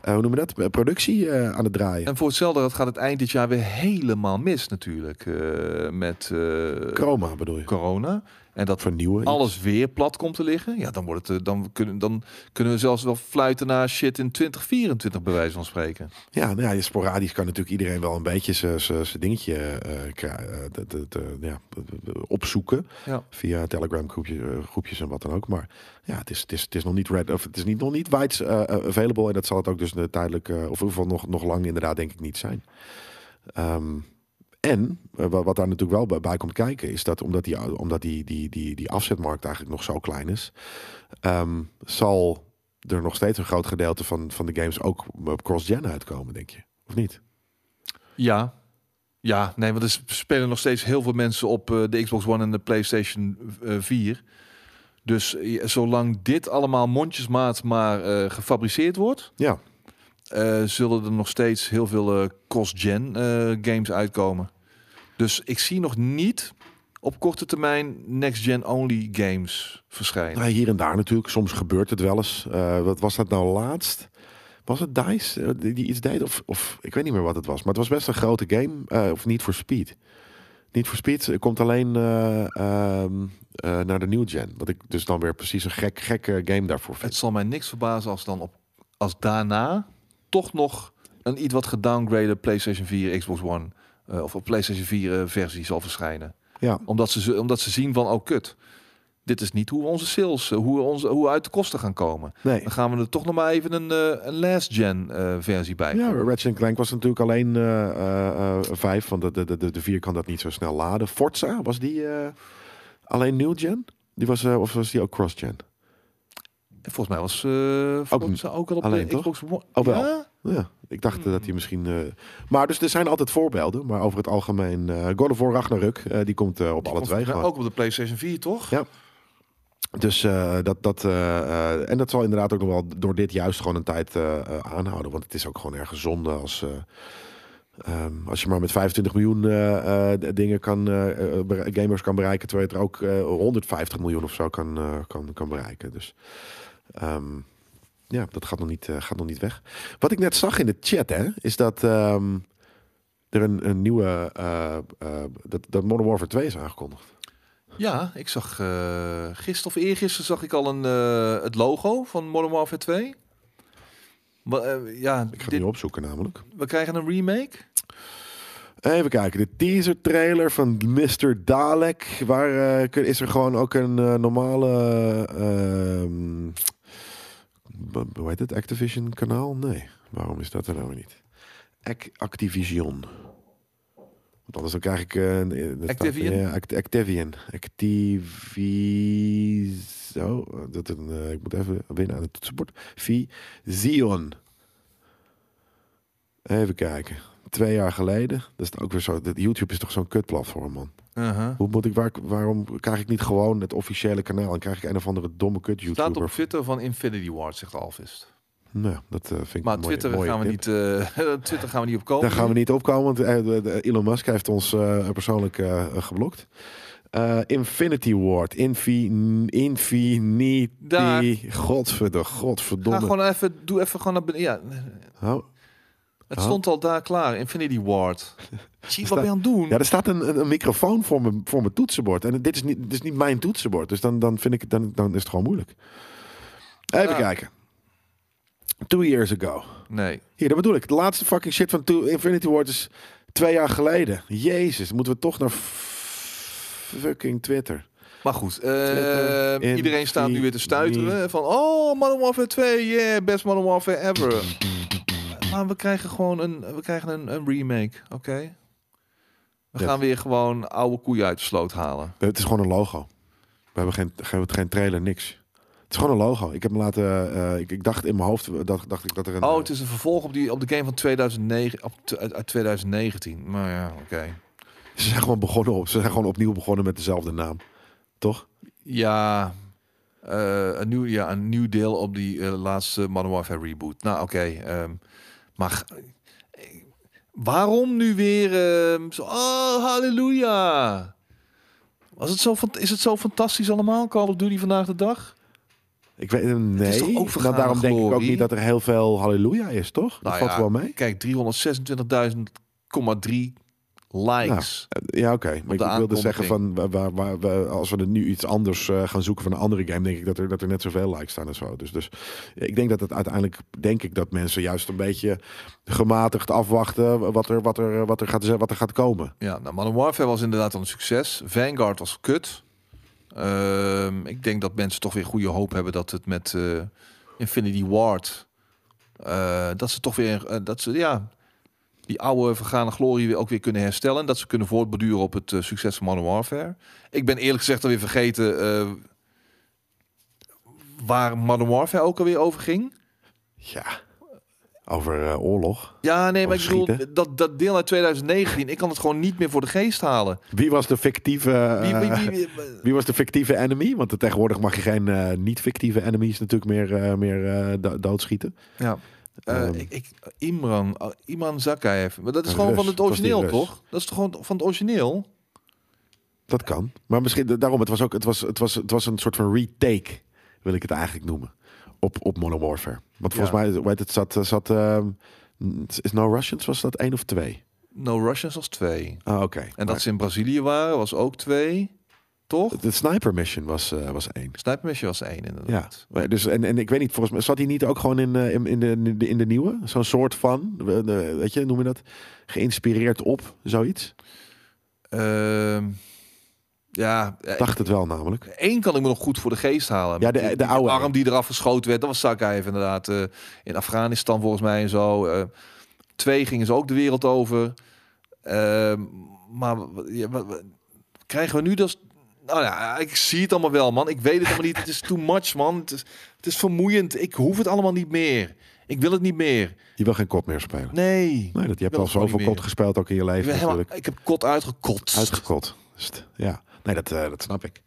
[SPEAKER 1] eh, hoe noem je dat? Eh, Productie eh, aan het draaien.
[SPEAKER 2] En voor hetzelfde geld gaat het eind dit jaar weer helemaal mis natuurlijk. eh, met eh,
[SPEAKER 1] Chroma bedoel je?
[SPEAKER 2] corona. En dat
[SPEAKER 1] Vernieuwen. iets.
[SPEAKER 2] alles weer plat komt te liggen. Ja, dan, wordt het, eh, dan, kunnen, dan kunnen we zelfs wel fluiten naar shit in 2024 bij wijze van spreken.
[SPEAKER 1] Ja, nou ja, je- sporadisch kan natuurlijk iedereen wel een beetje zijn dingetje eh, kra- eh, de- de- de- ja, de- de- opzoeken.
[SPEAKER 2] Ja.
[SPEAKER 1] Via Telegram groepjes, groepjes en wat dan ook. Maar ja, het is, het is, het is nog niet red, of het is niet, nog niet wides eh, eh, available. En dat zal het ook dus eh, tijdelijk, eh, of in ieder geval nog, nog lang inderdaad denk ik niet zijn. Ehm, en eh, wa- wat daar natuurlijk wel bij- bij komt kijken, is dat omdat die, omdat die, die, die, die afzetmarkt eigenlijk nog zo klein is, ehm, zal er nog steeds een groot gedeelte van, van de games ook op cross-gen uitkomen, denk je? Of niet?
[SPEAKER 2] Ja. Ja, nee, want er spelen nog steeds heel veel mensen op eh, de Xbox One en de PlayStation eh, 4. Dus eh, zolang dit allemaal mondjesmaat maar eh, gefabriceerd wordt,
[SPEAKER 1] Ja.
[SPEAKER 2] eh, zullen er nog steeds heel veel eh, cross-gen eh, games uitkomen. Dus ik zie nog niet op korte termijn next-gen only games verschijnen.
[SPEAKER 1] Nou, hier en daar natuurlijk. Soms gebeurt het wel eens. Eh, wat was dat nou laatst? Was het DICE eh, die, die iets deed? Of, of ik weet niet meer wat het was. Maar het was best een grote game. eh, of niet voor Speed. Niet voor Speed eh, komt alleen eh, ehm, eh, naar de new gen. Wat ik dus dan weer precies een gek, gekke game daarvoor vind.
[SPEAKER 2] Het zal mij niks verbazen als dan op als daarna toch nog een iets wat gedowngrade PlayStation 4, Xbox One eh, of op PlayStation 4 eh, versie zal verschijnen.
[SPEAKER 1] Ja,
[SPEAKER 2] Omdat ze, ze- omdat ze zien van oh kut. Dit is niet hoe we onze sales, eh, hoe, we onze, hoe we uit de kosten gaan komen.
[SPEAKER 1] nee.
[SPEAKER 2] Dan gaan we er toch nog maar even een, eh, een last gen eh, versie bij.
[SPEAKER 1] Ja,
[SPEAKER 2] doen.
[SPEAKER 1] Ratchet Clank was natuurlijk alleen eh, eh, eh, vijf. Want de, de, de- de, de vier kan dat niet zo snel laden. Forza, was die eh, alleen new gen? Die was, eh, of was die ook cross-gen?
[SPEAKER 2] En Volgens mij was eh Forza ook, al op
[SPEAKER 1] alleen,
[SPEAKER 2] de
[SPEAKER 1] toch?
[SPEAKER 2] Xbox One.
[SPEAKER 1] Oh, wel.
[SPEAKER 2] Ja?
[SPEAKER 1] Ja, ik dacht eh, dat hij misschien. eh, Maar dus er zijn altijd voorbeelden. Maar over het algemeen. eh God of War Ragnarok, eh, die komt eh, op alle
[SPEAKER 2] Volgens
[SPEAKER 1] twee
[SPEAKER 2] mij
[SPEAKER 1] gewoon.
[SPEAKER 2] Ook op de PlayStation 4 toch?
[SPEAKER 1] Ja. Dus eh, dat. dat eh, eh, en dat zal inderdaad ook nog wel door dit juist gewoon een tijd eh, eh, aanhouden. Want het is ook gewoon erg zonde als. eh, ehm, als je maar met 25 miljoen eh, eh, d- dingen kan, eh, eh, bere- gamers kan bereiken, terwijl je er ook eh, 150 miljoen of zo kan, eh, kan, kan bereiken. Dus ehm, ja, dat gaat nog, niet, eh, gaat nog niet weg. Wat ik net zag in de chat, hè, is dat ehm, er een, een nieuwe. eh, eh, dat, dat Modern Warfare 2 is aangekondigd.
[SPEAKER 2] Ja, ik zag eh gisteren of eergisteren zag ik al een, eh, het logo van Modern Warfare 2. Maar, eh, ja,
[SPEAKER 1] Ik ga het
[SPEAKER 2] dit-
[SPEAKER 1] nu opzoeken, namelijk.
[SPEAKER 2] we krijgen een remake.
[SPEAKER 1] Even kijken, de teaser trailer van Mr. Dalek. Waar eh, kun- is er gewoon ook een eh, normale. ehm, b- hoe heet het? Activision kanaal? Nee. Waarom is dat er nou weer niet? Ac- Activision. Want anders dan krijg ik... eh, eh, dat
[SPEAKER 2] Activision?
[SPEAKER 1] staat- ja, Act- Activision. Activi... Zo, dat is een, eh, ik moet even winnen aan het toetsenbord. Vision. Even kijken. Twee jaar geleden. Dat is ook weer zo. dat- YouTube is toch zo'n kutplatform, man.
[SPEAKER 2] Aha.
[SPEAKER 1] Uh-huh. Hoe moet ik, waar, waarom krijg ik niet gewoon het officiële kanaal? En krijg ik een of andere domme kut
[SPEAKER 2] Staat
[SPEAKER 1] YouTuber?
[SPEAKER 2] op Twitter van Infinity Ward, zegt Alvist.
[SPEAKER 1] Nou, dat eh, vind ik
[SPEAKER 2] Maar
[SPEAKER 1] een mooie-
[SPEAKER 2] Twitter,
[SPEAKER 1] mooie
[SPEAKER 2] gaan
[SPEAKER 1] tip.
[SPEAKER 2] we niet, eh, [laughs] Twitter gaan we niet op komen.
[SPEAKER 1] Daar gaan we niet opkomen, want eh, de- de- Elon Musk heeft ons eh, persoonlijk eh, geblokt. Eh, Infinity Ward. Infi, infinity.
[SPEAKER 2] Daar.
[SPEAKER 1] Godverdomme,
[SPEAKER 2] Ga
[SPEAKER 1] godverdomme.
[SPEAKER 2] gewoon even, doe even gewoon naar beneden. Ja,
[SPEAKER 1] Oh.
[SPEAKER 2] het
[SPEAKER 1] Oh.
[SPEAKER 2] stond al daar klaar, Infinity
[SPEAKER 1] [laughs]
[SPEAKER 2] Ward. Zie, wat ben je aan het doen?
[SPEAKER 1] Ja, er staat een, een, een microfoon voor mijn, voor mijn toetsenbord. En dit is niet, dit is niet mijn toetsenbord. Dus dan, dan, vind ik, het- dan, dan is het gewoon moeilijk. Even
[SPEAKER 2] Ja.
[SPEAKER 1] kijken. Two years ago.
[SPEAKER 2] Nee.
[SPEAKER 1] Hier, dat bedoel ik. De laatste fucking shit van Two Infinity Ward is twee jaar geleden. Jezus, moeten we toch naar f- fucking Twitter.
[SPEAKER 2] Maar goed, eh,
[SPEAKER 1] Twitter,
[SPEAKER 2] iedereen staat nu weer te stuiteren. Van, oh, Modern Warfare 2, yeah, best Modern Warfare
[SPEAKER 1] [laughs]
[SPEAKER 2] ever. Maar we krijgen gewoon een, we krijgen een, een remake, oké? We
[SPEAKER 1] Ja.
[SPEAKER 2] gaan weer gewoon oude koeien uit de sloot halen.
[SPEAKER 1] Eh, Het is gewoon een logo. We hebben geen, geen, geen trailer, niks. Het is gewoon een logo. Ik heb me laten. eh, ik, ik dacht in mijn hoofd dacht, dacht ik dat er een. eh,
[SPEAKER 2] Oh, het is een vervolg op, die, op de game van 2009, op, t- uit uit 2019. Nou ja, oké.
[SPEAKER 1] Ze zijn gewoon begonnen op. Ze zijn gewoon opnieuw begonnen met dezelfde naam. Toch?
[SPEAKER 2] Ja, eh, een, nieuw, ja, een nieuw deel op die eh, laatste Modern Warfare reboot. Nou, oké. ehm, maar g- eh, waarom nu weer ehm, zo... Oh, halleluja! Was het zo, fant- is het zo fantastisch allemaal, Call of Duty vandaag de dag?
[SPEAKER 1] Ik weet eh, nee.
[SPEAKER 2] Het is toch ook vergane
[SPEAKER 1] nou, daarom denk ik ook
[SPEAKER 2] glorie?
[SPEAKER 1] niet dat er heel veel halleluja is, toch? Dat
[SPEAKER 2] Nou
[SPEAKER 1] valt
[SPEAKER 2] ja,
[SPEAKER 1] wel mee.
[SPEAKER 2] Kijk, 326.000,3 likes.
[SPEAKER 1] Ja, oké. Maar ik,
[SPEAKER 2] de
[SPEAKER 1] ik wilde zeggen van
[SPEAKER 2] aankondiging.
[SPEAKER 1] waar, waar, waar, we- als we er nu iets anders eh, gaan zoeken van een andere game, denk ik dat er, dat er net zoveel likes staan en zo. Dus, dus ik denk dat het uiteindelijk denk ik dat mensen juist een beetje gematigd afwachten wat er, wat er, wat er, gaat, wat er gaat komen.
[SPEAKER 2] Ja, nou, Modern Warfare was inderdaad al een succes. Vanguard was kut. Ehm, ik denk dat mensen toch weer goede hoop hebben dat het met eh, Infinity Ward... eh, dat ze toch weer... eh, dat ze, ja, die oude vergane glorie weer ook weer kunnen herstellen. En dat ze kunnen voortborduren op het eh, succes van Modern Warfare. Ik ben eerlijk gezegd alweer vergeten... eh, waar Modern Warfare ook alweer over ging.
[SPEAKER 1] Ja. Over eh, oorlog.
[SPEAKER 2] Ja, nee, maar
[SPEAKER 1] Over
[SPEAKER 2] ik bedoel,
[SPEAKER 1] schieten.
[SPEAKER 2] dat, dat deel uit 2019... ik kan het gewoon niet meer voor de geest halen.
[SPEAKER 1] Wie was de fictieve?
[SPEAKER 2] Wie- wie-
[SPEAKER 1] eh,
[SPEAKER 2] wie- wie,
[SPEAKER 1] [laughs] Wie was de fictieve enemy? Want tegenwoordig mag je geen eh, niet-fictieve enemies natuurlijk meer, eh, meer eh, do- doodschieten.
[SPEAKER 2] Ja. Eh,
[SPEAKER 1] Ehm.
[SPEAKER 2] ik, ik, Imran, oh, Imran Zakayev. Maar dat is
[SPEAKER 1] Een
[SPEAKER 2] gewoon
[SPEAKER 1] Rus,
[SPEAKER 2] van het
[SPEAKER 1] het was die
[SPEAKER 2] origineel,
[SPEAKER 1] Rus.
[SPEAKER 2] toch? Dat is toch gewoon van het origineel?
[SPEAKER 1] Dat kan. Maar misschien daarom, het was ook het was, het was, het was een soort van retake, wil ik het eigenlijk noemen. Op, op Modern Warfare. Want volgens
[SPEAKER 2] Ja.
[SPEAKER 1] mij, weet het, zat. zat ehm, is No Russians, was dat één of twee?
[SPEAKER 2] No Russians was twee. En
[SPEAKER 1] Ah, oké.
[SPEAKER 2] dat ze in Brazilië waren, was ook twee. Toch?
[SPEAKER 1] Maar De sniper mission was, eh, was één.
[SPEAKER 2] Sniper Mission was één,
[SPEAKER 1] Ja,
[SPEAKER 2] inderdaad.
[SPEAKER 1] maar dus en, en ik weet niet, volgens mij zat hij niet ook gewoon in, eh, in, in, de, in de- in de nieuwe? Zo'n soort van, eh, eh, weet je, noem je dat? Geïnspireerd op zoiets?
[SPEAKER 2] Ja, Ehm, ja eh,
[SPEAKER 1] Dacht het wel namelijk.
[SPEAKER 2] één kan ik me nog goed voor de geest halen.
[SPEAKER 1] Ja, de-
[SPEAKER 2] Met die-
[SPEAKER 1] de
[SPEAKER 2] die
[SPEAKER 1] oude.
[SPEAKER 2] arm die eraf geschoten werd, dat was Zakayev inderdaad. eh, in Afghanistan volgens mij en zo. Eh, twee gingen ze ook de wereld over. Ehm, maar w- w- ja, w- w- krijgen we nu dat... Nou ja, ik zie het allemaal wel, man. Ik weet het allemaal niet. Het is too much, man. Het is, het is vermoeiend. Ik hoef het allemaal niet meer. Ik wil het niet meer.
[SPEAKER 1] Je wil geen kot meer spelen.
[SPEAKER 2] Nee.
[SPEAKER 1] Nee, dat, je hebt
[SPEAKER 2] wil
[SPEAKER 1] al
[SPEAKER 2] het gewoon
[SPEAKER 1] zoveel
[SPEAKER 2] niet
[SPEAKER 1] kot
[SPEAKER 2] meer.
[SPEAKER 1] gespeeld ook in je
[SPEAKER 2] Ik,
[SPEAKER 1] leven
[SPEAKER 2] ben helemaal-
[SPEAKER 1] natuurlijk.
[SPEAKER 2] ik heb kot uitgekotst.
[SPEAKER 1] Uitgekot. Dus het- Ja, nee, dat, eh, dat snap ik.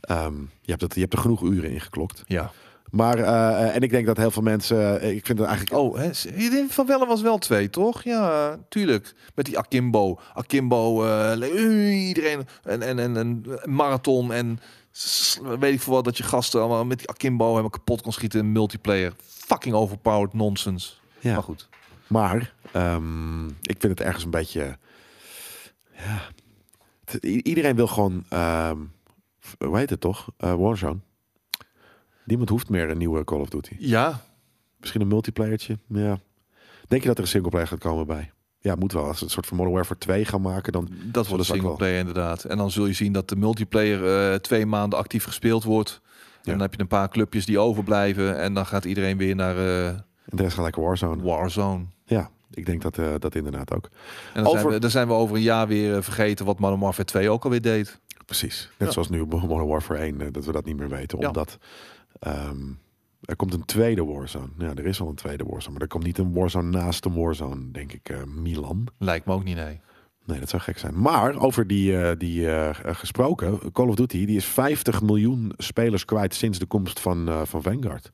[SPEAKER 1] Ehm, je, hebt dat, je hebt er genoeg uren in geklokt.
[SPEAKER 2] ja.
[SPEAKER 1] Maar, eh, eh, en ik denk dat heel veel mensen, eh, ik vind het eigenlijk...
[SPEAKER 2] Oh, hè, s- iedereen Van Wellen was wel twee, toch? Ja, tuurlijk. Met die Akimbo. Akimbo, eh, le- ui, iedereen. En, en, en, en eh, marathon en s- weet ik veel wat. Dat je gasten allemaal met die Akimbo helemaal kapot kon schieten in multiplayer. Fucking overpowered nonsense.
[SPEAKER 1] ja.
[SPEAKER 2] Maar goed.
[SPEAKER 1] Maar ehm, ik vind het ergens een beetje. Ja. Het- i- Iedereen wil gewoon. ehm, f- hoe heet het toch? Eh, Warzone. Niemand hoeft meer een nieuwe Call of Duty.
[SPEAKER 2] Ja,
[SPEAKER 1] Misschien een multiplayertje. Ja. Denk je dat er een singleplayer gaat komen bij? Ja, moet wel. Als ze een soort van Modern Warfare 2 gaan maken, dan.
[SPEAKER 2] dat
[SPEAKER 1] dat
[SPEAKER 2] wordt
[SPEAKER 1] is
[SPEAKER 2] een
[SPEAKER 1] ook wel.
[SPEAKER 2] singleplayer inderdaad. En dan zul je zien dat de multiplayer eh, twee maanden actief gespeeld wordt. En
[SPEAKER 1] Ja.
[SPEAKER 2] dan heb je een paar clubjes die overblijven. En dan gaat iedereen weer naar eh,
[SPEAKER 1] En de rest gaat lekker Warzone.
[SPEAKER 2] Warzone.
[SPEAKER 1] Ja. Ik denk dat, eh, dat inderdaad ook.
[SPEAKER 2] En dan,
[SPEAKER 1] Over-
[SPEAKER 2] zijn we, dan zijn we over een jaar weer eh, vergeten wat Modern Warfare 2 ook alweer deed.
[SPEAKER 1] Precies. Net
[SPEAKER 2] Ja.
[SPEAKER 1] zoals nu bij Modern Warfare 1, eh, dat we dat niet meer weten.
[SPEAKER 2] Ja.
[SPEAKER 1] Omdat ehm, er komt een tweede Warzone. Ja, er is al een tweede Warzone. Maar er komt niet een Warzone naast een Warzone, denk ik. eh, Milan.
[SPEAKER 2] Lijkt me ook niet, nee.
[SPEAKER 1] Nee, dat zou gek zijn. Maar over die, eh, die eh, eh, gesproken, Call of Duty, die is 50 miljoen spelers kwijt sinds de komst van, eh, van Vanguard.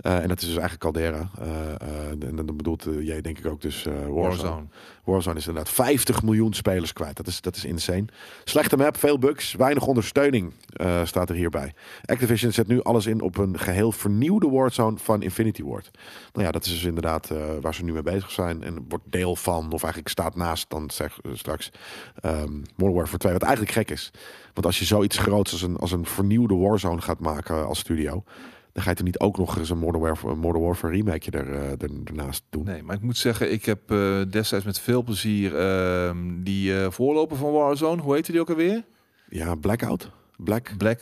[SPEAKER 1] Eh, en dat is dus eigenlijk Caldera. Eh, eh, en dan bedoelt eh, jij denk ik ook dus eh, Warzone.
[SPEAKER 2] Warzone.
[SPEAKER 1] Warzone is inderdaad 50 miljoen spelers kwijt. Dat is, dat is insane. Slechte map, veel bugs, weinig ondersteuning eh, staat er hierbij. Activision zet nu alles in op een geheel vernieuwde Warzone van Infinity Ward. Nou ja, dat is dus inderdaad eh, waar ze nu mee bezig zijn. En wordt deel van, of eigenlijk staat naast dan zeg, eh, straks ehm Modern Warfare 2. Wat eigenlijk gek is. Want als je zoiets groots als een, als een vernieuwde Warzone gaat maken eh, als studio... dan ga je toch niet ook nog eens een Modern Warfare, Modern Warfare remake er, eh, er, ernaast doen.
[SPEAKER 2] Nee, maar ik moet zeggen, ik heb eh, destijds met veel plezier ehm, die eh, voorloper van Warzone, hoe heette die ook alweer?
[SPEAKER 1] Ja, Blackout? Black,
[SPEAKER 2] Black,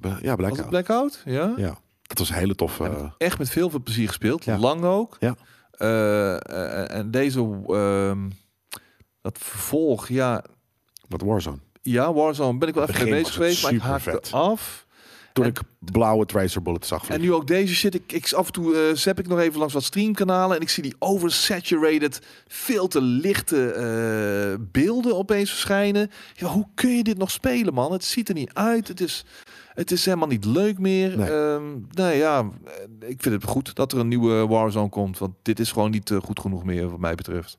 [SPEAKER 1] Bla- ja,
[SPEAKER 2] was
[SPEAKER 1] Blackout.
[SPEAKER 2] het Blackout? Ja.
[SPEAKER 1] Ja, dat was een hele toffe. eh,
[SPEAKER 2] Heb ik echt met veel, veel plezier gespeeld.
[SPEAKER 1] Ja.
[SPEAKER 2] Lang ook.
[SPEAKER 1] Ja.
[SPEAKER 2] Eh, eh, en deze, ehm, dat vervolg, ja,
[SPEAKER 1] wat Warzone.
[SPEAKER 2] ja, Warzone ben ik wel even
[SPEAKER 1] Begin
[SPEAKER 2] mee bezig
[SPEAKER 1] was het
[SPEAKER 2] geweest, maar ik haakte
[SPEAKER 1] supervet.
[SPEAKER 2] af.
[SPEAKER 1] Toen
[SPEAKER 2] En-
[SPEAKER 1] ik blauwe tracer bullets zag.
[SPEAKER 2] En
[SPEAKER 1] vliegen.
[SPEAKER 2] nu ook deze shit. Ik, ik af en toe eh zap ik nog even langs wat streamkanalen en ik zie die oversaturated, veel te lichte eh, beelden opeens verschijnen. Ja, hoe kun je dit nog spelen, man? Het ziet er niet uit. Het is, het is helemaal niet leuk meer.
[SPEAKER 1] Nee.
[SPEAKER 2] Ehm, nou ja, eh, ik vind het goed dat er een nieuwe Warzone komt, want dit is gewoon niet eh, goed genoeg meer wat mij betreft.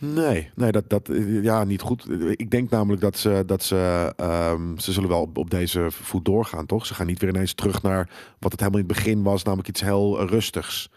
[SPEAKER 1] Nee, nee dat, dat, eh, ja, niet goed. Ik denk namelijk dat ze, dat ze, ehm, ze zullen wel op, op deze voet doorgaan, toch? Ze gaan niet weer ineens terug naar wat het helemaal in het begin was, namelijk iets heel rustigs.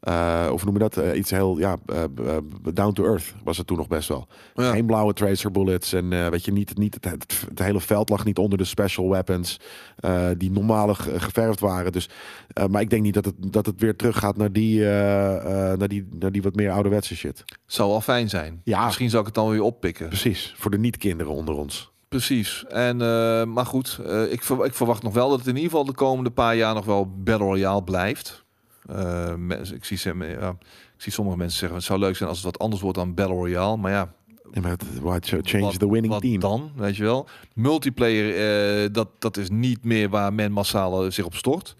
[SPEAKER 1] Eh, of noem je dat? eh, iets heel, ja, eh, eh, down to earth was het toen nog best wel.
[SPEAKER 2] Ja.
[SPEAKER 1] Geen blauwe tracer bullets en eh, weet je, niet, niet het, het, het hele veld lag niet onder de special weapons eh, die normaal ge- geverfd waren. Dus, eh, maar ik denk niet dat het, dat het weer terug gaat naar die, eh, eh, naar, die, naar die wat meer ouderwetse shit.
[SPEAKER 2] Zou wel fijn zijn.
[SPEAKER 1] Ja.
[SPEAKER 2] Misschien zou ik het dan weer oppikken.
[SPEAKER 1] Precies, voor de niet-kinderen onder ons.
[SPEAKER 2] Precies. En, eh, maar goed, eh, ik, ver- ik verwacht nog wel dat het in ieder geval de komende paar jaar nog wel Battle Royale blijft. Eh, mensen- ik, zie, ze- ja, ik zie sommige mensen zeggen, het zou leuk zijn als het wat anders wordt dan Battle Royale. Maar ja,
[SPEAKER 1] En met White Shirt change
[SPEAKER 2] wat-
[SPEAKER 1] the winning
[SPEAKER 2] wat
[SPEAKER 1] team.
[SPEAKER 2] dan? Weet je wel. Multiplayer, eh, dat, dat is niet meer waar men massaal eh, zich op stort.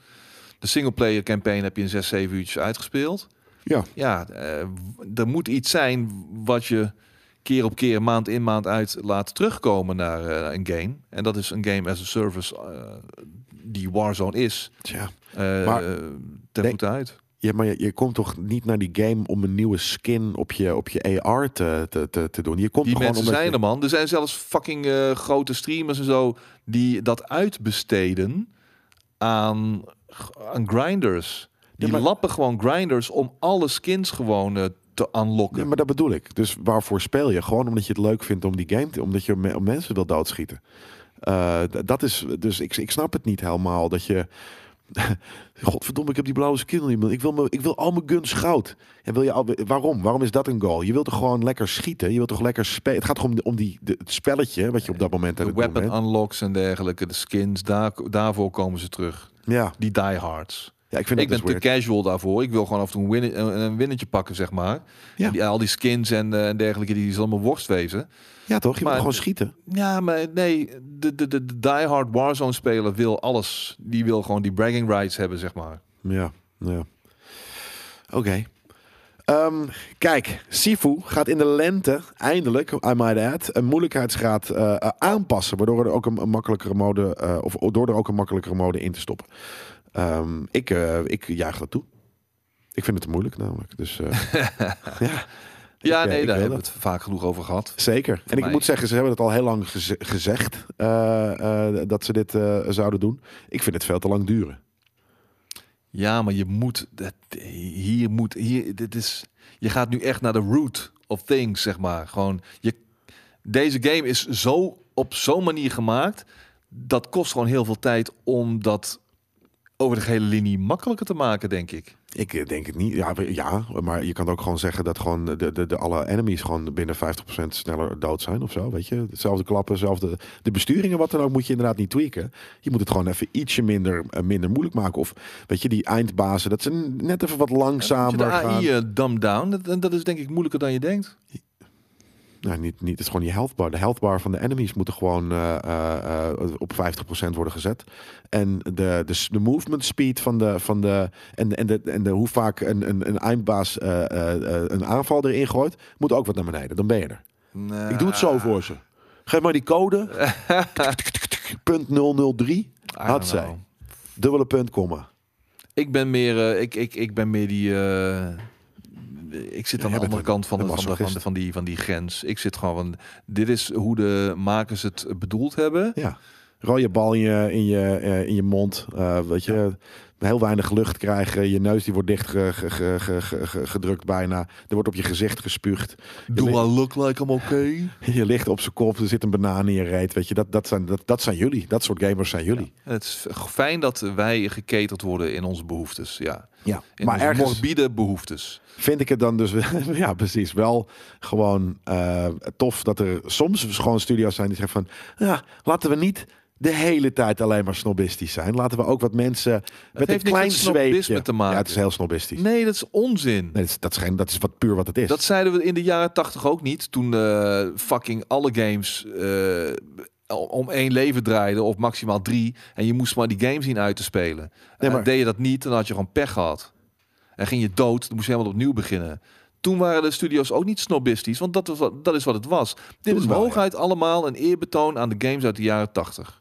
[SPEAKER 2] De singleplayer campaign heb je in 6, 7 uurtjes uitgespeeld.
[SPEAKER 1] Ja.
[SPEAKER 2] Ja, eh, w- er moet iets zijn wat je keer op keer, maand in, maand uit laat terugkomen naar eh, een game. En dat is een game as a service eh, die Warzone is.
[SPEAKER 1] Tja.
[SPEAKER 2] Eh
[SPEAKER 1] Maar-
[SPEAKER 2] eh, ten
[SPEAKER 1] Nee.
[SPEAKER 2] voeten uit.
[SPEAKER 1] Ja, maar je, je komt toch niet naar die game om een nieuwe skin op je, op je AR te, te, te, te doen? Je komt
[SPEAKER 2] Die
[SPEAKER 1] er gewoon
[SPEAKER 2] mensen
[SPEAKER 1] omdat
[SPEAKER 2] zijn
[SPEAKER 1] je-
[SPEAKER 2] er, man. Er zijn zelfs fucking eh, grote streamers en zo die dat uitbesteden aan, aan grinders. Die
[SPEAKER 1] maar-
[SPEAKER 2] lappen gewoon grinders om alle skins gewoon eh, te
[SPEAKER 1] Ja,
[SPEAKER 2] unlocken.
[SPEAKER 1] maar dat bedoel ik. Dus waarvoor speel je? Gewoon omdat je het leuk vindt om die game te... Omdat je me- mensen wil doodschieten. Eh, d- dat is... Dus ik, ik snap het niet helemaal dat je... [laughs] Godverdomme, ik heb die blauwe skin niet meer. Ik wil, me, ik wil al mijn guns goud. En wil je al, waarom? Waarom is dat een goal? Je wilt toch gewoon lekker schieten? Je wilt toch lekker spelen? Het gaat gewoon om, de- om die, de- het spelletje wat je op dat moment aan
[SPEAKER 2] De
[SPEAKER 1] het doen
[SPEAKER 2] weapon
[SPEAKER 1] bent.
[SPEAKER 2] unlocks en dergelijke, de skins, daar, daarvoor komen ze terug.
[SPEAKER 1] Ja,
[SPEAKER 2] Die diehards.
[SPEAKER 1] ja, ik vind
[SPEAKER 2] Ik
[SPEAKER 1] dat
[SPEAKER 2] ben
[SPEAKER 1] dus
[SPEAKER 2] te
[SPEAKER 1] weird.
[SPEAKER 2] casual daarvoor. Ik wil gewoon af en toe een, win- een, een winnetje pakken, zeg maar.
[SPEAKER 1] Ja.
[SPEAKER 2] Ja. Die, al die skins en, eh, en dergelijke, die zullen allemaal worst wezen.
[SPEAKER 1] Ja, toch? Je wilt
[SPEAKER 2] maar-
[SPEAKER 1] gewoon schieten.
[SPEAKER 2] Ja, maar nee, de, de, de, de diehard Warzone-speler wil alles. Die wil gewoon die bragging rights hebben, zeg maar.
[SPEAKER 1] Ja, ja. Oké. Ehm, kijk, Sifu gaat in de lente eindelijk, I might add, een moeilijkheidsgraad eh, eh, aanpassen. Waardoor er ook een, een makkelijkere mode, eh, of door er ook een makkelijkere mode in te stoppen. Ehm, ik, eh, ik juich dat toe. Ik vind het te moeilijk namelijk. Dus, eh, ja,
[SPEAKER 2] Ja,
[SPEAKER 1] Ik, eh,
[SPEAKER 2] nee,
[SPEAKER 1] ik
[SPEAKER 2] daar
[SPEAKER 1] wil
[SPEAKER 2] hebben we het vaak genoeg over gehad.
[SPEAKER 1] zeker. En ik
[SPEAKER 2] mij-
[SPEAKER 1] moet zeggen, ze hebben het al heel lang geze- gezegd eh, eh, dat ze dit eh, zouden doen. Ik vind het veel te lang duren.
[SPEAKER 2] Ja, maar je moet, dat, hier moet, hier, dit is, je gaat nu echt naar de root of things, zeg maar. Gewoon, je, deze game is zo op zo'n manier gemaakt, dat kost gewoon heel veel tijd om dat over de hele linie makkelijker te maken, denk ik.
[SPEAKER 1] Ik eh, denk het niet. Ja, we- ja, maar je kan ook gewoon zeggen dat gewoon de, de, de alle enemies gewoon binnen 50% sneller dood zijn of zo. Weet je, hetzelfde klappen, hetzelfde. De besturingen, wat dan ook, moet je inderdaad niet tweaken. Je moet het gewoon even ietsje minder, eh, minder moeilijk maken. Of weet je, die eindbazen, dat ze net even wat
[SPEAKER 2] Als je
[SPEAKER 1] langzamer
[SPEAKER 2] de
[SPEAKER 1] gaan.
[SPEAKER 2] AI eh, dumb down, dat, dat is denk ik moeilijker dan je denkt.
[SPEAKER 1] Nou, niet, niet, het is gewoon je health bar. De health bar van de enemies moeten gewoon eh, eh, eh, op 50% worden gezet. En de, de, s- de movement speed van de. Van de en, en, de, en de, hoe vaak een, een, een eindbaas eh, eh, eh, een aanval erin gooit, moet ook wat naar beneden. Dan ben je er. Ik doe het zo voor ze. Geef maar die code. punt 003. Had zij. Dubbele punt, komma.
[SPEAKER 2] Ik ben meer, eh, ik, ik, ik ben meer die. eh, ik zit aan
[SPEAKER 1] jij
[SPEAKER 2] de
[SPEAKER 1] bent
[SPEAKER 2] andere
[SPEAKER 1] een-
[SPEAKER 2] kant van,
[SPEAKER 1] een
[SPEAKER 2] de, van, de, van, de-
[SPEAKER 1] masochist.
[SPEAKER 2] van, die, van die grens. Ik zit gewoon van. Dit is hoe de makers het bedoeld hebben.
[SPEAKER 1] Ja. Rode bal in je, in je, eh, in je mond. eh weet je, heel weinig lucht krijgen. Je neus die wordt dicht ge- ge- ge- ge- ge- ge- gedrukt bijna. Er wordt op je gezicht gespuugd.
[SPEAKER 2] Do
[SPEAKER 1] Je,
[SPEAKER 2] I look like I'm okay?
[SPEAKER 1] li- [laughs] je ligt op zijn kop. Er zit een banaan in je reet. Weet je, dat, dat, zijn, dat, dat zijn jullie. Dat soort gamers zijn jullie.
[SPEAKER 2] En Het is fijn dat wij geketerd worden in onze behoeftes. Ja.
[SPEAKER 1] Ja.
[SPEAKER 2] In
[SPEAKER 1] Maar
[SPEAKER 2] onze
[SPEAKER 1] ergens
[SPEAKER 2] morbide behoeftes.
[SPEAKER 1] vind ik het dan dus... wel- [laughs] ja, precies. Wel gewoon eh, tof dat er soms gewoon studio's zijn die zeggen van... Ja, laten we niet de hele tijd alleen maar snobistisch zijn. Laten we ook wat mensen met
[SPEAKER 2] heeft
[SPEAKER 1] een klein
[SPEAKER 2] niks met snobisme
[SPEAKER 1] zweepje...
[SPEAKER 2] te maken.
[SPEAKER 1] Ja, het is heel snobistisch.
[SPEAKER 2] Nee, dat is onzin.
[SPEAKER 1] Nee, dat, is, dat, is geen- dat is wat puur wat het is.
[SPEAKER 2] Dat zeiden we in de jaren tachtig ook niet. Toen eh, fucking alle games eh, om- om één leven draaiden of maximaal drie. En je moest maar die game zien uit te spelen.
[SPEAKER 1] Nee, maar-
[SPEAKER 2] En deed je dat niet, dan had je gewoon pech gehad. En ging je dood, dan moest je helemaal opnieuw beginnen. Toen waren de studio's ook niet snobistisch, want dat, was, wat- dat is wat het was. Dit
[SPEAKER 1] Toen
[SPEAKER 2] is
[SPEAKER 1] wel, ja.
[SPEAKER 2] hooguit allemaal een eerbetoon aan de games uit de jaren tachtig.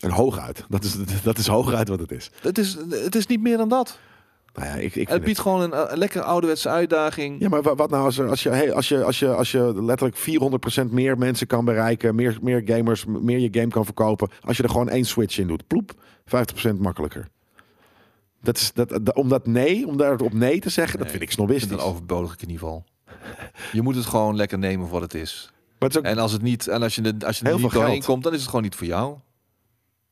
[SPEAKER 1] En hooguit. Dat is, [laughs] dat is hooguit wat het is.
[SPEAKER 2] Het is, het is niet meer dan dat.
[SPEAKER 1] Nou ja, ik, ik
[SPEAKER 2] Het
[SPEAKER 1] vind
[SPEAKER 2] biedt gewoon een, eh, lekker ouderwetse uitdaging.
[SPEAKER 1] Ja, maar wa- wat nou als, er, als, je, hey, als, je, als, je, als je letterlijk 400% meer mensen kan bereiken, meer, meer gamers, m- meer je game kan verkopen, als je er gewoon één switch in doet. Ploep, 50% makkelijker. Dat is, dat, dat- om dat nee, om daar op nee te zeggen, dat
[SPEAKER 2] Nee,
[SPEAKER 1] vind ik
[SPEAKER 2] Ik vind
[SPEAKER 1] snobistisch.
[SPEAKER 2] het een overbodig knieval. Je moet het gewoon lekker nemen voor wat het is.
[SPEAKER 1] Maar het is ook,
[SPEAKER 2] En als het niet, en als je, de- als je er
[SPEAKER 1] Heel
[SPEAKER 2] niet
[SPEAKER 1] veel
[SPEAKER 2] doorheen
[SPEAKER 1] geld.
[SPEAKER 2] komt, dan is het gewoon niet voor jou.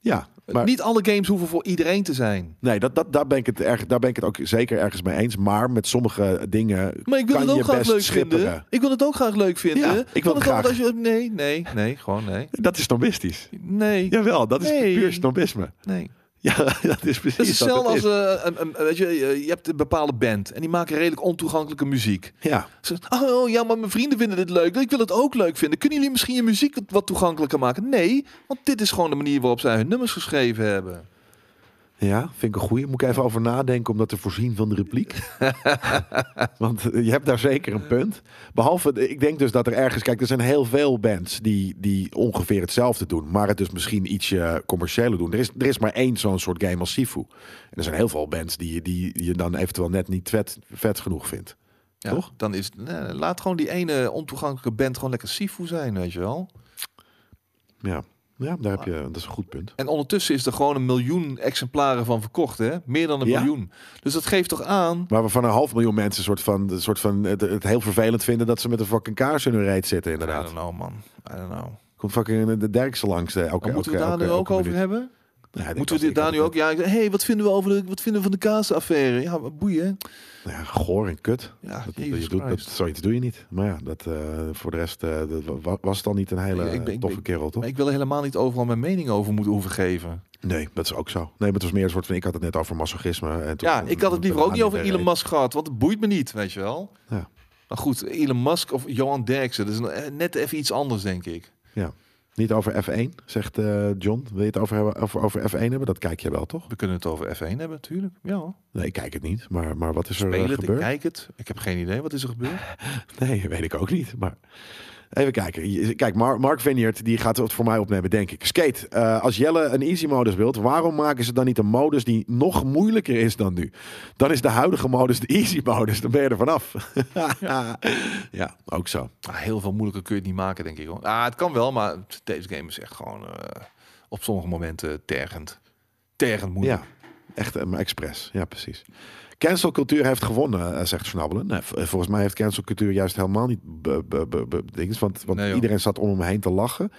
[SPEAKER 1] ja, maar
[SPEAKER 2] niet alle games hoeven voor iedereen te zijn.
[SPEAKER 1] nee, dat, dat, daar, ben ik het erg, daar ben ik het ook zeker ergens mee eens. Maar met sommige dingen
[SPEAKER 2] Maar ik wil
[SPEAKER 1] Kan
[SPEAKER 2] het ook
[SPEAKER 1] je
[SPEAKER 2] graag
[SPEAKER 1] best
[SPEAKER 2] leuk
[SPEAKER 1] schipperen.
[SPEAKER 2] vinden. Ik wil het ook graag leuk vinden.
[SPEAKER 1] Ja, ik wil
[SPEAKER 2] Want
[SPEAKER 1] het
[SPEAKER 2] kan
[SPEAKER 1] graag.
[SPEAKER 2] Als je, nee, nee, nee, gewoon nee.
[SPEAKER 1] Dat is snobistisch.
[SPEAKER 2] Nee,
[SPEAKER 1] Jawel, dat is
[SPEAKER 2] Nee.
[SPEAKER 1] puur snobisme.
[SPEAKER 2] nee.
[SPEAKER 1] [laughs] Ja, dat is precies
[SPEAKER 2] Dat is
[SPEAKER 1] wat
[SPEAKER 2] hetzelfde
[SPEAKER 1] het
[SPEAKER 2] als,
[SPEAKER 1] is.
[SPEAKER 2] eh, een, een- weet je, eh, je hebt een bepaalde band en die maken redelijk ontoegankelijke muziek.
[SPEAKER 1] Ja,
[SPEAKER 2] Ze zegt, oh ja, maar mijn vrienden vinden dit leuk. Ik wil het ook leuk vinden. Kunnen jullie misschien je muziek wat- wat toegankelijker maken? Nee, want dit is gewoon de manier waarop zij hun nummers geschreven hebben.
[SPEAKER 1] ja, vind ik een goeie. Moet ik even over nadenken om dat te voorzien van de repliek. Want eh, je hebt daar zeker een punt. Behalve, eh, ik denk dus dat er ergens... Kijk, er zijn heel veel bands die, die ongeveer hetzelfde doen. Maar het dus misschien ietsje commerciëler doen. Er is, er is maar één zo'n soort game als Sifu. En er zijn heel veel bands die, je- die je dan eventueel net niet vet, vet genoeg vindt.
[SPEAKER 2] Ja,
[SPEAKER 1] Toch?
[SPEAKER 2] Dan is, nee, laat gewoon die ene ontoegankelijke band gewoon lekker Sifu zijn, weet je wel.
[SPEAKER 1] Ja, ja daar heb je, dat is een goed punt.
[SPEAKER 2] En ondertussen is er gewoon een miljoen exemplaren van verkocht, hè? Meer dan een
[SPEAKER 1] Ja.
[SPEAKER 2] miljoen. Dus dat geeft toch aan...
[SPEAKER 1] Maar waarvan een half miljoen mensen soort van, een soort van het, het heel vervelend vinden dat ze met een fucking kaars in hun reet zitten,
[SPEAKER 2] I
[SPEAKER 1] inderdaad.
[SPEAKER 2] don't know, man. I don't know.
[SPEAKER 1] Komt fucking de Derksen langs. eh, Elke,
[SPEAKER 2] Oh, Moeten we
[SPEAKER 1] elke-
[SPEAKER 2] daar nu
[SPEAKER 1] elke-
[SPEAKER 2] ook
[SPEAKER 1] elke
[SPEAKER 2] over
[SPEAKER 1] minuut.
[SPEAKER 2] hebben?
[SPEAKER 1] Ja, dit
[SPEAKER 2] Moeten we
[SPEAKER 1] was-
[SPEAKER 2] dit daar
[SPEAKER 1] ik
[SPEAKER 2] nu
[SPEAKER 1] had
[SPEAKER 2] ook... Ja, hé, hey, wat vinden we over de, wat vinden we van de kaasaffaire? Ja, wat boeien.
[SPEAKER 1] het- Ja, goor en kut.
[SPEAKER 2] Ja,
[SPEAKER 1] Dat,
[SPEAKER 2] Jezus
[SPEAKER 1] je doet, dat,
[SPEAKER 2] Christus.
[SPEAKER 1] zoiets doe je niet. Maar ja, dat, eh, voor de rest eh, dat wa- wa- was het dan niet een hele
[SPEAKER 2] Ik- ik ben-
[SPEAKER 1] eh,
[SPEAKER 2] ik
[SPEAKER 1] toffe
[SPEAKER 2] ben-
[SPEAKER 1] kerel, toch?
[SPEAKER 2] Maar ik wil er helemaal niet overal mijn mening over moeten hoeven geven.
[SPEAKER 1] Nee, dat is ook zo. Nee, maar het was meer een soort van, ik had het net over masochisme. En toen-
[SPEAKER 2] Ja, ik had het liever ook niet over
[SPEAKER 1] Ja,
[SPEAKER 2] Elon Musk gehad, want het boeit me niet, weet je wel.
[SPEAKER 1] Ja.
[SPEAKER 2] Maar goed, Elon Musk of Johan Derksen, dat is een- eh, net even iets anders, denk ik.
[SPEAKER 1] Niet over F1, zegt eh, John. Wil je het over, hebben, over, over F1 hebben? Dat kijk je wel, toch?
[SPEAKER 2] We kunnen het over F1 hebben, natuurlijk. Ja, hoor.
[SPEAKER 1] Nee, ik kijk het niet. Maar, maar wat is er eh,
[SPEAKER 2] speel het, ik
[SPEAKER 1] gebeurd?
[SPEAKER 2] kijk het. Ik heb geen idee, wat is er gebeurd?
[SPEAKER 1] Nee, weet ik ook niet. Maar even kijken. Je- Kijk, Mar- Mark Vineyard die gaat het voor mij opnemen, denk ik. Skate, eh, als Jelle een easy modus wilt, waarom maken ze dan niet een modus die nog moeilijker is dan nu? Dan is de huidige modus de easy modus. Dan ben je er vanaf. [laughs] ja. ook zo.
[SPEAKER 2] Ah, heel veel moeilijker kun je het niet maken, denk ik. Hoor. Ah, het kan wel, maar deze game is echt gewoon eh, op sommige momenten tergend. Tergend moeilijk.
[SPEAKER 1] Ja, echt eh, maar expres. Ja, precies. Cancelcultuur heeft gewonnen, eh, zegt Snabbelen. Nee, v- eh, volgens mij heeft cancelcultuur juist helemaal niet be- be- be- be- dinges, want, want
[SPEAKER 2] Nee, joh.
[SPEAKER 1] iedereen zat om hem heen te lachen.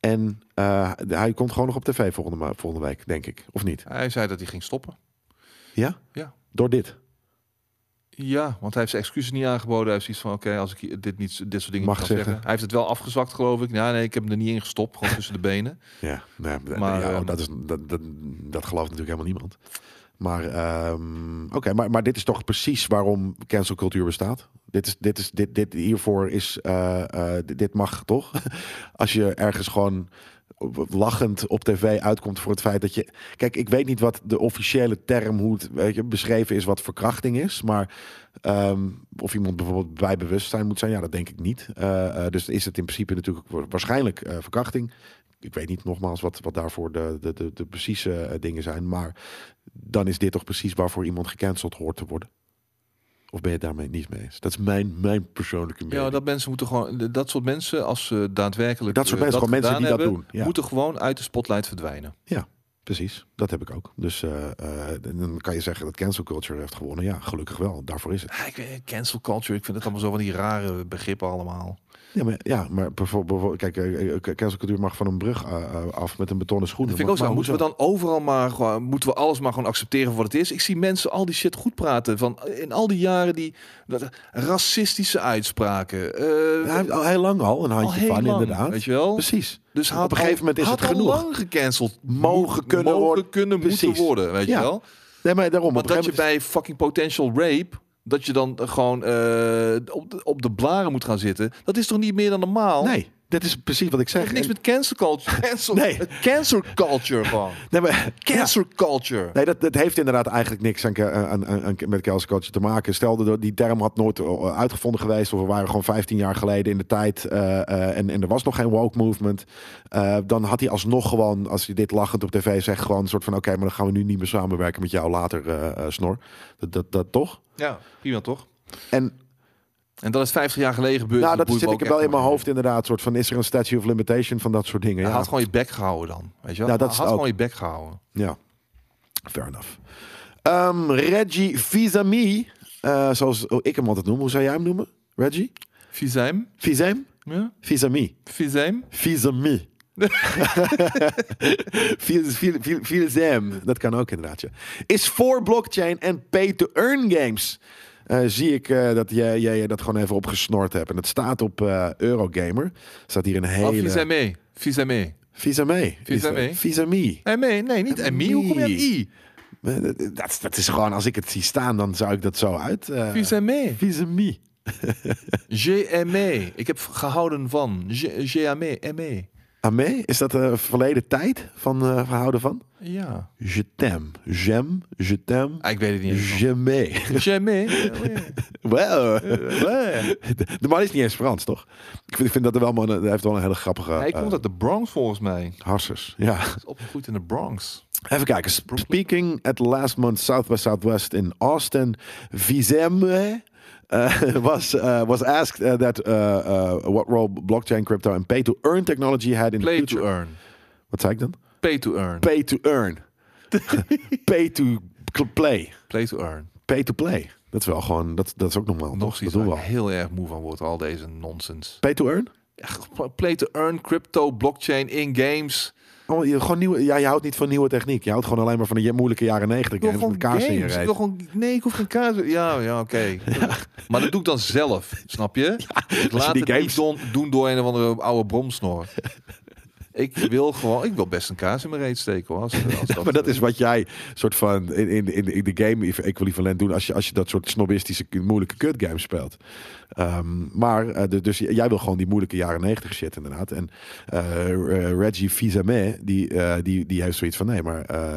[SPEAKER 1] En eh, hij komt gewoon nog op tv volgende, ma- volgende week, denk ik. Of niet?
[SPEAKER 2] Hij zei dat hij ging stoppen.
[SPEAKER 1] Ja?
[SPEAKER 2] Ja.
[SPEAKER 1] Door dit.
[SPEAKER 2] Ja, want hij heeft zijn excuses niet aangeboden. Hij heeft zoiets van, oké, als ik hier- dit, niet, dit soort dingen
[SPEAKER 1] Mag
[SPEAKER 2] niet kan
[SPEAKER 1] zeggen.
[SPEAKER 2] zeggen. Hij heeft het wel afgezwakt, geloof ik. Ja, nee, ik heb hem er niet in gestopt. Gewoon tussen de benen.
[SPEAKER 1] Ja, nou, d-
[SPEAKER 2] Maar,
[SPEAKER 1] ja,
[SPEAKER 2] ehm,
[SPEAKER 1] dat, is, dat, dat, dat gelooft natuurlijk helemaal niemand. Maar, ehm, oké, maar, maar dit is toch precies waarom cancelcultuur bestaat? Dit is, dit is, dit, dit hiervoor is, eh, eh, dit, dit mag toch? [laughs] Als je ergens gewoon lachend op tv uitkomt voor het feit dat je... Kijk, ik weet niet wat de officiële term, hoe het weet je, beschreven is, wat verkrachting is. Maar ehm, of iemand bijvoorbeeld bij bewustzijn moet zijn, ja, dat denk ik niet. Eh, eh, dus is het in principe natuurlijk wa- waarschijnlijk eh, verkrachting. Ik weet niet nogmaals wat, wat daarvoor de, de, de, de precieze eh, dingen zijn. Maar dan is dit toch precies waarvoor iemand gecanceld hoort te worden. Of ben je het daarmee niet mee eens? Dat is mijn, mijn persoonlijke mening.
[SPEAKER 2] Ja, dat mensen moeten gewoon... Dat soort mensen, als ze daadwerkelijk
[SPEAKER 1] Dat soort
[SPEAKER 2] eh,
[SPEAKER 1] mensen, gewoon mensen
[SPEAKER 2] gedaan
[SPEAKER 1] die dat
[SPEAKER 2] hebben,
[SPEAKER 1] doen, ja.
[SPEAKER 2] moeten gewoon uit de spotlight verdwijnen.
[SPEAKER 1] Precies, dat heb ik ook. Dus eh, eh, dan kan je zeggen dat cancel culture heeft gewonnen. Ja, gelukkig wel. Daarvoor is het.
[SPEAKER 2] Ja, ik weet- cancel culture, ik vind het allemaal zo van die rare begrippen allemaal.
[SPEAKER 1] Ja, maar, ja, maar bijvoorbeeld, kijk, eh, eh, cancelcultuur mag van een brug eh, eh, af met een betonnen schoen.
[SPEAKER 2] Dat vind ik ook
[SPEAKER 1] Maar-
[SPEAKER 2] zo.
[SPEAKER 1] maar
[SPEAKER 2] Moeten we
[SPEAKER 1] hoezo?
[SPEAKER 2] dan overal maar gewoon, moeten we alles maar gewoon accepteren voor wat het is? Ik zie mensen al die shit goed praten van eh, in al die jaren die dat, racistische uitspraken. eh,
[SPEAKER 1] Hij heeft al heel lang al een
[SPEAKER 2] al
[SPEAKER 1] handje
[SPEAKER 2] heel
[SPEAKER 1] van,
[SPEAKER 2] lang,
[SPEAKER 1] inderdaad.
[SPEAKER 2] Weet je wel?
[SPEAKER 1] Precies.
[SPEAKER 2] Dus had
[SPEAKER 1] op een gegeven
[SPEAKER 2] al-
[SPEAKER 1] moment is
[SPEAKER 2] had
[SPEAKER 1] het
[SPEAKER 2] al
[SPEAKER 1] genoeg.
[SPEAKER 2] lang gecanceld
[SPEAKER 1] Mogen kunnen
[SPEAKER 2] mogen
[SPEAKER 1] worden.
[SPEAKER 2] kunnen
[SPEAKER 1] Precies.
[SPEAKER 2] moeten worden, weet
[SPEAKER 1] Ja.
[SPEAKER 2] je wel?
[SPEAKER 1] Nee, maar daarom.
[SPEAKER 2] Maar
[SPEAKER 1] op een
[SPEAKER 2] dat je
[SPEAKER 1] gegeven
[SPEAKER 2] bij fucking potential rape dat je dan eh, gewoon eh, op, de, op de blaren moet gaan zitten, dat is toch niet meer dan normaal?
[SPEAKER 1] moment... Nee, dat is precies wat ik
[SPEAKER 2] Het
[SPEAKER 1] zeg.
[SPEAKER 2] heeft niks
[SPEAKER 1] En-
[SPEAKER 2] met cancel culture.
[SPEAKER 1] [laughs]
[SPEAKER 2] Cancel,
[SPEAKER 1] Nee.
[SPEAKER 2] het Cancel culture gewoon.
[SPEAKER 1] Nee, maar... Ja.
[SPEAKER 2] Cancel culture.
[SPEAKER 1] Nee, dat, dat heeft inderdaad eigenlijk niks aan, aan, aan, aan- met Kelsey Coach te maken. Stel, dat die term had nooit eh, uitgevonden geweest. Of we waren gewoon 15 jaar geleden in de tijd. eh, eh, en, en er was nog geen woke movement. eh, dan had hij alsnog gewoon, als hij dit lachend op tv zegt, gewoon een soort van: oké, maar dan gaan we nu niet meer samenwerken met jou later, eh, eh, Snor. Dat, dat, dat toch?
[SPEAKER 2] Ja, prima toch?
[SPEAKER 1] En
[SPEAKER 2] En dat is 50 jaar geleden gebeurd. dus
[SPEAKER 1] nou,
[SPEAKER 2] boeit
[SPEAKER 1] dat
[SPEAKER 2] me
[SPEAKER 1] zit
[SPEAKER 2] ook
[SPEAKER 1] ik er
[SPEAKER 2] echt
[SPEAKER 1] wel in mijn
[SPEAKER 2] maar.
[SPEAKER 1] hoofd, inderdaad. Soort van: is er een statue of limitation van dat soort dingen?
[SPEAKER 2] Hij
[SPEAKER 1] Ja,
[SPEAKER 2] had gewoon je bek gehouden dan. Weet je wel?
[SPEAKER 1] Ja, dat is
[SPEAKER 2] Hij had
[SPEAKER 1] het ook.
[SPEAKER 2] gewoon je bek gehouden.
[SPEAKER 1] Ja, fair enough. Ehm, Reggie Fizami, eh, zoals ik hem altijd noem. Hoe zou jij hem noemen? Reggie?
[SPEAKER 2] Vizem?
[SPEAKER 1] Fizem?
[SPEAKER 2] Ja?
[SPEAKER 1] Fizami.
[SPEAKER 2] Vizem?
[SPEAKER 1] [laughs] Fizami. Fiz- fil- fil- Filzem, dat kan ook inderdaad. ja. Is voor blockchain en pay-to-earn games. Eh, zie ik eh, dat jij, jij dat gewoon even opgesnort hebt. En dat staat op eh, Eurogamer. Staat hier een
[SPEAKER 2] Oh,
[SPEAKER 1] hele...
[SPEAKER 2] Vizemé. Vizemé.
[SPEAKER 1] Fizami.
[SPEAKER 2] Fizami.
[SPEAKER 1] Fizami.
[SPEAKER 2] En mee? E. Nee, niet en
[SPEAKER 1] E.
[SPEAKER 2] mie. Hoe kom je aan i?
[SPEAKER 1] Eh, Dat, dat is gewoon, als ik het zie staan, dan zou ik dat zo uit. eh,
[SPEAKER 2] Vizemé.
[SPEAKER 1] Visami.
[SPEAKER 2] GME. E. Ik heb gehouden van. GME. ME.
[SPEAKER 1] Amé, is dat de verleden tijd van eh verhouden van?
[SPEAKER 2] Ja.
[SPEAKER 1] Je t'aime. J'aime, je t'aime,
[SPEAKER 2] Ah, ik weet het niet.
[SPEAKER 1] jamais. [laughs]
[SPEAKER 2] GME.
[SPEAKER 1] Wow. Eh, [laughs] De man is niet eens Frans, toch? Ik vind, ik vind dat er wel, man, hij heeft wel een hele grappige...
[SPEAKER 2] Hij
[SPEAKER 1] eh,
[SPEAKER 2] komt uit de Bronx volgens mij.
[SPEAKER 1] harsers, ja.
[SPEAKER 2] Hij is opgegroeid in de Bronx.
[SPEAKER 1] Even kijken. Speaking at last month's South by Southwest in Austin, Vizeme uh, [laughs] was uh, was asked uh, that uh, uh, what role blockchain, crypto, and pay to earn technology had in
[SPEAKER 2] Play
[SPEAKER 1] the future.
[SPEAKER 2] to earn.
[SPEAKER 1] Wat zei ik dan?
[SPEAKER 2] Pay to earn.
[SPEAKER 1] Pay to
[SPEAKER 2] [laughs]
[SPEAKER 1] earn. pay to cl- play.
[SPEAKER 2] Play to earn.
[SPEAKER 1] Pay to play. Dat is wel gewoon. Dat, dat is ook normaal.
[SPEAKER 2] Nog
[SPEAKER 1] toch? Dat
[SPEAKER 2] iets
[SPEAKER 1] doen
[SPEAKER 2] waar
[SPEAKER 1] we
[SPEAKER 2] ik
[SPEAKER 1] al.
[SPEAKER 2] heel erg moe van wordt. Al deze nonsens.
[SPEAKER 1] Pay to earn.
[SPEAKER 2] Echt, Play to earn, crypto, blockchain, in games.
[SPEAKER 1] Oh, je, gewoon nieuwe. Ja, je houdt niet van nieuwe techniek. Je houdt gewoon alleen maar van de je- moeilijke jaren negentig
[SPEAKER 2] Ik wil
[SPEAKER 1] games
[SPEAKER 2] gewoon
[SPEAKER 1] met kaars in je
[SPEAKER 2] games. Ik wil
[SPEAKER 1] reet.
[SPEAKER 2] gewoon, nee, ik hoef geen kaars. Ja, [laughs] ja, oké. Maar dat doe ik dan zelf, snap je? ik laat
[SPEAKER 1] die
[SPEAKER 2] het
[SPEAKER 1] games-
[SPEAKER 2] niet don- doen door een of andere oude [laughs] bromsnor. ik wil gewoon, ik wil best een kaars in mijn reet steken. Hoor, als, als dat, eh,
[SPEAKER 1] Maar dat is wat jij soort van in, in, in, in de game equivalent doen als je, als je dat soort snobistische moeilijke kut games speelt. Ehm, maar eh, de- dus jij wil gewoon die moeilijke jaren negentig shit inderdaad. En eh, eh, Reggie Fizame die, eh, die, die heeft zoiets van nee, maar eh,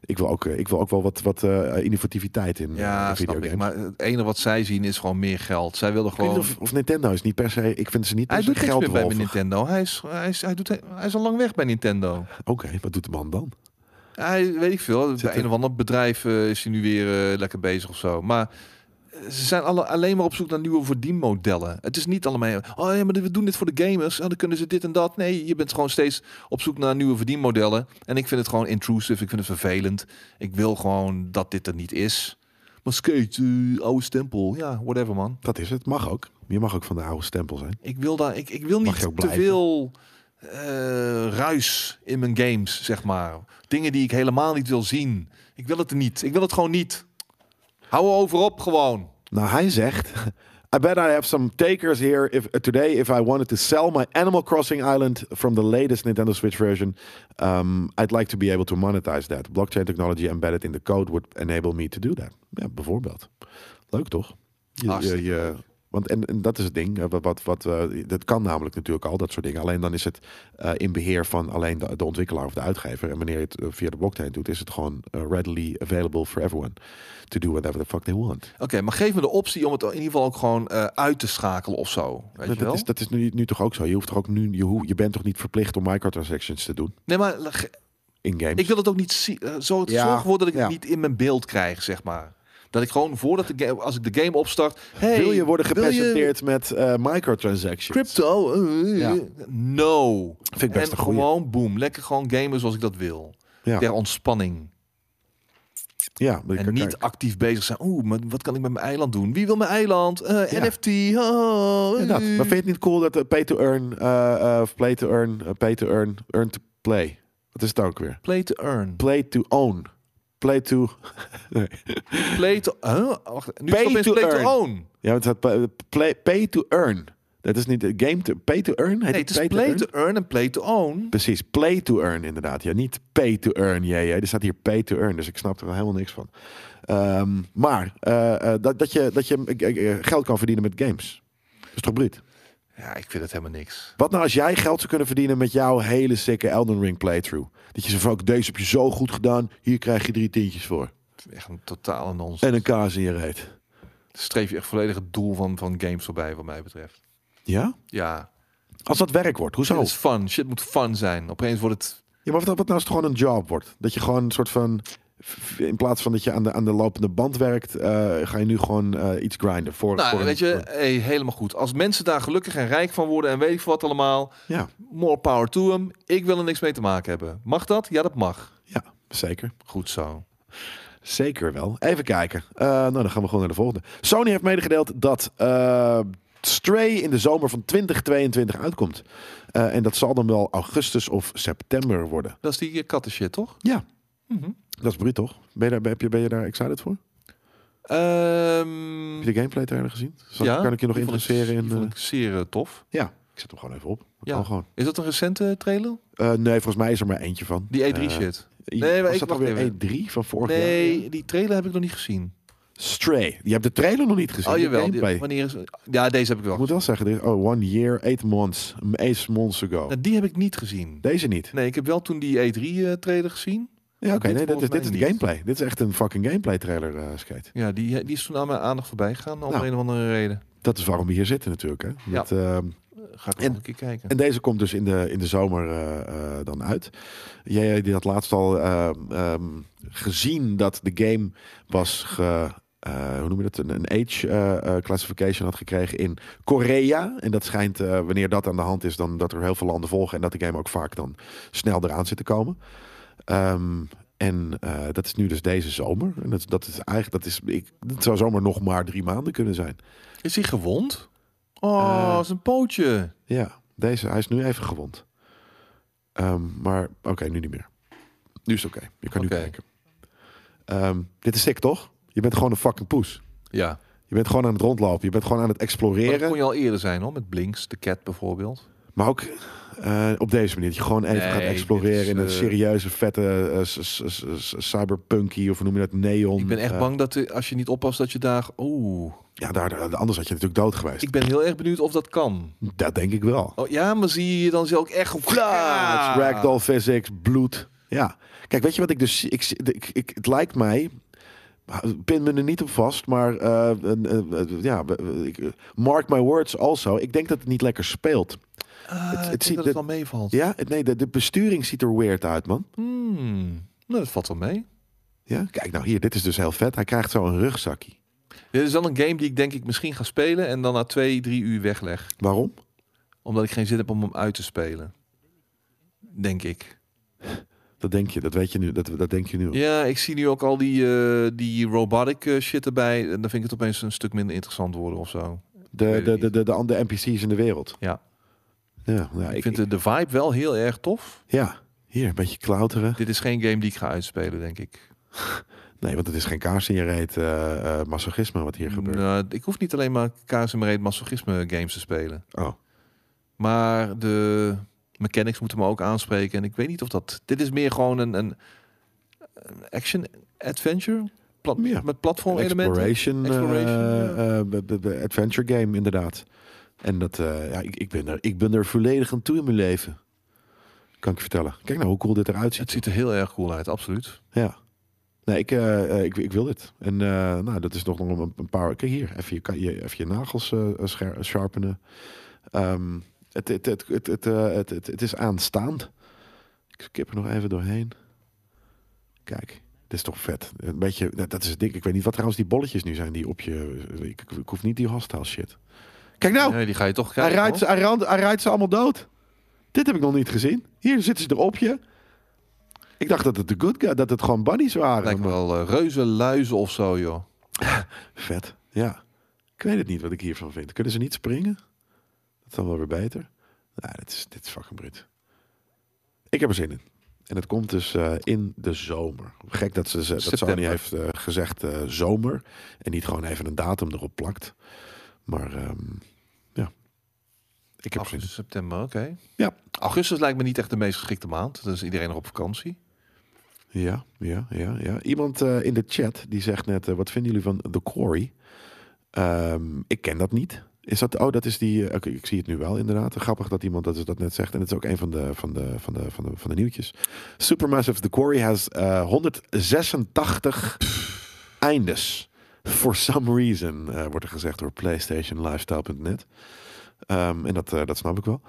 [SPEAKER 1] ik, wil ook, eh, ik wil ook wel wat, wat eh, innovativiteit in
[SPEAKER 2] ja,
[SPEAKER 1] eh,
[SPEAKER 2] snap
[SPEAKER 1] videogames.
[SPEAKER 2] ik. Maar het enige wat zij zien is gewoon meer geld. Zij willen
[SPEAKER 1] Ik weet
[SPEAKER 2] gewoon.
[SPEAKER 1] niet of, of Nintendo is niet per se. Ik vind ze niet per
[SPEAKER 2] Hij
[SPEAKER 1] se
[SPEAKER 2] doet niks meer bij
[SPEAKER 1] geldwolven.
[SPEAKER 2] Nintendo. Hij is, hij, is, hij, doet, hij is al lang weg bij
[SPEAKER 1] [laughs]
[SPEAKER 2] Nintendo.
[SPEAKER 1] Oké, wat doet de man dan?
[SPEAKER 2] Hij, weet ik veel. bij
[SPEAKER 1] er-
[SPEAKER 2] een of ander bedrijf eh, is hij nu weer eh, lekker bezig of zo. Maar eh, ze zijn alle, alleen maar op zoek naar nieuwe verdienmodellen. Het is niet allemaal... Oh ja, maar we doen dit voor de gamers. Oh, dan kunnen ze dit en dat. Nee, je bent gewoon steeds op zoek naar nieuwe verdienmodellen. En ik vind het gewoon intrusive. Ik vind het vervelend. Ik wil gewoon dat dit er niet is. Maar skate, eh, oude stempel. Ja, whatever man.
[SPEAKER 1] Dat is het. Mag ook. Je mag ook van de oude stempel zijn.
[SPEAKER 2] Ik wil, daar, ik, ik wil
[SPEAKER 1] Mag je
[SPEAKER 2] niet
[SPEAKER 1] ook
[SPEAKER 2] te
[SPEAKER 1] blijven.
[SPEAKER 2] veel eh, ruis in mijn games, zeg maar. Dingen die ik helemaal niet wil zien. Ik wil het niet. Ik wil het gewoon niet. Hou erover op gewoon.
[SPEAKER 1] Nou, hij zegt... I bet I have some takers here if, today if I wanted to sell my Animal Crossing Island from the latest Nintendo Switch version. Um, I'd like to be able to monetize that. Blockchain technology embedded in the code would enable me to do that. Ja, bijvoorbeeld. Leuk toch? Je, je,
[SPEAKER 2] Hartstikke
[SPEAKER 1] je- want en, en dat is het ding. eh, Wat, wat, wat, eh, dat kan namelijk natuurlijk al, dat soort dingen. Alleen dan is het eh, in beheer van alleen de, de ontwikkelaar of de uitgever. En wanneer je het eh, via de blockchain doet, is het gewoon eh, readily available for everyone. To do whatever the fuck they want.
[SPEAKER 2] Oké, maar geef me de optie om het in ieder geval ook gewoon eh, uit te schakelen of zo. Weet
[SPEAKER 1] Dat,
[SPEAKER 2] je wel?
[SPEAKER 1] dat is, dat is nu, nu toch ook zo. Je hoeft toch ook nu, je, hoe- je bent toch niet verplicht om microtransactions te doen
[SPEAKER 2] Nee, maar ge-
[SPEAKER 1] in games.
[SPEAKER 2] ik wil het ook niet zien. eh, zo
[SPEAKER 1] Ja,
[SPEAKER 2] zorg ervoor dat ik
[SPEAKER 1] ja.
[SPEAKER 2] het niet in mijn beeld krijg, zeg maar. Dat ik gewoon voordat de game, als ik de game opstart. Hey,
[SPEAKER 1] wil je worden
[SPEAKER 2] wil je
[SPEAKER 1] gepresenteerd met eh, microtransactions?
[SPEAKER 2] Crypto? eh,
[SPEAKER 1] Ja.
[SPEAKER 2] No.
[SPEAKER 1] Vind ik best
[SPEAKER 2] en
[SPEAKER 1] een goeie.
[SPEAKER 2] gewoon boom. Lekker gewoon gamen zoals ik dat wil.
[SPEAKER 1] Ja.
[SPEAKER 2] Ter ontspanning.
[SPEAKER 1] Ja, maar ik
[SPEAKER 2] en niet
[SPEAKER 1] kijk.
[SPEAKER 2] actief bezig zijn. Oeh, maar wat kan ik met mijn eiland doen? Wie wil mijn eiland? Eh,
[SPEAKER 1] Ja.
[SPEAKER 2] NFT. Oh, eh.
[SPEAKER 1] Inderdaad. Maar vind je het niet cool dat eh, pay to earn, eh, eh, of play to earn, eh, pay to earn, earn to play? Wat is het dan ook weer?
[SPEAKER 2] Play to earn.
[SPEAKER 1] Play to own. Play to... [laughs] Nee.
[SPEAKER 2] Play to... Huh? Oh, Wacht, nu
[SPEAKER 1] Pay
[SPEAKER 2] is het opeens
[SPEAKER 1] to
[SPEAKER 2] play
[SPEAKER 1] earn.
[SPEAKER 2] to own.
[SPEAKER 1] Ja, want het staat pa- eh, play, pay to earn. Dat is niet eh, game to... Pay to earn? Heet
[SPEAKER 2] Nee, het is play,
[SPEAKER 1] earn?
[SPEAKER 2] to earn en play to own.
[SPEAKER 1] Precies, play to earn inderdaad. Ja, niet pay to earn. Ja, ja. Er staat hier pay to earn, dus ik snap er helemaal niks van. Ehm, maar eh, eh, dat, dat je, dat je eh, eh, geld kan verdienen met games. Dat is toch bruut?
[SPEAKER 2] Ja, ik vind het helemaal niks.
[SPEAKER 1] Wat nou als jij geld zou kunnen verdienen met jouw hele sikke Elden Ring playthrough? Dat je zegt van, "Fuck, deze heb je zo goed gedaan, hier krijg je drie tientjes voor.
[SPEAKER 2] Het is Echt een totale nonsens.
[SPEAKER 1] En een kaas in je reet.
[SPEAKER 2] Streef je echt volledig het doel van, van games voorbij, wat mij betreft.
[SPEAKER 1] Ja?
[SPEAKER 2] Ja,
[SPEAKER 1] Als dat werk wordt, hoezo?
[SPEAKER 2] het is fun. Shit moet fun zijn. Opeens wordt het...
[SPEAKER 1] Ja, maar wat, wat nou als het gewoon een job wordt? Dat je gewoon een soort van... f- In plaats van dat je aan de, aan de lopende band werkt, eh, ga je nu gewoon eh, iets grinden. Voor,
[SPEAKER 2] Nou,
[SPEAKER 1] voor een-
[SPEAKER 2] weet
[SPEAKER 1] voor-
[SPEAKER 2] je, hey, helemaal goed. Als mensen daar gelukkig en rijk van worden en weet ik veel wat allemaal,
[SPEAKER 1] Ja,
[SPEAKER 2] more power to them. Ik wil er niks mee te maken hebben. Mag dat? Ja, dat mag.
[SPEAKER 1] ja, zeker.
[SPEAKER 2] Goed zo.
[SPEAKER 1] Zeker wel. Even kijken. Eh, nou, dan gaan we gewoon naar de volgende. Sony heeft medegedeeld dat eh, Stray in de zomer van 2022 uitkomt. Eh, en dat zal dan wel augustus of september worden.
[SPEAKER 2] Dat is die eh, katten shit, toch?
[SPEAKER 1] Ja,
[SPEAKER 2] Mhm.
[SPEAKER 1] dat is bruut toch? Ben je daar, heb je, ben je daar excited voor?
[SPEAKER 2] Ehm,
[SPEAKER 1] Heb je de gameplay trailer gezien? Zal, kan ik je nog
[SPEAKER 2] die vond
[SPEAKER 1] interesseren
[SPEAKER 2] die
[SPEAKER 1] in...
[SPEAKER 2] vond
[SPEAKER 1] eh,
[SPEAKER 2] ik zeer eh, tof.
[SPEAKER 1] ja, ik zet hem gewoon even op. Dat
[SPEAKER 2] Ja.
[SPEAKER 1] kan gewoon.
[SPEAKER 2] Is dat een recente trailer?
[SPEAKER 1] Eh, nee, volgens mij is er maar eentje van.
[SPEAKER 2] Die E3
[SPEAKER 1] Eh,
[SPEAKER 2] shit.
[SPEAKER 1] was
[SPEAKER 2] Nee, maar ik
[SPEAKER 1] dat
[SPEAKER 2] wacht
[SPEAKER 1] alweer
[SPEAKER 2] even.
[SPEAKER 1] E3 van vorig jaar?
[SPEAKER 2] Nee, die trailer heb ik nog niet gezien.
[SPEAKER 1] Stray. Je hebt de trailer nog niet gezien.
[SPEAKER 2] oh
[SPEAKER 1] de
[SPEAKER 2] jawel. Die,
[SPEAKER 1] gameplay.
[SPEAKER 2] wanneer is, ja, deze heb ik wel.
[SPEAKER 1] Ik moet wel zeggen, dit- oh, one year, eight months, eight months ago.
[SPEAKER 2] Nou, die heb ik niet gezien.
[SPEAKER 1] Deze niet.
[SPEAKER 2] Nee, ik heb wel toen die E E3-trailer gezien.
[SPEAKER 1] Ja, oké,
[SPEAKER 2] dit
[SPEAKER 1] nee, dit, is,
[SPEAKER 2] volgens
[SPEAKER 1] dit is
[SPEAKER 2] mij
[SPEAKER 1] de
[SPEAKER 2] niet.
[SPEAKER 1] gameplay. Dit is echt een fucking gameplay trailer, eh, Skate.
[SPEAKER 2] Ja, die, die is toen aan mijn aandacht voorbij gegaan, om
[SPEAKER 1] Nou.
[SPEAKER 2] een of andere reden.
[SPEAKER 1] Dat is waarom we hier zitten natuurlijk. Hè? Met, ehm,
[SPEAKER 2] Ga ik
[SPEAKER 1] En-
[SPEAKER 2] nog een keer kijken.
[SPEAKER 1] en deze komt dus in de, in de zomer eh, eh, dan uit. Jij eh, die had laatst al ehm, ehm, gezien dat de game was ge, eh, hoe noem je dat? Een, een age eh, eh, classification had gekregen in Korea. En dat schijnt, eh, wanneer dat aan de hand is, dan dat er heel veel landen volgen. En dat de game ook vaak dan snel eraan zit te komen. Ehm, en eh, dat is nu dus deze zomer. En dat, dat is eigenlijk, dat is, ik, het zou zomaar nog maar drie maanden kunnen zijn.
[SPEAKER 2] Is hij gewond? Oh,
[SPEAKER 1] Eh,
[SPEAKER 2] zijn pootje.
[SPEAKER 1] Ja, deze, hij is nu even gewond. Ehm, maar oké, nu niet meer. Nu is het oké. Je kan
[SPEAKER 2] Oké.
[SPEAKER 1] nu kijken. Ehm, dit is sick, toch? Je bent gewoon een fucking poes.
[SPEAKER 2] Ja.
[SPEAKER 1] Je bent gewoon aan het rondlopen. Je bent gewoon aan het
[SPEAKER 2] Maar
[SPEAKER 1] exploreren.
[SPEAKER 2] dat kon
[SPEAKER 1] Maar,
[SPEAKER 2] je al eerder zijn, hoor. Met Blinks, de cat bijvoorbeeld.
[SPEAKER 1] ook eh, op deze manier. Dat je gewoon even
[SPEAKER 2] Nee,
[SPEAKER 1] gaat exploreren
[SPEAKER 2] dit is,
[SPEAKER 1] in een
[SPEAKER 2] eh,
[SPEAKER 1] serieuze, vette eh, s- s- s- s- cyberpunky of hoe noem je dat? Neon.
[SPEAKER 2] Ik ben echt
[SPEAKER 1] eh,
[SPEAKER 2] bang dat eh, als je niet oppast dat je daar... Oeh.
[SPEAKER 1] Ja, daar, daar- anders had je natuurlijk dood geweest.
[SPEAKER 2] Ik ben heel erg benieuwd of dat kan.
[SPEAKER 1] Dat denk ik wel.
[SPEAKER 2] Oh, ja, maar zie je dan zelf ook echt... op-
[SPEAKER 1] Ja,
[SPEAKER 2] Ja.
[SPEAKER 1] het is ragdoll physics, bloed. Ja. Kijk, weet je wat ik dus zie? Ik, zie- ik, ik, het lijkt mij... Pin me er niet op vast, maar eh, een- een- een- ja, we- ik- eh, mark my words also. Ik denk dat het niet lekker speelt.
[SPEAKER 2] Ah, ik
[SPEAKER 1] het
[SPEAKER 2] denk
[SPEAKER 1] ziet-
[SPEAKER 2] dat het wel meevalt.
[SPEAKER 1] Ja, het- nee, de, de besturing ziet er weird uit, man.
[SPEAKER 2] Hmm. Nou, dat valt wel mee.
[SPEAKER 1] Ja, kijk nou hier, dit is dus heel vet. Hij krijgt zo een rugzakje.
[SPEAKER 2] Dit is dan een game die ik denk ik misschien ga spelen... en dan na twee, drie uur wegleg.
[SPEAKER 1] Waarom?
[SPEAKER 2] Omdat ik geen zin heb om hem uit te spelen. Denk ik.
[SPEAKER 1] Dat denk je, dat weet je nu, dat, dat denk je nu.
[SPEAKER 2] Ja, ik zie nu ook al die, eh, die robotic eh, shit erbij. En dan vind ik het opeens een stuk minder interessant worden of zo.
[SPEAKER 1] De, de, de, de, de andere NPC's in de wereld.
[SPEAKER 2] Ja.
[SPEAKER 1] Ja, nou,
[SPEAKER 2] ik vind de, de vibe wel heel erg tof.
[SPEAKER 1] ja, hier, een beetje klauteren.
[SPEAKER 2] Dit is geen game die ik ga uitspelen, denk ik.
[SPEAKER 1] Nee, want het is geen kaars in je reet eh, eh, masochisme wat hier gebeurt.
[SPEAKER 2] Nou, ik hoef niet alleen maar kaas en reet masochisme games te spelen.
[SPEAKER 1] Oh,
[SPEAKER 2] Maar de mechanics moeten me ook aanspreken. En ik weet niet of dat... Dit is meer gewoon een, een een action adventure. Plat,
[SPEAKER 1] Ja.
[SPEAKER 2] Met platform elementen.
[SPEAKER 1] exploration, eh,
[SPEAKER 2] Exploration,
[SPEAKER 1] eh, b- b- b- adventure game inderdaad. En dat, eh, ja, ik, ik, ben er, ik ben er volledig aan toe in mijn leven. Kan ik je vertellen. Kijk nou hoe cool dit eruit ziet.
[SPEAKER 2] Het ziet er heel erg cool uit, absoluut.
[SPEAKER 1] Ja. Nee, ik, eh, eh, ik, ik wil dit. En eh, nou, dat is nog nog een, een paar... Kijk hier, even je, kan je, even je nagels eh, scher- sharpenen. Ehm, het, het, het, het, het, eh, het, het, het is aanstaand. Ik skip er nog even doorheen. Kijk, dit is toch vet. Een beetje, nou, dat, dat is het ding. Ik weet niet wat trouwens die bolletjes nu zijn die op je... Ik, ik, ik hoef niet die hostile shit. Kijk nou!
[SPEAKER 2] Nee, die ga je
[SPEAKER 1] Hij
[SPEAKER 2] toch krijgen.
[SPEAKER 1] rijdt,
[SPEAKER 2] hoor.
[SPEAKER 1] ze, hij, ran- hij rijdt ze allemaal dood. Dit heb ik nog niet gezien. Hier zitten ze erop je. Ik dacht dat het de good guy, dat het gewoon bunnies waren.
[SPEAKER 2] Lijkt me
[SPEAKER 1] maar-
[SPEAKER 2] wel eh, reuze luizen of zo, joh.
[SPEAKER 1] Vet, ja. Ik weet het niet wat ik hiervan vind. Kunnen ze niet springen? Dat is dan wel weer beter. Nou, dit is, dit is fucking brut. Ik heb er zin in. En het komt dus eh, in de zomer. Gek dat, ze, ze- dat Sony
[SPEAKER 2] September.
[SPEAKER 1] heeft eh, gezegd eh, zomer. En niet gewoon even een datum erop plakt. Maar ehm, ja. Ik heb er zin in.
[SPEAKER 2] Augustus, september, oké.
[SPEAKER 1] Ja.
[SPEAKER 2] Augustus lijkt me niet echt de meest geschikte maand. Dan is iedereen nog op vakantie.
[SPEAKER 1] Ja, ja, ja, ja. Iemand eh, in de chat die zegt net: eh, wat vinden jullie van The Quarry? Ehm, ik ken dat niet. Is dat, oh, dat is die. eh, Oké, ik zie het nu wel inderdaad. Grappig dat iemand dat, dat net zegt. En het is ook een van de, van de, van de, van de, van de nieuwtjes. Supermassive The Quarry has eh, 186 eindes. For some reason, eh, wordt er gezegd door PlayStationLifestyle.net. Ehm, en dat, eh, dat snap ik wel.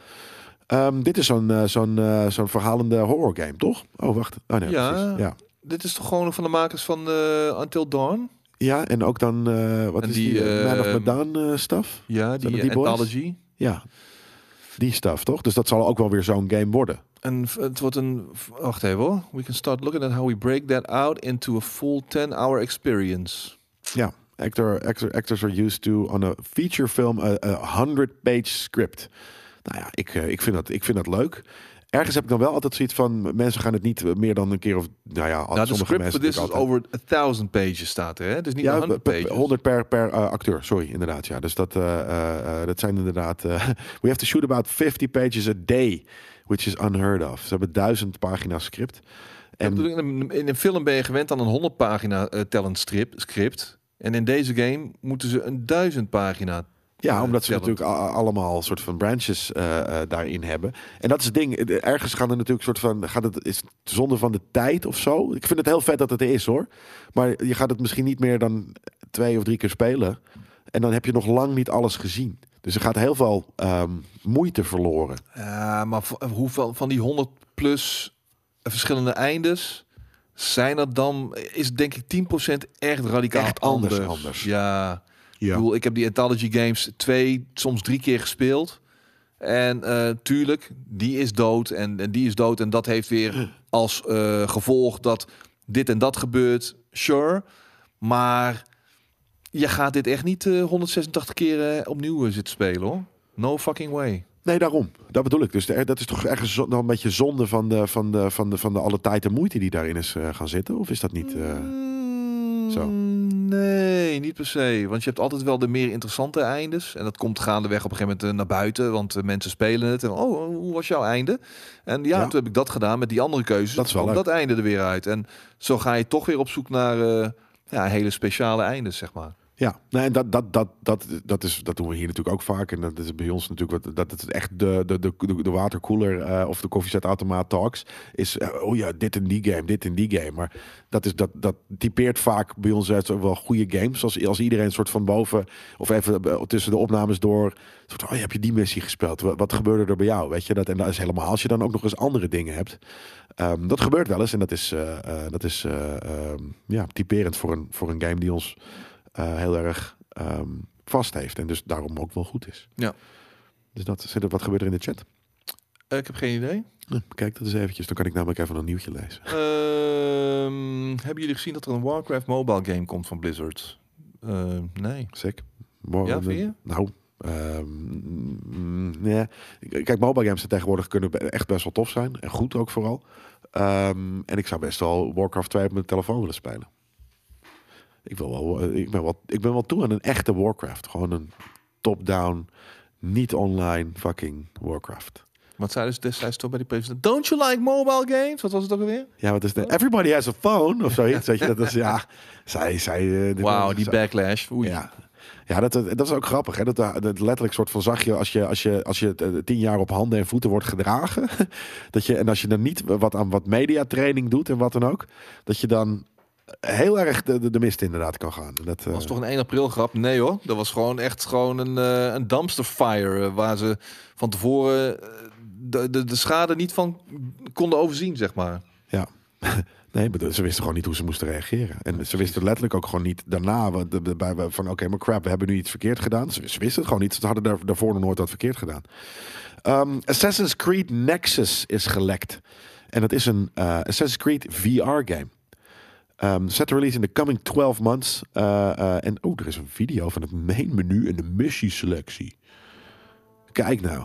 [SPEAKER 1] Ehm, dit is zo'n eh, zo'n eh, zo'n verhalende horror game, toch? Oh, wacht. Oh, nee,
[SPEAKER 2] Ja.
[SPEAKER 1] precies. Ja.
[SPEAKER 2] Dit is toch gewoon van de makers van eh, Until Dawn?
[SPEAKER 1] Ja, en ook dan, eh, wat
[SPEAKER 2] En
[SPEAKER 1] is die,
[SPEAKER 2] die,
[SPEAKER 1] eh, Man of
[SPEAKER 2] ehm,
[SPEAKER 1] Medan eh, staf?
[SPEAKER 2] Ja,
[SPEAKER 1] Zijn
[SPEAKER 2] die,
[SPEAKER 1] dat
[SPEAKER 2] eh,
[SPEAKER 1] die boys?
[SPEAKER 2] Anthology.
[SPEAKER 1] Ja, die staf, toch? Dus dat zal ook wel weer zo'n game worden.
[SPEAKER 2] En v- het wordt een... v- Wacht even hoor. We can start looking at how we break that out into a full 10-hour
[SPEAKER 1] Oh,
[SPEAKER 2] experience.
[SPEAKER 1] Ja, actor, actor, actors are used to on a feature film eh, a, a 100-page script. Nou ja, ik, eh, ik, vind dat, ik vind dat leuk. Ergens heb ik dan wel altijd zoiets van, mensen gaan het niet eh, meer dan een keer of... Nou ja,
[SPEAKER 2] nou, de
[SPEAKER 1] sommige
[SPEAKER 2] script
[SPEAKER 1] mensen
[SPEAKER 2] voor dit is
[SPEAKER 1] natuurlijk altijd.
[SPEAKER 2] over 1000 pages staat er, hè? Dus niet
[SPEAKER 1] Ja,
[SPEAKER 2] 100
[SPEAKER 1] per- per-
[SPEAKER 2] pages.
[SPEAKER 1] 100 per, per eh, acteur, sorry, inderdaad. Ja. Dus dat, eh, eh, eh, dat zijn inderdaad... eh, [laughs] we have to shoot about 50 pages a day, which is unheard of. Ze hebben duizend pagina's script.
[SPEAKER 2] Ja,
[SPEAKER 1] En
[SPEAKER 2] bedoel, in, een, in een film ben je gewend aan een 100 pagina eh, talent strip, script. En in deze game moeten ze een 1000 pagina
[SPEAKER 1] Ja,
[SPEAKER 2] eh,
[SPEAKER 1] omdat ze
[SPEAKER 2] talent.
[SPEAKER 1] natuurlijk a- allemaal soort van branches eh, eh, daarin hebben. En dat is het ding. Eh, Ergens gaan er natuurlijk soort van. Gaat het, is het zonde van de tijd of zo? Ik vind het heel vet dat het er is hoor. Maar je gaat het misschien niet meer dan twee of drie keer spelen. En dan heb je nog lang niet alles gezien. Dus er gaat heel veel ehm, moeite verloren.
[SPEAKER 2] Ja, Eh, maar v- hoeveel van die 100 plus verschillende eindes zijn er dan? Is denk ik 10% echt radicaal
[SPEAKER 1] Echt anders, anders.
[SPEAKER 2] Ja, ik
[SPEAKER 1] Doe-
[SPEAKER 2] bedoel, ik heb die Anthology Games twee, soms drie keer gespeeld. En eh, tuurlijk, die is dood en, en die is dood. En dat heeft weer
[SPEAKER 1] [clears throat]
[SPEAKER 2] als eh, gevolg dat dit en dat gebeurt. Sure. Maar je gaat dit echt niet eh, 186 keer eh, opnieuw eh, zitten spelen hoor. No fucking way.
[SPEAKER 1] Nee, daarom. Dat bedoel ik. Dus er- dat is toch ergens zo- dan een beetje zonde van de, van de, van de, van de alle tijd en moeite die daarin is eh, gaan zitten? Of is dat niet. eh, zo.
[SPEAKER 2] Nee, niet per se. Want je hebt altijd wel de meer interessante eindes. En dat komt gaandeweg op een gegeven moment eh, naar buiten. Want eh, mensen spelen het. En oh, hoe was jouw einde? En ja,
[SPEAKER 1] Ja.
[SPEAKER 2] toen heb ik dat gedaan met die andere keuzes.
[SPEAKER 1] Dat is wel
[SPEAKER 2] Kwam
[SPEAKER 1] leuk.
[SPEAKER 2] dat einde er weer uit. En zo ga je toch weer op zoek naar eh, ja, hele speciale eindes, zeg maar.
[SPEAKER 1] Ja, nee, en dat, dat, dat, dat, dat, is, dat doen we hier natuurlijk ook vaak. En dat is bij ons natuurlijk wat, dat het echt de, de, de, de, de waterkoeler eh, of de koffiezetautomaat talks. Is, eh, oh ja, dit en die game, dit en die game. Maar dat, is, dat, dat typeert vaak bij ons uit wel goede games. Als, als iedereen een soort van boven of even eh, tussen de opnames door. Soort, oh ja, heb je die missie gespeeld? Wat, wat gebeurde er bij jou? Weet je dat? En dat is helemaal als je dan ook nog eens andere dingen hebt. Ehm, dat gebeurt wel eens en dat is, eh, eh, dat is eh, ehm, ja, typerend voor een, voor een game die ons eh, heel erg ehm, vast heeft. En dus daarom ook wel goed is.
[SPEAKER 2] Ja.
[SPEAKER 1] Dus dat, zit er- wat gebeurt er in de chat?
[SPEAKER 2] Eh, ik heb geen [laughs] idee.
[SPEAKER 1] Nou, Kijk dat eens eventjes, dan kan ik namelijk even een nieuwtje lezen.
[SPEAKER 2] Ehm, hebben jullie gezien dat er een Warcraft mobile game komt van Blizzard? Ehm, nee.
[SPEAKER 1] Sick. Morgen,
[SPEAKER 2] Ja, vind je?
[SPEAKER 1] Nou, Ehm, mm, nee. Kijk, mobile games tegenwoordig kunnen be- echt best wel tof zijn. En goed ook vooral. Ehm, en ik zou best wel Warcraft 2 op mijn telefoon willen spelen. Ik, wil wel, eh, ik, ben wel, ik ben wel toe aan een echte Warcraft. Gewoon een top-down, niet online fucking Warcraft.
[SPEAKER 2] Wat zeiden ze destijds toch bij die presentatie? Don't you like mobile games? Wat was het ook alweer?
[SPEAKER 1] Ja, wat is de Everybody has a phone of zoiets. weet je, dat is ja. [laughs] Zij, zij. eh, dit-
[SPEAKER 2] Wauw, die
[SPEAKER 1] zo-
[SPEAKER 2] backlash. Oei.
[SPEAKER 1] Ja. Ja, dat, dat dat is ook grappig. Hè? Dat, eh, dat letterlijk soort van zag je als je, als je, als je eh, tien jaar op handen en voeten wordt gedragen. [laughs] dat je, en als je dan niet wat aan wat mediatraining doet en wat dan ook. Dat je dan heel erg de, de, de mist inderdaad kan gaan. En Dat, eh,
[SPEAKER 2] Dat was toch een 1 april grap? Nee hoor, dat was gewoon echt gewoon een, eh, een dumpster fire. eh, waar ze van tevoren eh, de, de, de schade niet van konden overzien, zeg maar.
[SPEAKER 1] Ja. [laughs] Nee, maar ze wisten gewoon niet hoe ze moesten reageren. En ze wisten letterlijk ook gewoon niet daarna wat- de- de- bij- bij- van oké, maar crap, we hebben nu iets verkeerd gedaan. Ze, ze wisten het gewoon niet. Ze hadden daar, daarvoor nog nooit wat verkeerd gedaan. Ehm, Assassin's Creed Nexus is gelekt. En dat is een eh, Assassin's Creed VR-game. Um, set to release in the coming 12 months. Eh, eh, en oh, er is een video van het main menu en de missieselectie. Kijk nou.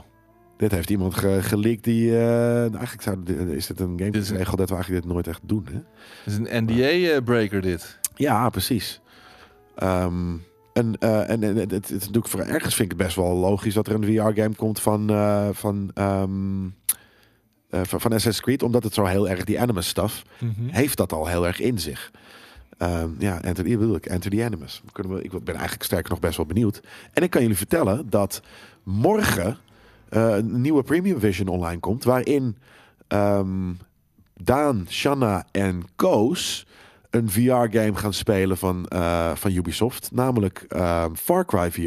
[SPEAKER 1] Dit heeft iemand ge geleakt die... eh, nou, eigenlijk zou, dit- is dit een
[SPEAKER 2] Dit is een-
[SPEAKER 1] gameregel dat we eigenlijk dit nooit echt doen, hè?
[SPEAKER 2] Het is een NDA-breaker eh, dit.
[SPEAKER 1] Ja, precies. Ehm, en eh, en, en het, het is natuurlijk voor ergens vind ik het best wel logisch dat er een VR-game komt van, eh, van, ehm, eh, van, van Assassin's Creed, omdat het zo heel erg die animus stuff
[SPEAKER 2] Mhm.
[SPEAKER 1] heeft dat al heel erg in zich. Ehm, ja, Anthony, ik bedoel ik, Anthony Animus. Kunnen we, ik ben eigenlijk sterker nog best wel benieuwd. En ik kan jullie vertellen dat morgen eh, een nieuwe Premium Vision online komt, waarin ehm, Daan, Shanna en Koos een VR-game gaan spelen van, eh, van Ubisoft, namelijk ehm, Far Cry VR.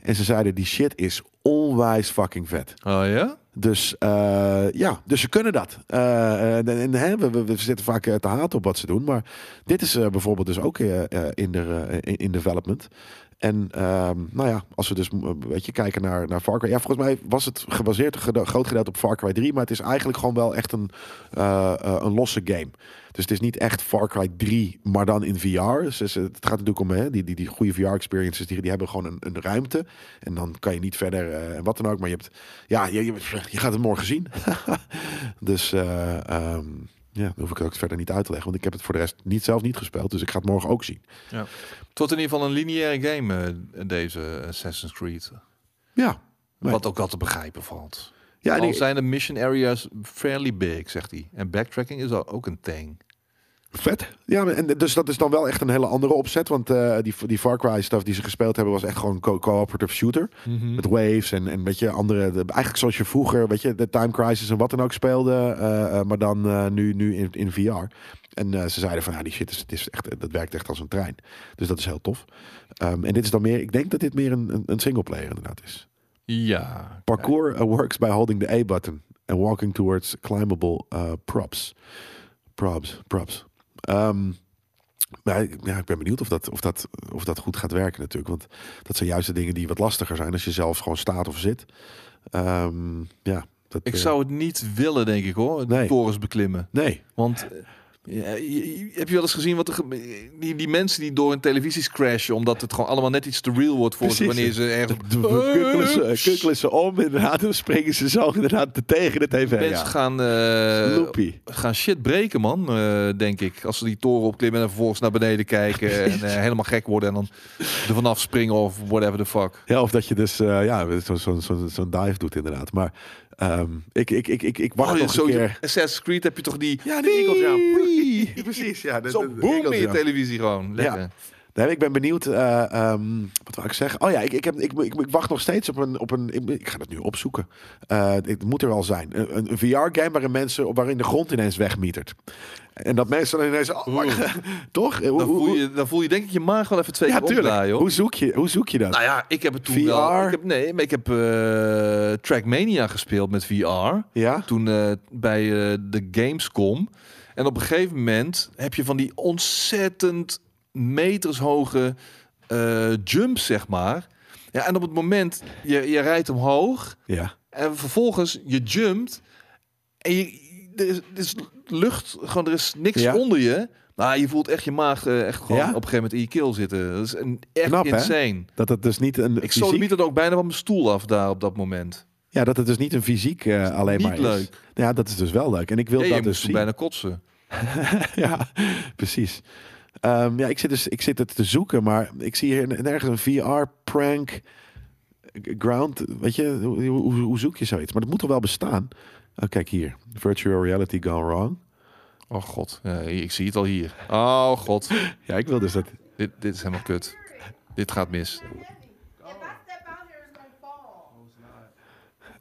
[SPEAKER 1] En ze zeiden, die shit is onwijs fucking vet.
[SPEAKER 2] Oh ja?
[SPEAKER 1] Dus eh, ja, dus ze kunnen dat. Eh, en, en, hè, we, we- we zitten vaak eh, te haat op wat ze doen. Maar dit is eh, bijvoorbeeld dus ook eh, eh, in, de, eh, in- in development. En ehm, nou ja, als we dus eh, weet je, kijken naar, naar Far Cry. Ja, volgens mij was het gebaseerd geda- groot gedeelte op Far Cry 3. Maar het is eigenlijk gewoon wel echt een, eh, eh, een losse game. Dus het is niet echt Far Cry 3, maar dan in VR. Dus het is- het gaat natuurlijk om hè, die, die, die goede VR-experiences. Die, die hebben gewoon een, een ruimte. En dan kan je niet verder eh, en wat dan ook. Maar je, hebt, ja, je, je, je gaat het morgen zien. [laughs] dus eh, ehm, ja, dan hoef ik het ook verder niet uit te leggen. Want ik heb het voor de rest niet, zelf niet gespeeld. Dus ik ga het morgen ook zien.
[SPEAKER 2] Tot in ieder geval een lineaire game, eh, deze Assassin's Creed.
[SPEAKER 1] Ja, Nee.
[SPEAKER 2] Wat ook al te begrijpen valt.
[SPEAKER 1] ja en
[SPEAKER 2] al
[SPEAKER 1] ik-
[SPEAKER 2] zijn de mission areas fairly big, zegt hij. En backtracking is al ook een thing.
[SPEAKER 1] Vet. Ja, en dus dat is dan wel echt een hele andere opzet. Want eh, die, die Far Cry stuff die ze gespeeld hebben was echt gewoon co- cooperative shooter.
[SPEAKER 2] Mhm.
[SPEAKER 1] Met waves en, en weet je, andere... de- eigenlijk zoals je vroeger, weet je, de Time Crisis en wat dan ook speelde. eh, eh, maar dan eh, nu, nu in, in VR. En eh, ze zeiden van, ja, die shit, is, het is echt, dat werkt echt als een trein. Dus dat is heel tof. Ehm, en dit is dan meer... Ik denk dat dit meer een, een, een singleplayer inderdaad is.
[SPEAKER 2] Ja.
[SPEAKER 1] Parkour uh, works by holding the A button and walking towards climbable uh, props. Props, props. Ehm, maar ik- ja, ik ben benieuwd of dat, of, dat, of dat goed gaat werken natuurlijk. Want dat zijn juist de dingen die wat lastiger zijn als je zelf gewoon staat of zit. Ehm, ja, dat,
[SPEAKER 2] Ik
[SPEAKER 1] eh,
[SPEAKER 2] zou het niet willen, denk ik hoor.
[SPEAKER 1] Nee.
[SPEAKER 2] Torens beklimmen.
[SPEAKER 1] Nee,
[SPEAKER 2] Want eh, ja, je- je- heb je wel eens gezien wat er gebe- die, die mensen die door hun televisies crashen, omdat het gewoon allemaal net iets te real wordt voor ze
[SPEAKER 1] Precies.
[SPEAKER 2] wanneer ze ergens.
[SPEAKER 1] kukkelen ze, kukkelen ze eh, om inderdaad. Dan springen ze zo inderdaad tegen de tv.
[SPEAKER 2] Mensen
[SPEAKER 1] Ja.
[SPEAKER 2] gaan, eh
[SPEAKER 1] Loopy.
[SPEAKER 2] gaan shit breken, man, eh, denk ik. Als ze die toren opklimmen en vervolgens naar beneden kijken en eh, helemaal gek worden en dan er vanaf springen of whatever the fuck.
[SPEAKER 1] Ja, of dat je dus eh, ja, zo'n zo, zo, zo'n dive doet inderdaad. Maar ehm, ik, ik, ik, ik, ik wacht
[SPEAKER 2] Oh,
[SPEAKER 1] nog
[SPEAKER 2] zo
[SPEAKER 1] een keer.
[SPEAKER 2] Assassin's Creed heb je toch die...
[SPEAKER 1] Ja, de Eagles Jump. [laughs]
[SPEAKER 2] Wee!
[SPEAKER 1] Precies, ja. de- de-
[SPEAKER 2] Zo
[SPEAKER 1] de
[SPEAKER 2] boom
[SPEAKER 1] Eagles
[SPEAKER 2] in je
[SPEAKER 1] Jump.
[SPEAKER 2] televisie gewoon. Lekker.
[SPEAKER 1] Ja. Nee, ik ben benieuwd. eh, ehm, wat wou ik zeggen? Oh ja, ik, ik, heb, ik, ik, ik wacht nog steeds op een. Op een ik, ik ga dat nu opzoeken. Eh, het moet er al zijn. Een, een VR-game waarin mensen. waarin de grond ineens wegmietert. En dat mensen dan ineens. Oh, maar- [laughs] toch? Eh, Hoe,
[SPEAKER 2] Dan,
[SPEAKER 1] hoe-
[SPEAKER 2] voel
[SPEAKER 1] hoe-
[SPEAKER 2] je, dan voel je denk ik je maag wel even twee
[SPEAKER 1] ja,
[SPEAKER 2] keer opdraaien.
[SPEAKER 1] tuurlijk.
[SPEAKER 2] hoor.
[SPEAKER 1] Hoe zoek, je, hoe zoek je dat?
[SPEAKER 2] Nou ja, ik heb het toen
[SPEAKER 1] VR?
[SPEAKER 2] wel... Ik heb, nee, maar ik heb eh, Trackmania gespeeld met VR.
[SPEAKER 1] ja?
[SPEAKER 2] Toen eh, bij eh, de Gamescom. En op een gegeven moment heb je van die ontzettend metershoge eh jumps, zeg maar. Ja, en op het moment, je, je rijdt omhoog...
[SPEAKER 1] Ja.
[SPEAKER 2] En vervolgens, je jumpt. En je, er, is, er is lucht, gewoon, er is niks
[SPEAKER 1] Ja.
[SPEAKER 2] onder je. Nou, je voelt echt je maag eh, echt gewoon
[SPEAKER 1] Ja?
[SPEAKER 2] op een gegeven moment in je keel zitten. Dat is een, echt
[SPEAKER 1] Knap, hè?
[SPEAKER 2] insane.
[SPEAKER 1] Dat het dus niet een
[SPEAKER 2] Ik
[SPEAKER 1] fysiek,
[SPEAKER 2] sodemiet het ook bijna van mijn stoel af daar op dat moment.
[SPEAKER 1] ja, dat het dus niet een fysiek eh, alleen
[SPEAKER 2] Niet
[SPEAKER 1] maar is.
[SPEAKER 2] leuk.
[SPEAKER 1] Ja, dat is dus wel leuk. En ik wil
[SPEAKER 2] Ja, je
[SPEAKER 1] dat dus
[SPEAKER 2] moest toen
[SPEAKER 1] zien.
[SPEAKER 2] bijna kotsen.
[SPEAKER 1] [laughs] ja, precies. Ehm, ja, ik zit, dus, ik zit het te zoeken, maar ik zie hier nergens een VR-prank ground. Weet je, hoe, hoe, hoe zoek je zoiets? Maar dat moet toch wel bestaan? Oh, kijk hier. Virtual reality gone wrong.
[SPEAKER 2] Oh god, Ja, hier- ik zie het al hier. Oh god,
[SPEAKER 1] Ja, ik wil dus dat...
[SPEAKER 2] dit, dit is helemaal kut. Dit gaat mis.
[SPEAKER 3] If I step out here, it's gonna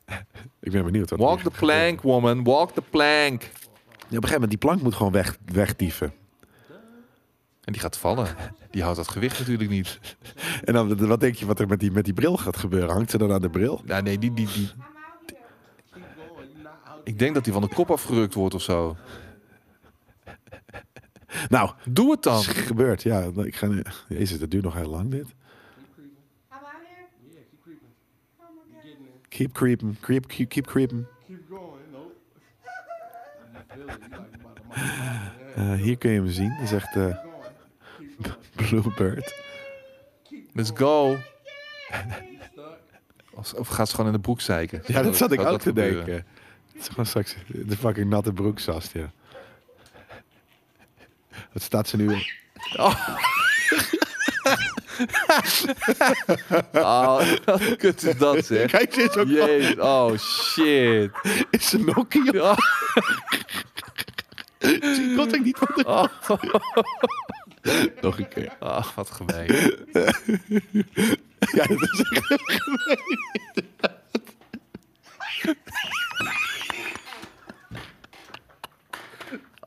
[SPEAKER 3] fall.
[SPEAKER 1] Ik ben benieuwd. Wat er
[SPEAKER 2] Walk
[SPEAKER 1] nu
[SPEAKER 2] the
[SPEAKER 1] gaat gebeuren.
[SPEAKER 2] plank, woman. Walk the plank.
[SPEAKER 1] Ja, op een gegeven moment, die plank moet gewoon weg, wegdieven.
[SPEAKER 2] En die gaat vallen. Die houdt dat gewicht natuurlijk niet.
[SPEAKER 1] En dan, wat denk je wat er met die, met die bril gaat gebeuren? Hangt ze dan aan de bril?
[SPEAKER 2] Ja, Nou, nee, die, die, die.
[SPEAKER 3] I'm out here.
[SPEAKER 2] Ik denk dat die van de kop afgerukt wordt of zo.
[SPEAKER 1] Nou,
[SPEAKER 2] Doe het dan.
[SPEAKER 1] is gebeurd. Ja, ik ga nu... Jezus, dat duurt nog heel lang, dit.
[SPEAKER 3] I'm out here. Oh my God.
[SPEAKER 1] Keep creeping, creep, keep, keep [laughs] creeping.
[SPEAKER 4] Keep going, nope. You feel it, you like about to mop.
[SPEAKER 1] Eh, hier kun je hem zien. Dat is echt eh, [laughs] Bluebird.
[SPEAKER 2] Let's go. [laughs] Of, of gaat ze gewoon in de broek zeiken?
[SPEAKER 1] Ja, dat zat ik
[SPEAKER 2] Zou
[SPEAKER 1] ook te
[SPEAKER 2] gebeuren?
[SPEAKER 1] denken. Het is gewoon straks de fucking natte broekzast, ja. Wat staat ze nu?
[SPEAKER 2] Oh, wat [laughs] kut is
[SPEAKER 1] [laughs]
[SPEAKER 2] dat, zeg.
[SPEAKER 1] Kijk, ze is ook
[SPEAKER 2] Jezus, oh
[SPEAKER 1] [laughs]
[SPEAKER 2] shit.
[SPEAKER 1] is een Nokia.
[SPEAKER 2] Ja.
[SPEAKER 1] Die kon ik niet van de... Nog een keer.
[SPEAKER 2] Oh, wat gemeen.
[SPEAKER 1] Ja, dat is echt...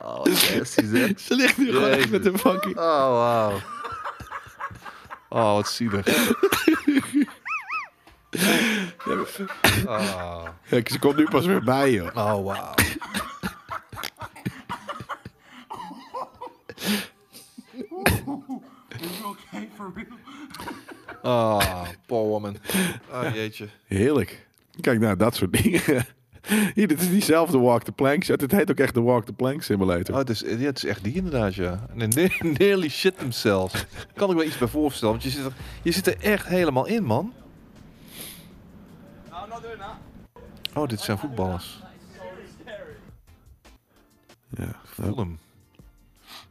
[SPEAKER 2] Oh, wat nasty, zeg.
[SPEAKER 1] Ze ligt nu gewoon echt
[SPEAKER 2] Jezus.
[SPEAKER 1] met een fucking...
[SPEAKER 2] Oh, wauw. Oh, wat
[SPEAKER 1] [laughs]
[SPEAKER 2] zielig. Oh,
[SPEAKER 1] Kijk, ze komt nu pas weer bij, joh.
[SPEAKER 2] oh wauw.
[SPEAKER 4] You okay for real?
[SPEAKER 2] [laughs] Oh, poor woman. Oh, jeetje.
[SPEAKER 1] Heerlijk. Kijk, nou, dat soort [laughs] dingen. Hier, dit is diezelfde Walk the Plank. Het heet ook echt de Walk the Plank Simulator.
[SPEAKER 2] Oh, het is, ja, het is echt die inderdaad, ja. En they [laughs] nearly shit themselves. Kan ik wel iets bij voorstellen, want je zit er, je zit er echt helemaal in, man. Oh, dit zijn voetballers.
[SPEAKER 1] Ja.
[SPEAKER 2] Fulham.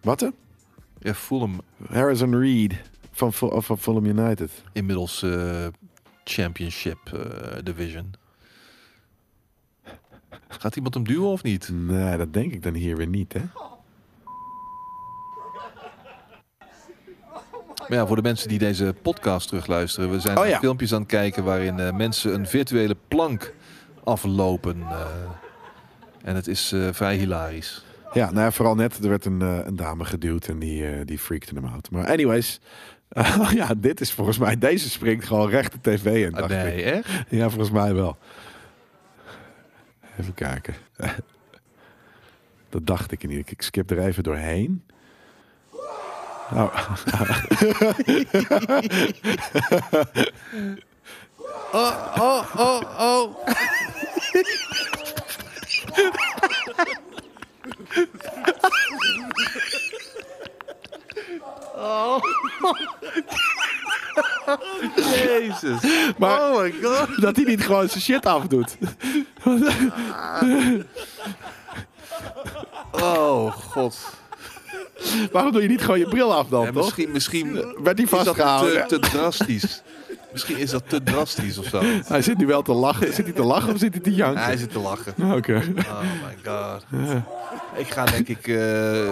[SPEAKER 1] Wat, hè?
[SPEAKER 2] Ja, Fulham.
[SPEAKER 1] Harrison Reed van, Fu- van Fulham United.
[SPEAKER 2] Inmiddels eh, Championship eh, Division. Gaat iemand hem duwen of niet?
[SPEAKER 1] Nee, dat denk ik dan hier weer niet, hè?
[SPEAKER 2] Maar ja, voor de mensen die deze podcast terugluisteren, we zijn
[SPEAKER 1] Oh
[SPEAKER 2] naar
[SPEAKER 1] ja.
[SPEAKER 2] filmpjes aan het kijken waarin eh, mensen een virtuele plank aflopen. eh. en het is eh, vrij hilarisch.
[SPEAKER 1] Ja, nou ja, vooral net, er werd een, eh, een dame geduwd en die, eh die freakte hem uit. Maar anyways, [laughs] ja, dit is volgens mij, deze springt gewoon recht de tv in,
[SPEAKER 2] Ah,
[SPEAKER 1] dacht ik.
[SPEAKER 2] nee, echt?
[SPEAKER 1] Ja, volgens mij wel. Even kijken. [laughs] Dat dacht ik niet. Ik skip er even doorheen. Oh.
[SPEAKER 2] Oh, oh, oh. Jezus.
[SPEAKER 1] [laughs] Maar
[SPEAKER 2] oh my god.
[SPEAKER 1] [laughs] dat hij niet gewoon zijn shit afdoet.
[SPEAKER 2] Oh god.
[SPEAKER 1] Waarom doe je niet gewoon je bril af dan,
[SPEAKER 2] Ja,
[SPEAKER 1] toch?
[SPEAKER 2] misschien misschien
[SPEAKER 1] Werd hij
[SPEAKER 2] is dat te,
[SPEAKER 1] vastgehouden?
[SPEAKER 2] te drastisch. Misschien is dat te drastisch of zo.
[SPEAKER 1] Hij zit nu wel te lachen. Zit hij te lachen of zit hij te janken?
[SPEAKER 2] Hij zit te lachen.
[SPEAKER 1] Oké. [laughs]
[SPEAKER 2] Oh my god. Ik ga denk ik... eh,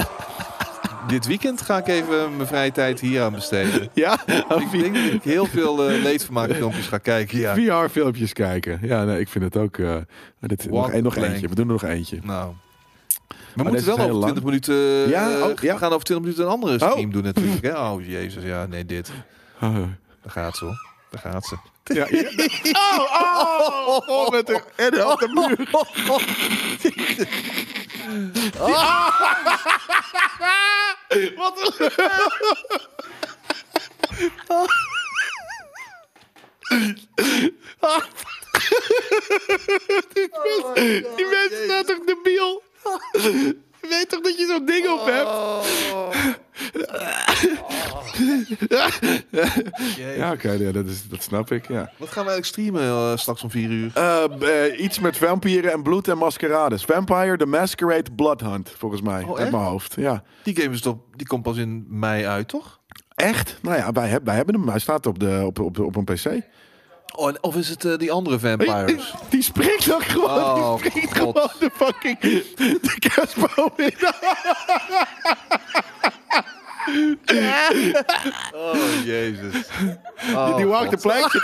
[SPEAKER 2] dit weekend ga ik even mijn vrije tijd hier aan besteden.
[SPEAKER 1] Ja?
[SPEAKER 2] Ik denk dat ik heel veel eh leedvermaakfilmpjes ga kijken. Ja.
[SPEAKER 1] VR-filmpjes kijken. Ja, nee, ik vind het ook... eh, dit, nog,
[SPEAKER 2] the
[SPEAKER 1] een, nog
[SPEAKER 2] plank.
[SPEAKER 1] eentje. We doen er nog eentje.
[SPEAKER 2] Nou. We
[SPEAKER 1] deze is
[SPEAKER 2] moeten wel
[SPEAKER 1] heel
[SPEAKER 2] over
[SPEAKER 1] lang.
[SPEAKER 2] 20 minuten... eh,
[SPEAKER 1] Ja, oh, ja.
[SPEAKER 2] We gaan over 20 minuten een andere stream
[SPEAKER 1] Oh.
[SPEAKER 2] doen natuurlijk. Hè? Oh jezus, ja, nee, dit.
[SPEAKER 1] Oh.
[SPEAKER 2] Daar gaat ze hoor. Daar gaat ze.
[SPEAKER 1] Ja, ja. Oh, oh, oh, oh, met de, en de- op de muur. Wat een Die mens- Die mensen zijn toch debiel? Je weet toch dat je zo'n ding op hebt? Ja, oké, ja, dat, is, dat snap ik. Ja.
[SPEAKER 2] Wat gaan we eigenlijk streamen eh, straks om vier uur?
[SPEAKER 1] Eh, b- eh, iets met vampieren en bloed en maskerades. Vampire the Masquerade Blood Hunt, volgens mij. uit
[SPEAKER 2] Oh, echt?
[SPEAKER 1] mijn hoofd. Ja.
[SPEAKER 2] Die game is toch, die komt pas in mei uit, toch?
[SPEAKER 1] Echt? Nou ja, wij, heb- wij hebben hem. Hij staat op, de, op, op, op een PC.
[SPEAKER 2] Oh, en- of is het eh, die andere
[SPEAKER 1] [laughs]
[SPEAKER 2] vampires?
[SPEAKER 1] Die springt ook gewoon.
[SPEAKER 2] Oh,
[SPEAKER 1] die springt
[SPEAKER 2] God.
[SPEAKER 1] gewoon de fucking. De kerstboom in.
[SPEAKER 2] Oh, [laughs] jezus.
[SPEAKER 1] [laughs] die walk de plank.
[SPEAKER 2] [laughs]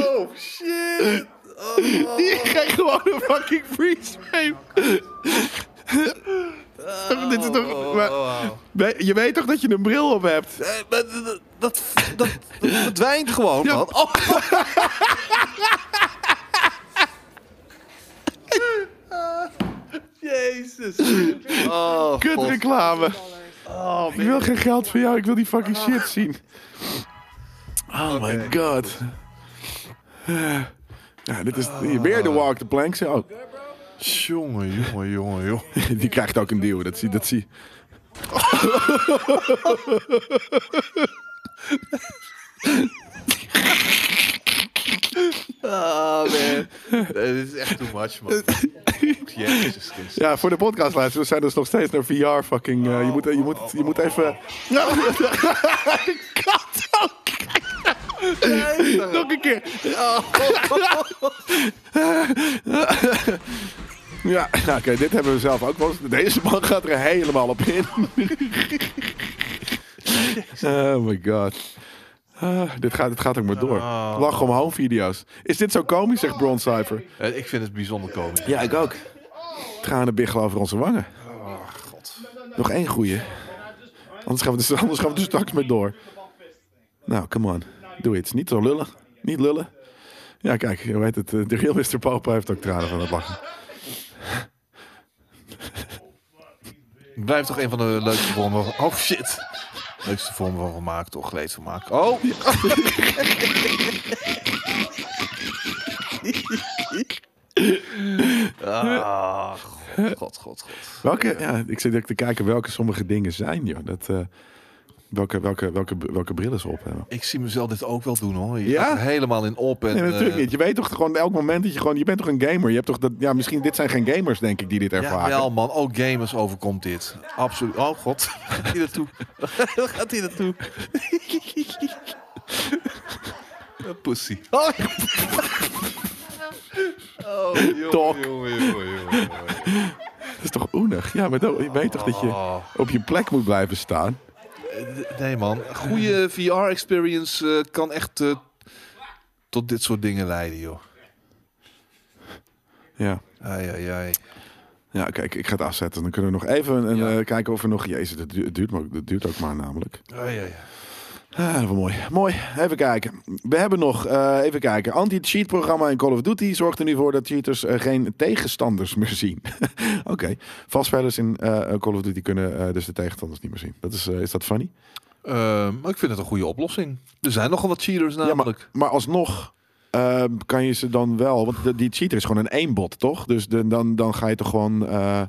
[SPEAKER 2] Oh, shit.
[SPEAKER 1] Die krijgt gewoon een fucking freeze frame. Dit is toch,
[SPEAKER 2] Oh,
[SPEAKER 1] maar- we- je weet toch dat je een bril op hebt?
[SPEAKER 2] Dat, dat, dat, dat verdwijnt gewoon,
[SPEAKER 1] Ja.
[SPEAKER 2] man. Oh. [laughs] Jezus. Oh,
[SPEAKER 1] Kut
[SPEAKER 2] God. Oh,
[SPEAKER 1] reclame. ik wil geen geld van jou, ik wil die fucking shit zien. Oh my god. Eh, ja, dit is hier, weer de walk the plank. Zo, Oh, [laughs]
[SPEAKER 2] Jongen, jongen, jongen, jongen.
[SPEAKER 1] die krijgt ook een duw, dat zie dat zie.
[SPEAKER 2] Ah, man. Nee, Dit is echt too much, [laughs] man. Jezus Christus.
[SPEAKER 1] Ja, voor de podcastluisteraars zijn dus nog steeds naar VR fucking... eh, je, moet, je, moet, je moet even... [laughs] Kat ook. Nog een keer. [laughs] Ja, nou, oké, dit hebben we zelf ook wel eens. Deze man gaat er helemaal op [laughs] in. oh my god. Ah, dit, gaat, dit gaat ook maar door. Lach om home video's. Is dit zo komisch, zegt Bron Cypher.
[SPEAKER 2] Eh, Ik vind het bijzonder komisch.
[SPEAKER 1] Ja, ik ook. Tranen biggelen over onze wangen. Nog één goeie. Anders gaan, we er, anders gaan we er straks mee door. Nou, come on. Doe iets. Niet zo lullen. Niet lullen. Ja, kijk, je weet het. eh, De real Mr. Papa heeft ook tranen van het lachen.
[SPEAKER 2] Blijft toch een van de leukste vormen van... Oh, shit. Leukste vormen van vermaak, toch? Leedvermaak. Oh! [laughs] [laughs] Ah, god, god, god, god.
[SPEAKER 1] Welke, ja, ik zit ook te kijken welke sommige dingen zijn, joh. Dat, eh, welke, welke, welke, welke brillen ze op hebben.
[SPEAKER 2] Ik zie mezelf dit ook wel doen, hoor. Je
[SPEAKER 1] Ja?
[SPEAKER 2] gaat er helemaal in op. En,
[SPEAKER 1] Nee, natuurlijk
[SPEAKER 2] eh,
[SPEAKER 1] niet. Je weet toch gewoon elk moment dat je gewoon... Je bent toch een gamer? Je hebt toch dat... Ja, misschien dit zijn geen gamers, denk ik, die dit
[SPEAKER 2] Ja,
[SPEAKER 1] ervaren.
[SPEAKER 2] wel man, ook gamers overkomt dit. Absoluut. Oh god, [laughs] gaat hij naartoe? Waar gaat hij [laughs] naartoe? Een Pussy. [laughs] Oh, oh jongen,
[SPEAKER 1] Tok.
[SPEAKER 2] jongen, jongen, jongen, jongen.
[SPEAKER 1] Dat is toch oenig? Ja, maar dan- je weet toch dat je
[SPEAKER 2] Oh,
[SPEAKER 1] op je plek moet blijven staan?
[SPEAKER 2] nee man, goede VR-experience kan echt eh, tot dit soort dingen leiden, joh.
[SPEAKER 1] Ja.
[SPEAKER 2] Ai, ai, ai.
[SPEAKER 1] Ja, kijk, ik ga het afzetten. Dan kunnen we nog even een-
[SPEAKER 2] Ja.
[SPEAKER 1] eh, kijken of er nog... Jezus, dat du- het duurt, maar, dat duurt ook maar namelijk.
[SPEAKER 2] Ai, ai, ai.
[SPEAKER 1] Ah, wat mooi. Mooi. Even kijken. We hebben nog, eh, even kijken. Anti-cheat programma in Call of Duty zorgt er nu voor dat cheaters eh, geen tegenstanders meer zien. [laughs] Oké. Valspelers in eh, Call of Duty kunnen eh, dus de tegenstanders niet meer zien. Dat is, eh, is dat funny?
[SPEAKER 2] Eh, maar ik vind het een goede oplossing. Er zijn nogal wat cheaters
[SPEAKER 1] Ja,
[SPEAKER 2] namelijk.
[SPEAKER 1] maar, maar alsnog eh, kan je ze dan wel... Want de- die cheater is gewoon een eenbot, toch? Dus de- dan, dan ga je toch gewoon... eh,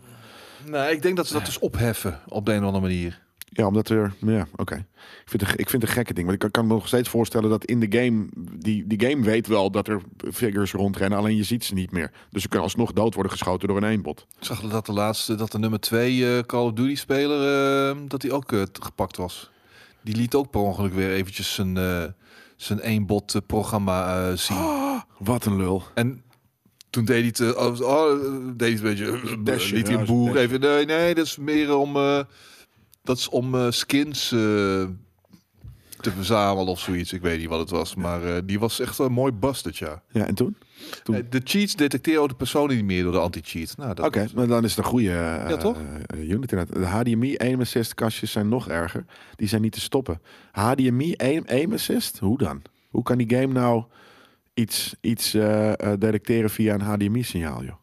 [SPEAKER 2] Nou, ik denk dat ze dat dus opheffen op de een of andere manier.
[SPEAKER 1] Ja, omdat er. Ja, oké. Ik vind het een- ik vind het een gekke ding. Want ik kan- kan me nog steeds voorstellen dat in de game. Die, die game weet wel dat er figures rondrennen. Alleen je ziet ze niet meer. Dus ze kunnen alsnog dood worden geschoten door een eenbot.
[SPEAKER 2] Ik zag dat de laatste, dat de nummer 2 Call of Duty speler, eh, dat hij ook eh, t- gepakt was. Die liet ook per ongeluk weer eventjes zijn, eh zijn eenbot eh, programma eh, zien.
[SPEAKER 1] Oh. Wat een lul.
[SPEAKER 2] En toen deed hij het, eh, oh, oh, eh, deed hij het een beetje,
[SPEAKER 1] Dashen,
[SPEAKER 2] liet hij
[SPEAKER 1] ja,
[SPEAKER 2] een boer
[SPEAKER 1] dashen.
[SPEAKER 2] even, nee, nee, dat is meer om, eh, dat is om eh, skins eh, te verzamelen of zoiets. Ik weet niet wat het was, maar eh, die was echt een mooi bastard, ja.
[SPEAKER 1] Ja, en toen? Toen-
[SPEAKER 2] Eh, De cheats detecteren ook de personen niet meer door de anti-cheat. Nou, dat
[SPEAKER 1] Oké, maar dan is het een goede eh,
[SPEAKER 2] Ja, toch?
[SPEAKER 1] eh, unit inderdaad. De HDMI aim assist kastjes zijn nog erger. Die zijn niet te stoppen. HDMI aim, aim assist? Hoe dan? Hoe kan die game nou iets, iets eh, eh, detecteren via een HDMI signaal, joh?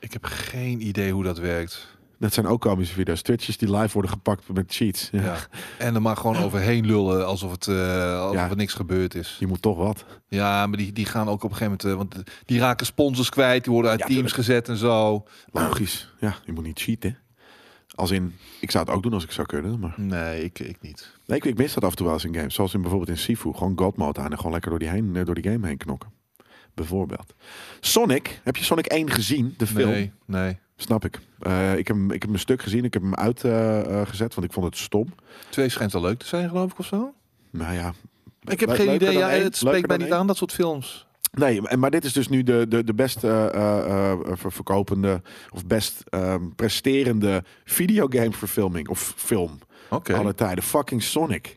[SPEAKER 2] Ik heb geen idee hoe dat werkt.
[SPEAKER 1] Dat zijn ook komische video's. Twitches die live worden gepakt met cheats. Ja.
[SPEAKER 2] Ja. [laughs] En er maar gewoon overheen lullen alsof, het, eh, alsof
[SPEAKER 1] Ja.
[SPEAKER 2] er niks gebeurd is.
[SPEAKER 1] Je moet toch wat.
[SPEAKER 2] Ja, maar die, die gaan ook op een gegeven moment... eh, want die raken sponsors kwijt, die worden uit
[SPEAKER 1] Ja,
[SPEAKER 2] teams gezet en zo.
[SPEAKER 1] Logisch. Ja, je moet niet cheaten. Als in, ik zou het ook doen als ik zou kunnen. Maar
[SPEAKER 2] Nee, ik, ik niet.
[SPEAKER 1] nee, ik, ik mis dat af en toe wel eens in games. Zoals in bijvoorbeeld in Sifu. Gewoon God mode aan en gewoon lekker door die, heen, eh, door die game heen knokken. Bijvoorbeeld. Sonic. Heb je Sonic 1 gezien? De film?
[SPEAKER 2] Nee, nee.
[SPEAKER 1] Snap ik. Eh, ik, heb, hem- ik heb hem een stuk gezien. Ik heb hem uitgezet, gezet, want ik vond het stom.
[SPEAKER 2] Twee schijnt wel leuk te zijn, geloof ik, of zo.
[SPEAKER 1] Nou ja.
[SPEAKER 2] Ik heb
[SPEAKER 1] Le-
[SPEAKER 2] geen
[SPEAKER 1] leuker
[SPEAKER 2] idee.
[SPEAKER 1] dan
[SPEAKER 2] Ja,
[SPEAKER 1] één.
[SPEAKER 2] het
[SPEAKER 1] Leuker
[SPEAKER 2] spreekt mij
[SPEAKER 1] dan
[SPEAKER 2] niet aan, dat soort films.
[SPEAKER 1] Nee, en- maar dit is dus nu de, de, de best eh, eh, eh, ver- verkopende of best ehm, presterende videogameverfilming of film
[SPEAKER 2] Oké.
[SPEAKER 1] alle tijden. Fucking Sonic.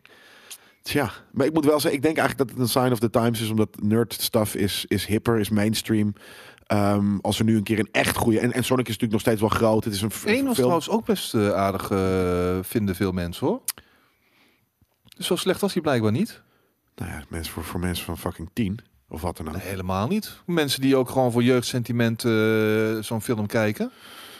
[SPEAKER 1] Tja, maar ik moet wel zeggen, ik denk eigenlijk dat het een sign of the times is, omdat nerd stuff is, is hipper, is mainstream. Ehm, als er nu een keer een echt goede en, en Sonic is natuurlijk nog steeds wel groot. Het is een f-
[SPEAKER 2] Eén was
[SPEAKER 1] film.
[SPEAKER 2] trouwens ook best eh, aardig, eh, vinden veel mensen, hoor. Dus zo slecht was hij blijkbaar niet.
[SPEAKER 1] Nou ja, mensen voor, voor mensen van fucking tien of wat dan ook.
[SPEAKER 2] Nee, helemaal niet. Mensen die ook gewoon voor jeugdsentiment eh, zo'n film kijken.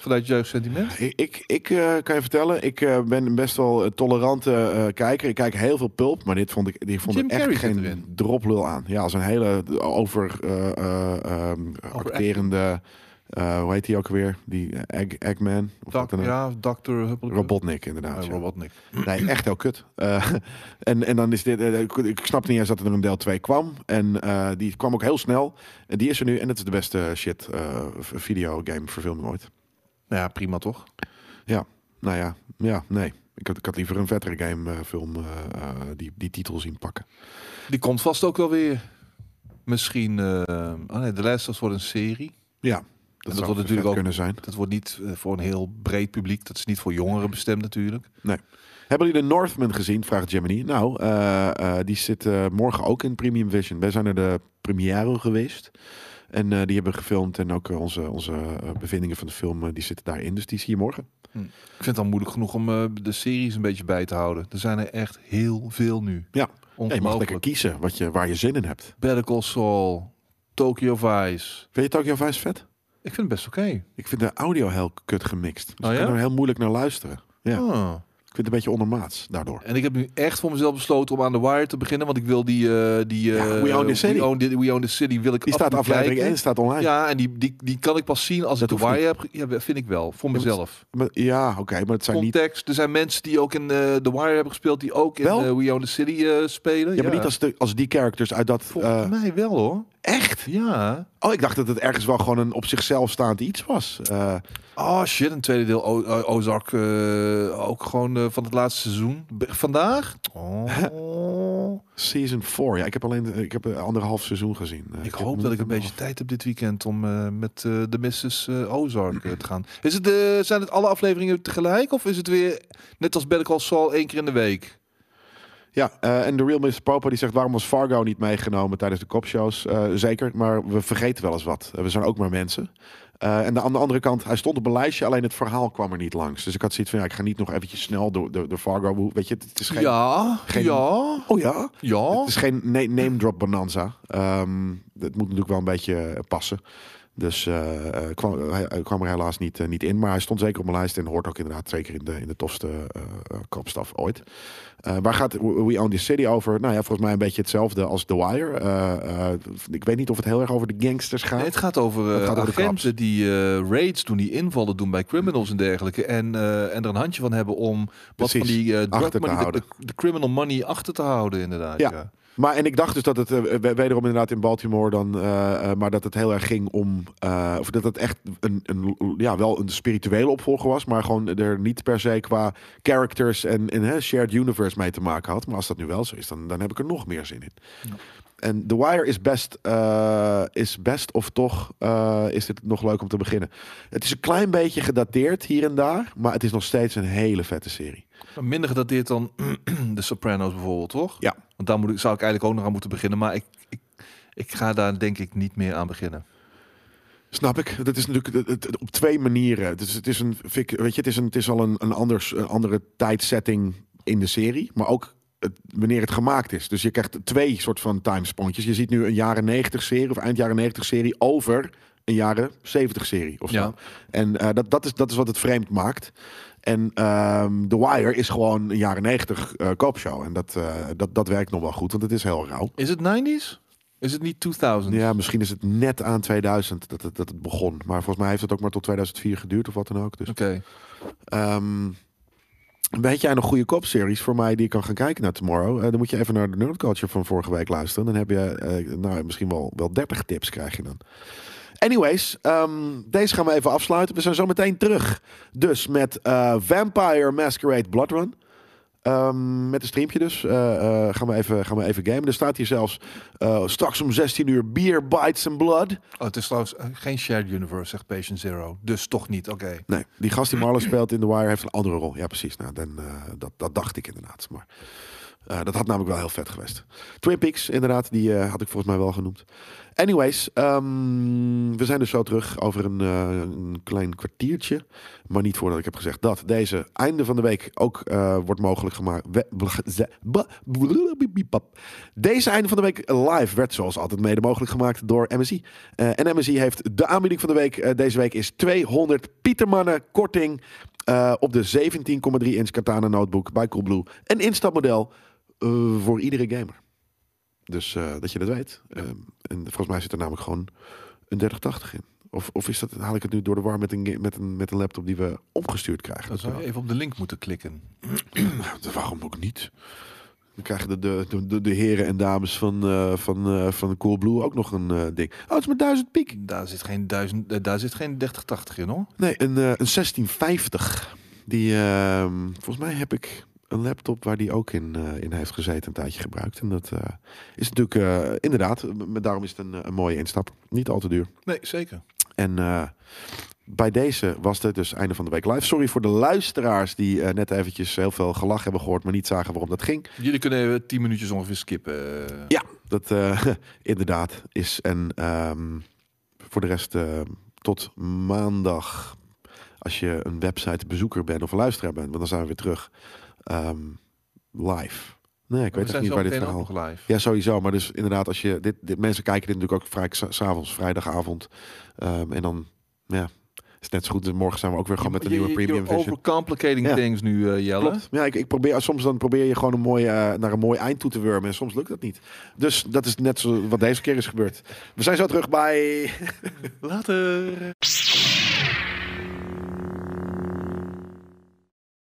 [SPEAKER 2] Vanuit jeugdsentiment.
[SPEAKER 1] Ik, ik, ik eh, kan je vertellen, ik eh, ben een best wel een tolerante eh, kijker. Ik kijk heel veel pulp, maar dit vond ik, die vond
[SPEAKER 2] Jim
[SPEAKER 1] ik echt
[SPEAKER 2] Carrey zit
[SPEAKER 1] geen
[SPEAKER 2] erin.
[SPEAKER 1] droplul aan. Ja, als een hele over, eh, eh, ehm, acterende, eh, hoe heet die ook weer? Die eh, Egg, Eggman? Of wat
[SPEAKER 2] Dak,
[SPEAKER 1] dan ook.
[SPEAKER 2] ja, Dr. Hubblepup.
[SPEAKER 1] Robotnik,
[SPEAKER 2] Ja,
[SPEAKER 1] inderdaad. ja.
[SPEAKER 2] Robotnik.
[SPEAKER 1] Nee, echt heel kut. Eh, [laughs] en, en dan is dit. eh, ik, ik snap niet eens dat er een deel 2 kwam. En eh, die kwam ook heel snel. En die is er nu. En het is de beste shit eh videogame verfilming ooit.
[SPEAKER 2] Nou ja, prima toch?
[SPEAKER 1] Nou ja, ja nee. Ik had, ik had liever een vettere gamefilm eh eh, die, die titel zien pakken.
[SPEAKER 2] Die komt vast ook wel weer. Misschien... eh, oh nee, de laatste wordt een serie.
[SPEAKER 1] Ja, dat,
[SPEAKER 2] dat
[SPEAKER 1] zou
[SPEAKER 2] wordt natuurlijk
[SPEAKER 1] vet
[SPEAKER 2] ook-
[SPEAKER 1] kunnen zijn.
[SPEAKER 2] Dat wordt niet eh, voor een heel breed publiek. Dat is niet voor jongeren bestemd natuurlijk.
[SPEAKER 1] Hebben jullie de Northman gezien? Vraagt Gemini. Nou, eh, eh, die zit eh, morgen ook in Premium Vision. Wij zijn naar de première geweest. En eh, die hebben gefilmd. En ook eh, onze, onze eh, bevindingen van de film eh, die zitten daarin. Dus die zie je morgen.
[SPEAKER 2] Ik vind het al moeilijk genoeg om eh, de series een beetje bij te houden. Er zijn er echt heel veel nu.
[SPEAKER 1] Ja. Ja, je mag
[SPEAKER 2] Ongelooflijk.
[SPEAKER 1] lekker kiezen wat je, waar je zin in hebt.
[SPEAKER 2] Better Call Saul, Tokyo Vice.
[SPEAKER 1] Vind je Tokyo Vice vet?
[SPEAKER 2] Ik vind het best oké.
[SPEAKER 1] Ik vind de audio heel kut gemixt. Dus
[SPEAKER 2] Oh
[SPEAKER 1] ik
[SPEAKER 2] ja?
[SPEAKER 1] kan er heel moeilijk naar luisteren. Ja.
[SPEAKER 2] Ah.
[SPEAKER 1] Ik vind het een beetje ondermaats daardoor.
[SPEAKER 2] En ik heb nu echt voor mezelf besloten om aan The Wire te beginnen. Want ik wil die... eh, die
[SPEAKER 1] Ja,
[SPEAKER 2] eh,
[SPEAKER 1] We Own This City.
[SPEAKER 2] We Own, Thi- We Own This City wil ik
[SPEAKER 1] Die staat
[SPEAKER 2] absoluut
[SPEAKER 1] aflevering
[SPEAKER 2] kijken.
[SPEAKER 1] 1, staat online.
[SPEAKER 2] Ja, en die, die, die kan ik pas zien als
[SPEAKER 1] Dat
[SPEAKER 2] ik The
[SPEAKER 1] hoeft
[SPEAKER 2] Wire heb. ge- Ja, vind ik wel. Voor
[SPEAKER 1] maar-
[SPEAKER 2] mezelf.
[SPEAKER 1] Maar- ja, oké, maar het zijn niet.
[SPEAKER 2] Context. Er zijn mensen die ook in eh, The Wire hebben gespeeld. Die ook in
[SPEAKER 1] Wel?
[SPEAKER 2] eh, We Own This City eh, spelen.
[SPEAKER 1] Ja, maar niet als, de, als die characters uit dat.
[SPEAKER 2] Volgens
[SPEAKER 1] eh,
[SPEAKER 2] mij wel hoor.
[SPEAKER 1] echt?
[SPEAKER 2] Ja.
[SPEAKER 1] Oh, ik dacht dat het ergens wel gewoon een op zichzelf staand iets was. Eh,
[SPEAKER 2] Oh shit, een tweede deel O- eh, Ozark. eh, ook gewoon eh, van het laatste seizoen. B- vandaag? Oh.
[SPEAKER 1] season 4. Ja, ik heb alleen eh, ik heb een anderhalf seizoen gezien. Eh,
[SPEAKER 2] [laughs] Ik
[SPEAKER 1] heb
[SPEAKER 2] hoop
[SPEAKER 1] nog
[SPEAKER 2] dat
[SPEAKER 1] niet
[SPEAKER 2] ik een beetje tijd heb dit weekend om eh, met eh, de Mrs. eh, Ozark eh, te gaan. Is het, eh, zijn het alle afleveringen tegelijk? Of is het weer, net als Better Call Saul, één keer in de week?
[SPEAKER 1] Ja, eh, en de Real Mr. Popo die zegt: waarom was Fargo niet meegenomen tijdens de kopshows? Eh, zeker, maar we vergeten wel eens wat. Eh, we zijn ook maar mensen. Eh, en de- aan de andere kant, hij stond op een lijstje, alleen het verhaal kwam er niet langs. Dus ik had zoiets van: ja, ik ga niet nog eventjes snel door de, de Fargo. Weet je, het is geen.
[SPEAKER 2] ja,
[SPEAKER 1] geen-
[SPEAKER 2] ja,
[SPEAKER 1] Oh ja.
[SPEAKER 2] ja.
[SPEAKER 1] Het is geen na- name drop bonanza. Ehm het moet natuurlijk wel een beetje eh, passen. Dus eh, eh, kwam, hij, hij kwam er helaas niet, eh, niet in. Maar hij stond zeker op mijn lijst en hoort ook inderdaad zeker in de, in de tofste eh eh, kopstaf ooit. Eh, waar gaat We We Own This City over? Nou ja, volgens mij een beetje hetzelfde als The Wire. Eh, eh, ik weet niet of het heel erg over de gangsters gaat.
[SPEAKER 2] Nee, het gaat over eh,
[SPEAKER 1] Het gaat over de
[SPEAKER 2] agenten die eh, raids doen, die invallen doen bij criminals en dergelijke. En, eh, en er een handje van hebben om wat
[SPEAKER 1] Precies,
[SPEAKER 2] van die eh
[SPEAKER 1] achter te
[SPEAKER 2] drug money, de,
[SPEAKER 1] houden.
[SPEAKER 2] de- de criminal money achter te houden inderdaad.
[SPEAKER 1] Ja.
[SPEAKER 2] Ja.
[SPEAKER 1] Maar en ik dacht dus dat het eh, we- wederom inderdaad in Baltimore dan, eh, eh, maar dat het heel erg ging om, eh, of dat het echt een, een, ja, wel een spirituele opvolger was, maar gewoon er niet per se qua characters en, en hè, shared universe mee te maken had. Maar als dat nu wel zo is, dan, dan heb ik er nog meer zin in.
[SPEAKER 2] Ja.
[SPEAKER 1] En The Wire is best, eh, is best of toch eh, is dit nog leuk om te beginnen. Het is een klein beetje gedateerd hier en daar, maar het is nog steeds een hele vette serie.
[SPEAKER 2] Maar Minder gedateerd dan [clears throat] de Sopranos bijvoorbeeld, toch?
[SPEAKER 1] Ja.
[SPEAKER 2] Want daar moet ik, zou ik eigenlijk ook nog aan moeten beginnen. Maar ik, ik, ik ga daar denk ik niet meer aan beginnen.
[SPEAKER 1] Snap ik. Dat is natuurlijk het- het- het op twee manieren. Dus het is een fik, weet je, het is een, het is al een, een anders, een andere tijdsetting in de serie, maar ook het, wanneer het gemaakt is. Dus je krijgt twee soort van timespuntjes. Je ziet nu een jaren 90 serie of eind jaren 90 serie over een jaren 70 serie of zo.
[SPEAKER 2] Ja.
[SPEAKER 1] En eh, dat, dat, is, dat is wat het vreemd maakt. En ehm, The Wire is gewoon een jaren 90 eh, koopshow. En dat, eh, dat, dat werkt nog wel goed, want het is heel rauw.
[SPEAKER 2] Is het 90s? Is het niet 2000?
[SPEAKER 1] Ja, misschien is het net aan 2000 dat het, dat het begon. Maar volgens mij heeft het ook maar tot 2004 geduurd of wat dan ook. Dus
[SPEAKER 2] Oké.
[SPEAKER 1] Ehm, weet jij nog goede kopseries voor mij die ik kan gaan kijken naar Tomorrow? Eh, dan moet je even naar de Nerd Culture van vorige week luisteren. Dan heb je eh, nou, misschien wel, wel 30 tips krijg je dan. Anyways, ehm, deze gaan we even afsluiten. We zijn zo meteen terug. Dus met eh, Vampire Masquerade Blood Run. Ehm, met een streampje dus. Eh, eh, gaan, we even, gaan we even gamen. Er staat hier zelfs eh, straks om 16 uur Beer Bites and Blood.
[SPEAKER 5] Oh, het is trouwens eh, geen shared universe, zegt Patient Zero. Dus toch niet, oké.
[SPEAKER 1] Nee, die gast die Marlon speelt in The Wire heeft een andere rol. Ja, precies. Nou, dan, eh, dat, dat dacht ik inderdaad. Maar eh, dat had namelijk wel heel vet geweest. Twin Peaks, inderdaad, die eh, had ik volgens mij wel genoemd. Anyways, ehm, we zijn dus zo terug over een, eh, een klein kwartiertje. Maar niet voordat ik heb gezegd dat deze einde van de week ook eh, wordt mogelijk gemaakt. we- bl- ze- ba- blubbibibbap. Deze einde van de week live werd zoals altijd mede mogelijk gemaakt door MSI. Eh, en MSI heeft de aanbieding van de week. eh, deze week is 200 Pietermannen korting eh, op de 17,3 inch Katana notebook bij Coolblue. Een instapmodel eh, voor iedere gamer. Dus eh, dat je dat weet. Ehm, en volgens mij zit er namelijk gewoon een 3080 in. Of, of is dat, haal ik het nu door de war met een, ga- met een, met een laptop die we opgestuurd krijgen?
[SPEAKER 5] Dan zou je even op de link moeten klikken.
[SPEAKER 1] Nou, Waarom ook niet? Dan krijgen de, de, de, de, de heren en dames van, eh van, eh, van Coolblue ook nog een eh, ding. Oh, het is maar 1000 piek.
[SPEAKER 5] Daar zit geen, duizend, eh, daar zit geen 3080 in hoor.
[SPEAKER 1] Nee, een, eh, een 1650. Die, ehm, volgens mij heb ik een laptop waar die ook in, eh, in heeft gezeten, een tijdje gebruikt. En dat eh, is natuurlijk, eh, inderdaad, m- daarom is het een, eh, een mooie instap. Niet al te duur.
[SPEAKER 5] Nee, zeker.
[SPEAKER 1] En eh, bij deze was het dus einde van de week live. Sorry voor de luisteraars die eh, net eventjes heel veel gelach hebben gehoord, maar niet zagen waarom dat ging.
[SPEAKER 5] Jullie kunnen even 10 minuutjes ongeveer skippen. eh.
[SPEAKER 1] Ja, dat eh, [laughs] inderdaad is. En ehm, voor de rest eh, tot maandag. Als je een website bezoeker bent of een luisteraar bent, want dan zijn we weer terug. ehm,
[SPEAKER 2] Oh,
[SPEAKER 1] live. Nee, ik
[SPEAKER 5] We
[SPEAKER 1] weet echt
[SPEAKER 5] zijn
[SPEAKER 1] niet
[SPEAKER 5] zo
[SPEAKER 1] waar dit
[SPEAKER 5] meteen ook
[SPEAKER 1] verhaal.
[SPEAKER 5] nog live.
[SPEAKER 1] Ja, sowieso. Maar dus inderdaad, als je dit, dit mensen kijken dit natuurlijk ook vaak s- s'avonds, vrijdagavond. Ehm, en dan, ja, is het net zo goed. Dus Morgen zijn we ook weer gewoon met een
[SPEAKER 2] Je-
[SPEAKER 1] nieuwe
[SPEAKER 2] je-
[SPEAKER 1] premium
[SPEAKER 2] You're
[SPEAKER 1] vision.
[SPEAKER 2] overcomplicating
[SPEAKER 1] Ja.
[SPEAKER 2] things nu, eh, Jelle.
[SPEAKER 1] Klopt. Ja, ik, ik probeer, soms dan probeer je gewoon een mooi, eh, naar een mooi eind toe te wurmen. En soms lukt dat niet. Dus dat is net zo wat deze keer is gebeurd. We zijn zo terug bij...
[SPEAKER 5] Later.